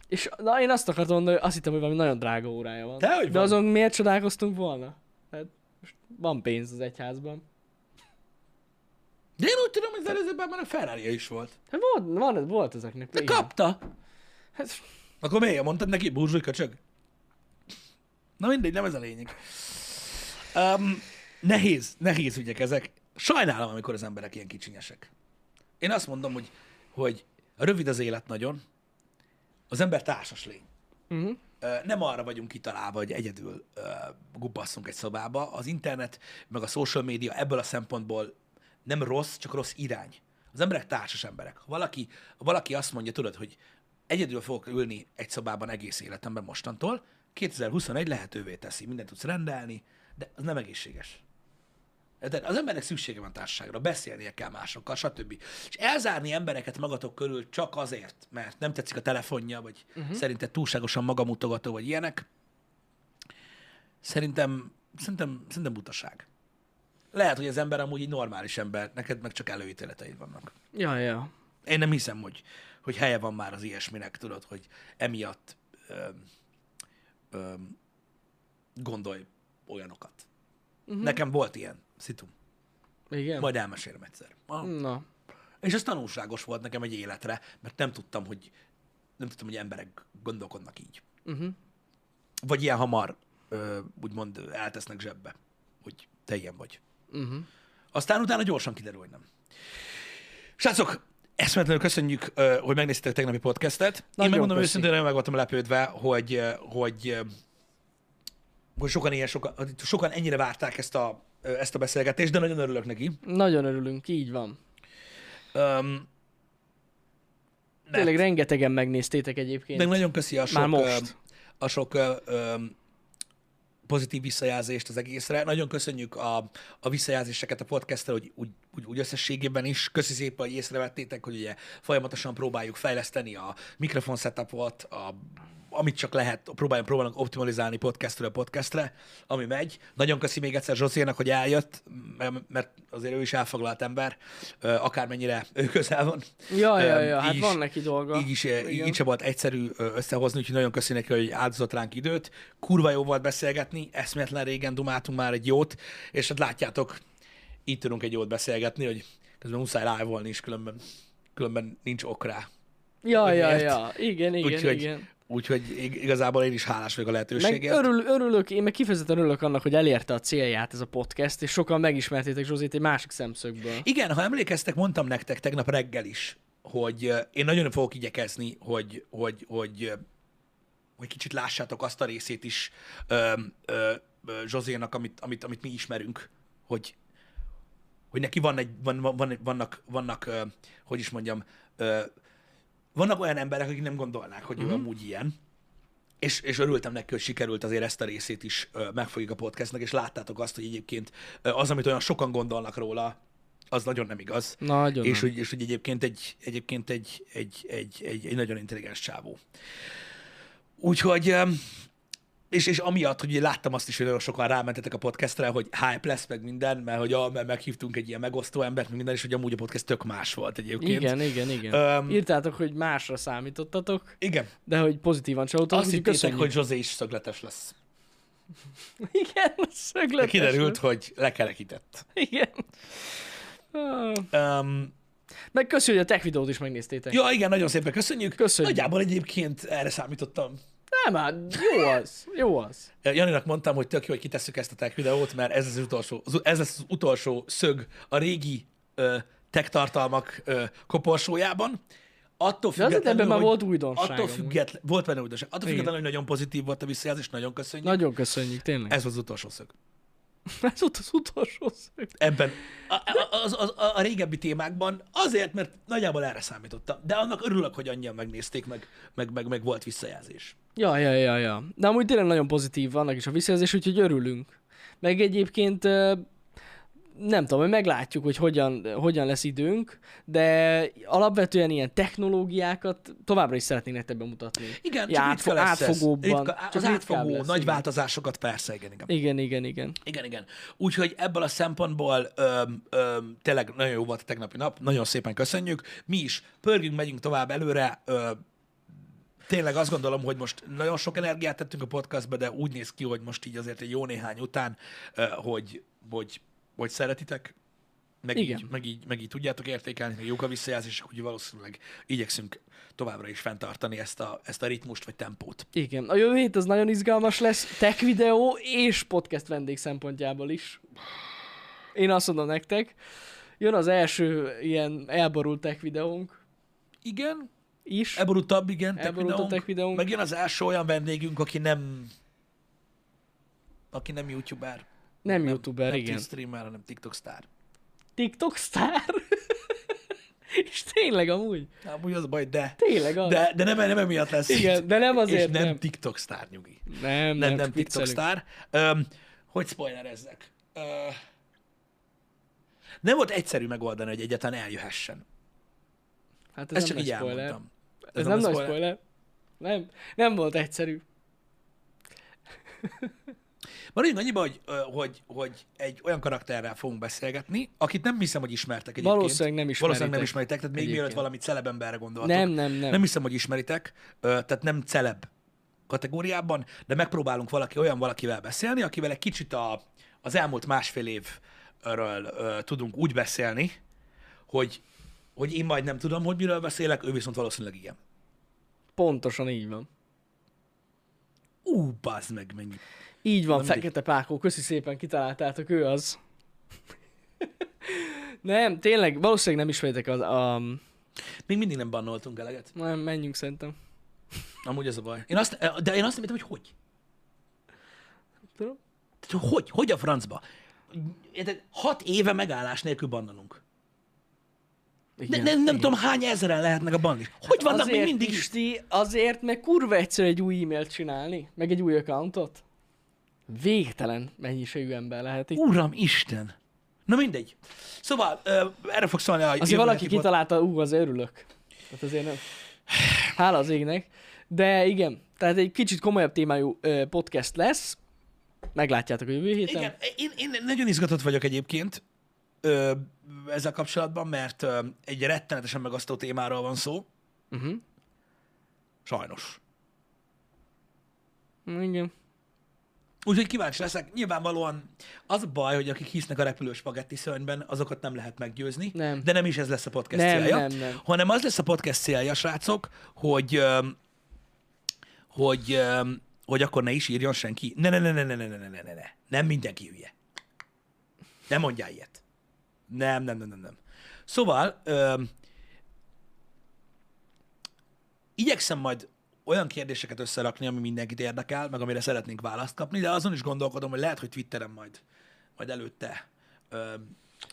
[SPEAKER 2] És na, én azt akartam mondani, hogy azt hittem, hogy valami nagyon drága órája van.
[SPEAKER 1] Dehogy
[SPEAKER 2] de
[SPEAKER 1] van.
[SPEAKER 2] azon miért csodálkoztunk volna? Hát, most van pénz az egyházban.
[SPEAKER 1] De én úgy tudom, hogy az előzőben már a ferrari is volt.
[SPEAKER 2] Hát volt, van, volt ezeknek.
[SPEAKER 1] De
[SPEAKER 2] igen.
[SPEAKER 1] kapta.
[SPEAKER 2] Hát,
[SPEAKER 1] Akkor miért mondtad neki, burzsúj köcsög? Na mindegy, nem ez a lényeg. Um, nehéz, nehéz ügyek ezek. Sajnálom, amikor az emberek ilyen kicsinyesek. Én azt mondom, hogy, hogy Rövid az élet nagyon. Az ember társas lény. Ö, Nem arra vagyunk kitalálva, hogy egyedül ö, gubbasszunk egy szobába. Az internet, meg a social média ebből a szempontból nem rossz, csak rossz irány. Az emberek társas emberek. Ha valaki, ha valaki azt mondja, tudod, hogy egyedül fogok ülni egy szobában egész életemben mostantól, 2021 lehetővé teszi, mindent tudsz rendelni, de az nem egészséges. De az embernek szüksége van társaságra, beszélnie kell másokkal, stb. És elzárni embereket magatok körül csak azért, mert nem tetszik a telefonja, vagy uh-huh. szerinted túlságosan magamutogató, vagy ilyenek, szerintem, szerintem, szerintem butaság. Lehet, hogy az ember amúgy egy normális ember, neked meg csak előítéleteid vannak.
[SPEAKER 2] Ja, ja.
[SPEAKER 1] Én nem hiszem, hogy, hogy helye van már az ilyesminek, tudod, hogy emiatt öm, öm, gondolj olyanokat. Uh-huh. Nekem volt ilyen szitum.
[SPEAKER 2] Igen?
[SPEAKER 1] Majd elmesélem egyszer. Ah.
[SPEAKER 2] Na.
[SPEAKER 1] És ez tanulságos volt nekem egy életre, mert nem tudtam, hogy nem tudtam, hogy emberek gondolkodnak így.
[SPEAKER 2] Uh-huh.
[SPEAKER 1] Vagy ilyen hamar, ö, úgymond eltesznek zsebbe, hogy te ilyen vagy.
[SPEAKER 2] Uh-huh.
[SPEAKER 1] Aztán utána gyorsan kiderül, hogy nem. Srácok, eszmetlenül köszönjük, ö, hogy megnéztétek a tegnapi podcastet. Én
[SPEAKER 2] Nagyon
[SPEAKER 1] megmondom
[SPEAKER 2] köszi.
[SPEAKER 1] őszintén, nagyon meg voltam lepődve, hogy, ö, hogy, ö, hogy sokan, ilyen, sokan, hogy sokan ennyire várták ezt a, ö, ezt a beszélgetést, de nagyon örülök neki.
[SPEAKER 2] Nagyon örülünk, így van.
[SPEAKER 1] Öm,
[SPEAKER 2] Tényleg rengetegen megnéztétek egyébként.
[SPEAKER 1] Meg nagyon köszi a sok,
[SPEAKER 2] Már most.
[SPEAKER 1] ö, A sok ö, ö, pozitív visszajelzést az egészre. Nagyon köszönjük a, a visszajelzéseket a podcastra, hogy úgy, úgy, úgy összességében is. Köszi szépen, hogy észrevettétek, hogy ugye folyamatosan próbáljuk fejleszteni a mikrofon setupot, a, amit csak lehet, próbáljuk, próbálunk optimalizálni podcastről podcastre, ami megy. Nagyon köszi még egyszer Zsocénak, hogy eljött, m- mert azért ő is elfoglalt ember, ö, akármennyire ő közel van.
[SPEAKER 2] Ja, ja,
[SPEAKER 1] Öm,
[SPEAKER 2] ja, hát
[SPEAKER 1] így is-
[SPEAKER 2] van neki dolga.
[SPEAKER 1] így is, eh,
[SPEAKER 2] Igen.
[SPEAKER 1] így sem volt egyszerű ö, összehozni, úgyhogy nagyon köszi neki, hogy áldozott ránk időt. Kurva jó volt beszélgetni, eszméletlen régen dumáltunk már egy jót, és hát látjátok, így tudunk egy jót beszélgetni, hogy közben muszáj live is, különben, különben nincs ok rá.
[SPEAKER 2] Ja,
[SPEAKER 1] hogy
[SPEAKER 2] ja,
[SPEAKER 1] miért.
[SPEAKER 2] ja, igen, igen,
[SPEAKER 1] Úgyhogy-
[SPEAKER 2] igen.
[SPEAKER 1] Úgyhogy ig- igazából én is hálás vagyok a
[SPEAKER 2] Meg
[SPEAKER 1] lehetőségért.
[SPEAKER 2] örül, örülök, én meg kifejezetten örülök annak, hogy elérte a célját ez a podcast, és sokan megismertétek Zsózét egy másik szemszögből.
[SPEAKER 1] Igen, ha emlékeztek, mondtam nektek tegnap reggel is, hogy ö, én nagyon fogok igyekezni, hogy, hogy, hogy, ö, hogy kicsit lássátok azt a részét is ö, ö, ö, Zsozénak, amit, amit, amit mi ismerünk, hogy, hogy neki van egy, van, van, van, vannak, vannak ö, hogy is mondjam, ö, vannak olyan emberek, akik nem gondolnák, hogy
[SPEAKER 2] Mhm.
[SPEAKER 1] ő amúgy ilyen, és, és örültem neki, hogy sikerült azért ezt a részét is ö, megfogjuk a podcastnak, és láttátok azt, hogy egyébként ö, az, amit olyan sokan gondolnak róla, az nagyon nem igaz.
[SPEAKER 2] Nagyon.
[SPEAKER 1] És
[SPEAKER 2] nem.
[SPEAKER 1] hogy, és hogy egyébként egy, egyébként egy, egy, egy, egy, egy nagyon intelligens csávó. Úgyhogy, em, és, és amiatt, hogy ugye láttam azt is, hogy nagyon sokan rámentetek a podcastre, hogy hype lesz meg minden, mert hogy ah, mert meghívtunk egy ilyen megosztó embert, meg minden, és hogy amúgy a podcast tök más volt egyébként.
[SPEAKER 2] Igen, igen, igen.
[SPEAKER 1] Öm,
[SPEAKER 2] Írtátok, hogy másra számítottatok,
[SPEAKER 1] Igen.
[SPEAKER 2] de hogy pozitívan csalódtatok.
[SPEAKER 1] Azt
[SPEAKER 2] úgyhogy
[SPEAKER 1] hittétek, hogy
[SPEAKER 2] köszönjük.
[SPEAKER 1] José is szögletes lesz.
[SPEAKER 2] Igen,
[SPEAKER 1] De
[SPEAKER 2] szögletes.
[SPEAKER 1] kiderült,
[SPEAKER 2] volt.
[SPEAKER 1] hogy lekerekített.
[SPEAKER 2] Igen. Ah.
[SPEAKER 1] Um,
[SPEAKER 2] Meg köszi, hogy a tech videót is megnéztétek.
[SPEAKER 1] ja, igen, nagyon szépen köszönjük.
[SPEAKER 2] Köszönjük.
[SPEAKER 1] Nagyjából egyébként erre számítottam.
[SPEAKER 2] Nem, hát jó az, jó az.
[SPEAKER 1] Janinak mondtam, hogy tök jó, hogy kitesszük ezt a tech videót, mert ez az utolsó, az- ez lesz az utolsó szög a régi ö, tech tartalmak ö, koporsójában. Attól
[SPEAKER 2] De azért
[SPEAKER 1] függetlenül,
[SPEAKER 2] ebben már
[SPEAKER 1] hogy-
[SPEAKER 2] volt újdonság.
[SPEAKER 1] attól
[SPEAKER 2] amúgy.
[SPEAKER 1] független, volt benne újdonság. Attól
[SPEAKER 2] Igen.
[SPEAKER 1] függetlenül, hogy nagyon pozitív volt a visszajelzés, nagyon köszönjük.
[SPEAKER 2] Nagyon köszönjük, tényleg.
[SPEAKER 1] Ez volt az utolsó szög.
[SPEAKER 2] Ez volt az utolsó szög.
[SPEAKER 1] Ebben a, a, az, az, a, a régebbi témákban azért, mert nagyjából erre számítottam. De annak örülök, hogy annyian megnézték, meg, meg, meg, meg volt visszajelzés.
[SPEAKER 2] Ja, ja, ja, ja. De amúgy tényleg nagyon pozitív vannak is a visszajelzés, úgyhogy örülünk. Meg egyébként ö, nem tudom, hogy meglátjuk, hogy hogyan, hogyan lesz időnk, de alapvetően ilyen technológiákat továbbra is szeretnénk nektek bemutatni.
[SPEAKER 1] Igen,
[SPEAKER 2] Ja,
[SPEAKER 1] csak
[SPEAKER 2] átfo-
[SPEAKER 1] ritka lesz ez.
[SPEAKER 2] átfogóbban.
[SPEAKER 1] Ritka,
[SPEAKER 2] Csak
[SPEAKER 1] az
[SPEAKER 2] ritkább
[SPEAKER 1] átfogó,
[SPEAKER 2] lesz,
[SPEAKER 1] nagy
[SPEAKER 2] igen.
[SPEAKER 1] változásokat persze, igen, igen.
[SPEAKER 2] Igen, igen, igen.
[SPEAKER 1] Igen, igen. Úgyhogy ebből a szempontból öm, öm, tényleg nagyon jó volt a tegnapi nap, nagyon szépen köszönjük. Mi is pörgünk, megyünk tovább előre. Ö, tényleg azt gondolom, hogy most nagyon sok energiát tettünk a podcastbe, de úgy néz ki, hogy most így azért egy jó néhány után, ö, hogy, hogy, hogy szeretitek, meg
[SPEAKER 2] Igen.
[SPEAKER 1] így, meg, így, meg így tudjátok értékelni, meg jók a visszajelzések, úgyhogy valószínűleg igyekszünk továbbra is fenntartani ezt a, ezt a ritmust vagy tempót.
[SPEAKER 2] Igen. A jövő hét az nagyon izgalmas lesz, tech videó és podcast vendég szempontjából is. Én azt mondom nektek, jön az első ilyen elborult tech videónk,
[SPEAKER 1] igen,
[SPEAKER 2] is.
[SPEAKER 1] elborultabb, igen, tech
[SPEAKER 2] Elborult a
[SPEAKER 1] videónk.
[SPEAKER 2] tech videónk.
[SPEAKER 1] Megjön az első olyan vendégünk, aki nem aki nem youtuber,
[SPEAKER 2] nem youtuber,
[SPEAKER 1] nem
[SPEAKER 2] igen.
[SPEAKER 1] streamer, hanem TikTok sztár.
[SPEAKER 2] TikTok sztár? És tényleg amúgy.
[SPEAKER 1] Na, Amúgy az baj, de.
[SPEAKER 2] Tényleg az.
[SPEAKER 1] De, de nem, nem emiatt lesz.
[SPEAKER 2] Igen, de nem azért,
[SPEAKER 1] És nem,
[SPEAKER 2] nem.
[SPEAKER 1] TikTok sztár, nyugi. Nem,
[SPEAKER 2] Nem,
[SPEAKER 1] nem
[SPEAKER 2] csak
[SPEAKER 1] TikTok
[SPEAKER 2] viccelünk.
[SPEAKER 1] sztár. Öm, hogy spoilerezzek? Ö, nem volt egyszerű megoldani, hogy egyáltalán eljöhessen.
[SPEAKER 2] Hát
[SPEAKER 1] Ez,
[SPEAKER 2] ez,
[SPEAKER 1] ez
[SPEAKER 2] nem
[SPEAKER 1] csak így
[SPEAKER 2] nagy spoiler.
[SPEAKER 1] elmondtam.
[SPEAKER 2] Ez, nem nagy spoiler. Nem, nem volt egyszerű.
[SPEAKER 1] Maradjunk annyiba, hogy, ö, hogy, hogy egy olyan karakterrel fogunk beszélgetni, akit nem hiszem, hogy ismertek egyébként.
[SPEAKER 2] Valószínűleg nem ismeritek.
[SPEAKER 1] Valószínűleg nem ismeritek, tehát még
[SPEAKER 2] Egyébként.
[SPEAKER 1] mielőtt valami celeb emberre gondoltok.
[SPEAKER 2] Nem, nem, nem.
[SPEAKER 1] Nem hiszem, hogy ismeritek, ö, tehát nem celeb kategóriában, de megpróbálunk valaki olyan valakivel beszélni, akivel egy kicsit a, az elmúlt másfél évről ö, tudunk úgy beszélni, hogy, hogy én majd nem tudom, hogy miről beszélek, ő viszont valószínűleg igen.
[SPEAKER 2] Pontosan így van.
[SPEAKER 1] Ú, bazd meg mennyi.
[SPEAKER 2] Így van, Fekete Pákó, köszi szépen, kitaláltátok, ő az. nem, tényleg, valószínűleg nem ismeritek az... A...
[SPEAKER 1] Még mindig nem bannoltunk eleget.
[SPEAKER 2] Nem, menjünk szerintem.
[SPEAKER 1] Amúgy ez a baj. Én azt, de én azt nem értem, hogy hogy.
[SPEAKER 2] Tudom.
[SPEAKER 1] Tehát hogy? Hogy a francba? Érted, hat éve megállás nélkül bannolunk. Ne,
[SPEAKER 2] Igen,
[SPEAKER 1] nem, nem tudom, hány ezeren lehetnek a bannis. Hogy vannak
[SPEAKER 2] azért,
[SPEAKER 1] még mindig is?
[SPEAKER 2] Pisti, azért, mert kurva egyszerű egy új e-mailt csinálni, meg egy új accountot. Végtelen mennyiségű ember lehet itt.
[SPEAKER 1] Uram Isten! Na mindegy. Szóval, ö, erre fog szólni a
[SPEAKER 2] Azért
[SPEAKER 1] jövő
[SPEAKER 2] valaki
[SPEAKER 1] heti pod-
[SPEAKER 2] kitalálta, ú, az örülök. Tehát azért nem. Hála az égnek. De igen, tehát egy kicsit komolyabb témájú ö, podcast lesz. Meglátjátok a jövő héten.
[SPEAKER 1] Igen, én, én nagyon izgatott vagyok egyébként ö, ezzel kapcsolatban, mert ö, egy rettenetesen megasztó témáról van szó.
[SPEAKER 2] Uh-huh.
[SPEAKER 1] Sajnos.
[SPEAKER 2] Igen.
[SPEAKER 1] Úgyhogy kíváncsi leszek. Nyilvánvalóan az a baj, hogy akik hisznek a repülős spagetti szörnyben, azokat nem lehet meggyőzni.
[SPEAKER 2] Nem.
[SPEAKER 1] De nem is ez lesz a podcast
[SPEAKER 2] Nem,
[SPEAKER 1] célja.
[SPEAKER 2] nem, nem.
[SPEAKER 1] Hanem az lesz a podcast célja, srácok, hogy, öm, hogy, öm, hogy akkor ne is írjon senki. Ne, ne, ne, ne, ne, ne, ne, ne, ne, ne, ne. Nem mindenki hülye. Nem mondjál ilyet. Nem, nem, nem, nem, nem. Szóval, öm, igyekszem majd olyan kérdéseket összerakni, ami mindenkit érdekel, meg amire szeretnénk választ kapni, de azon is gondolkodom, hogy lehet, hogy Twitteren majd, majd előtte ö,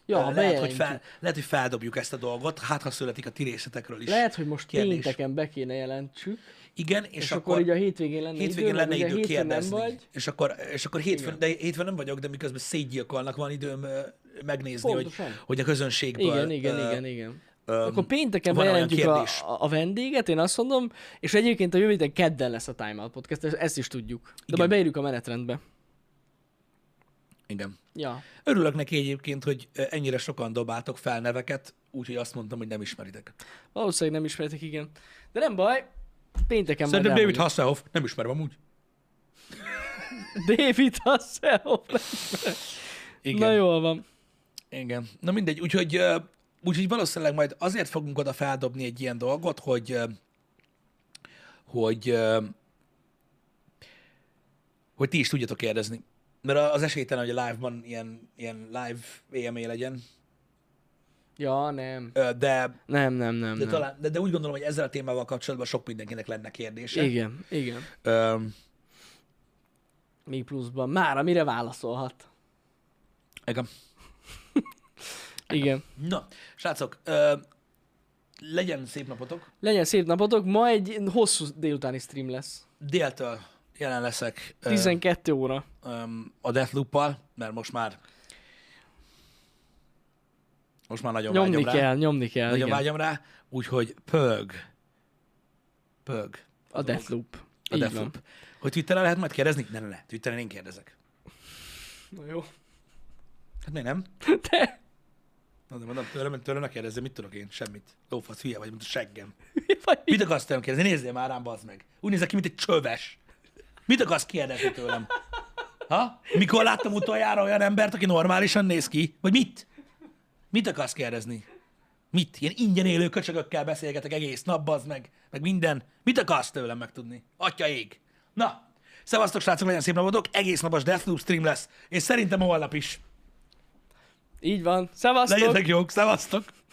[SPEAKER 2] Ja,
[SPEAKER 1] ö, lehet, hogy
[SPEAKER 2] bejelentjük.
[SPEAKER 1] fel, lehet, hogy feldobjuk ezt a dolgot, hát ha születik a ti részletekről is.
[SPEAKER 2] Lehet, hogy most
[SPEAKER 1] Kérdés.
[SPEAKER 2] pénteken be kéne jelentsük,
[SPEAKER 1] Igen, és,
[SPEAKER 2] és akkor, így a hétvégén lenne
[SPEAKER 1] hétvégén
[SPEAKER 2] idő,
[SPEAKER 1] lenne
[SPEAKER 2] mert ugye
[SPEAKER 1] idő
[SPEAKER 2] hétfőn
[SPEAKER 1] kérdezni.
[SPEAKER 2] Nem vagy.
[SPEAKER 1] És akkor, és akkor hétfőn, de hétfőn nem vagyok, de miközben szétgyilkolnak, van időm ö, megnézni, hogy,
[SPEAKER 2] Pontosan.
[SPEAKER 1] hogy a közönségből
[SPEAKER 2] Igen, igen,
[SPEAKER 1] ö,
[SPEAKER 2] igen, igen.
[SPEAKER 1] ö,
[SPEAKER 2] Akkor pénteken
[SPEAKER 1] van olyan
[SPEAKER 2] bejelentjük a,
[SPEAKER 1] kérdés.
[SPEAKER 2] a, a vendéget, én azt mondom, és egyébként a jövő héten kedden lesz a Time Out Podcast, ezt- ezt is tudjuk. De
[SPEAKER 1] Igen.
[SPEAKER 2] majd beírjuk a menetrendbe.
[SPEAKER 1] igen.
[SPEAKER 2] Ja.
[SPEAKER 1] Örülök neki egyébként, hogy ö, ennyire sokan dobáltok fel neveket, úgyhogy azt mondtam, hogy nem ismeritek.
[SPEAKER 2] Valószínűleg nem ismertek, igen. De nem baj, pénteken
[SPEAKER 1] Szerintem
[SPEAKER 2] majd
[SPEAKER 1] David
[SPEAKER 2] elmondjuk.
[SPEAKER 1] Hasselhoff, nem ismerem amúgy.
[SPEAKER 2] David Hasselhoff.
[SPEAKER 1] Igen.
[SPEAKER 2] Na
[SPEAKER 1] Na, jó.
[SPEAKER 2] jól van.
[SPEAKER 1] Igen. Na mindegy, úgyhogy, ö, úgyhogy valószínűleg majd azért fogunk oda feldobni egy ilyen dolgot, hogy ö, hogy ö, hogy ti is tudjatok kérdezni. Mert a- az esélytelen, hogy a live-ban ilyen, ilyen live EMA legyen,
[SPEAKER 2] Ja, nem.
[SPEAKER 1] Ö, de,
[SPEAKER 2] Nem, nem, nem.
[SPEAKER 1] de,
[SPEAKER 2] nem.
[SPEAKER 1] talán, de, de úgy gondolom, hogy ezzel a témával kapcsolatban sok mindenkinek lenne kérdése.
[SPEAKER 2] Igen, igen.
[SPEAKER 1] Ö,
[SPEAKER 2] Még pluszban. Már, amire válaszolhat.
[SPEAKER 1] igen.
[SPEAKER 2] Igen.
[SPEAKER 1] Na, srácok, ö, legyen szép napotok.
[SPEAKER 2] Legyen szép napotok, ma egy hosszú délutáni stream lesz.
[SPEAKER 1] Déltől jelen leszek ö,
[SPEAKER 2] 12 óra.
[SPEAKER 1] öm, a Deathloop-pal, mert most már most már nagyon
[SPEAKER 2] Nyomni
[SPEAKER 1] vágyom rá.
[SPEAKER 2] kell, nyomni kell.
[SPEAKER 1] Nagyon
[SPEAKER 2] igen.
[SPEAKER 1] vágyom rá, úgyhogy pög. Pög.
[SPEAKER 2] A Deathloop.
[SPEAKER 1] A
[SPEAKER 2] Így
[SPEAKER 1] Deathloop. Hogy Twitteren lehet majd kérdezni? Ne, ne, ne. Twitteren én kérdezek.
[SPEAKER 2] Van. Na jó.
[SPEAKER 1] Hát miért nem?
[SPEAKER 2] Te,
[SPEAKER 1] Na, de mondom, tőlem, tőlem ne kérdezzem, mit tudok én? Semmit. Lófasz, hülye vagy, mint a seggem.
[SPEAKER 2] mi vagy?
[SPEAKER 1] Mit akarsz tőlem kérdezni? Nézzél már rám, bazd meg. Úgy nézek ki, mint egy csöves. Mit akarsz kérdezni tőlem? Ha? Mikor láttam utoljára olyan embert, aki normálisan néz ki? Vagy mit? Mit akarsz kérdezni? Mit? Ilyen ingyen élő köcsögökkel beszélgetek egész nap, bazd meg, meg minden. Mit akarsz tőlem megtudni? Atya ég. Na, szevasztok srácok, legyen szép napotok, egész napos Deathloop stream lesz, és szerintem holnap is.
[SPEAKER 2] Így van. Szevasztok!
[SPEAKER 1] Legyetek jók, szevasztok!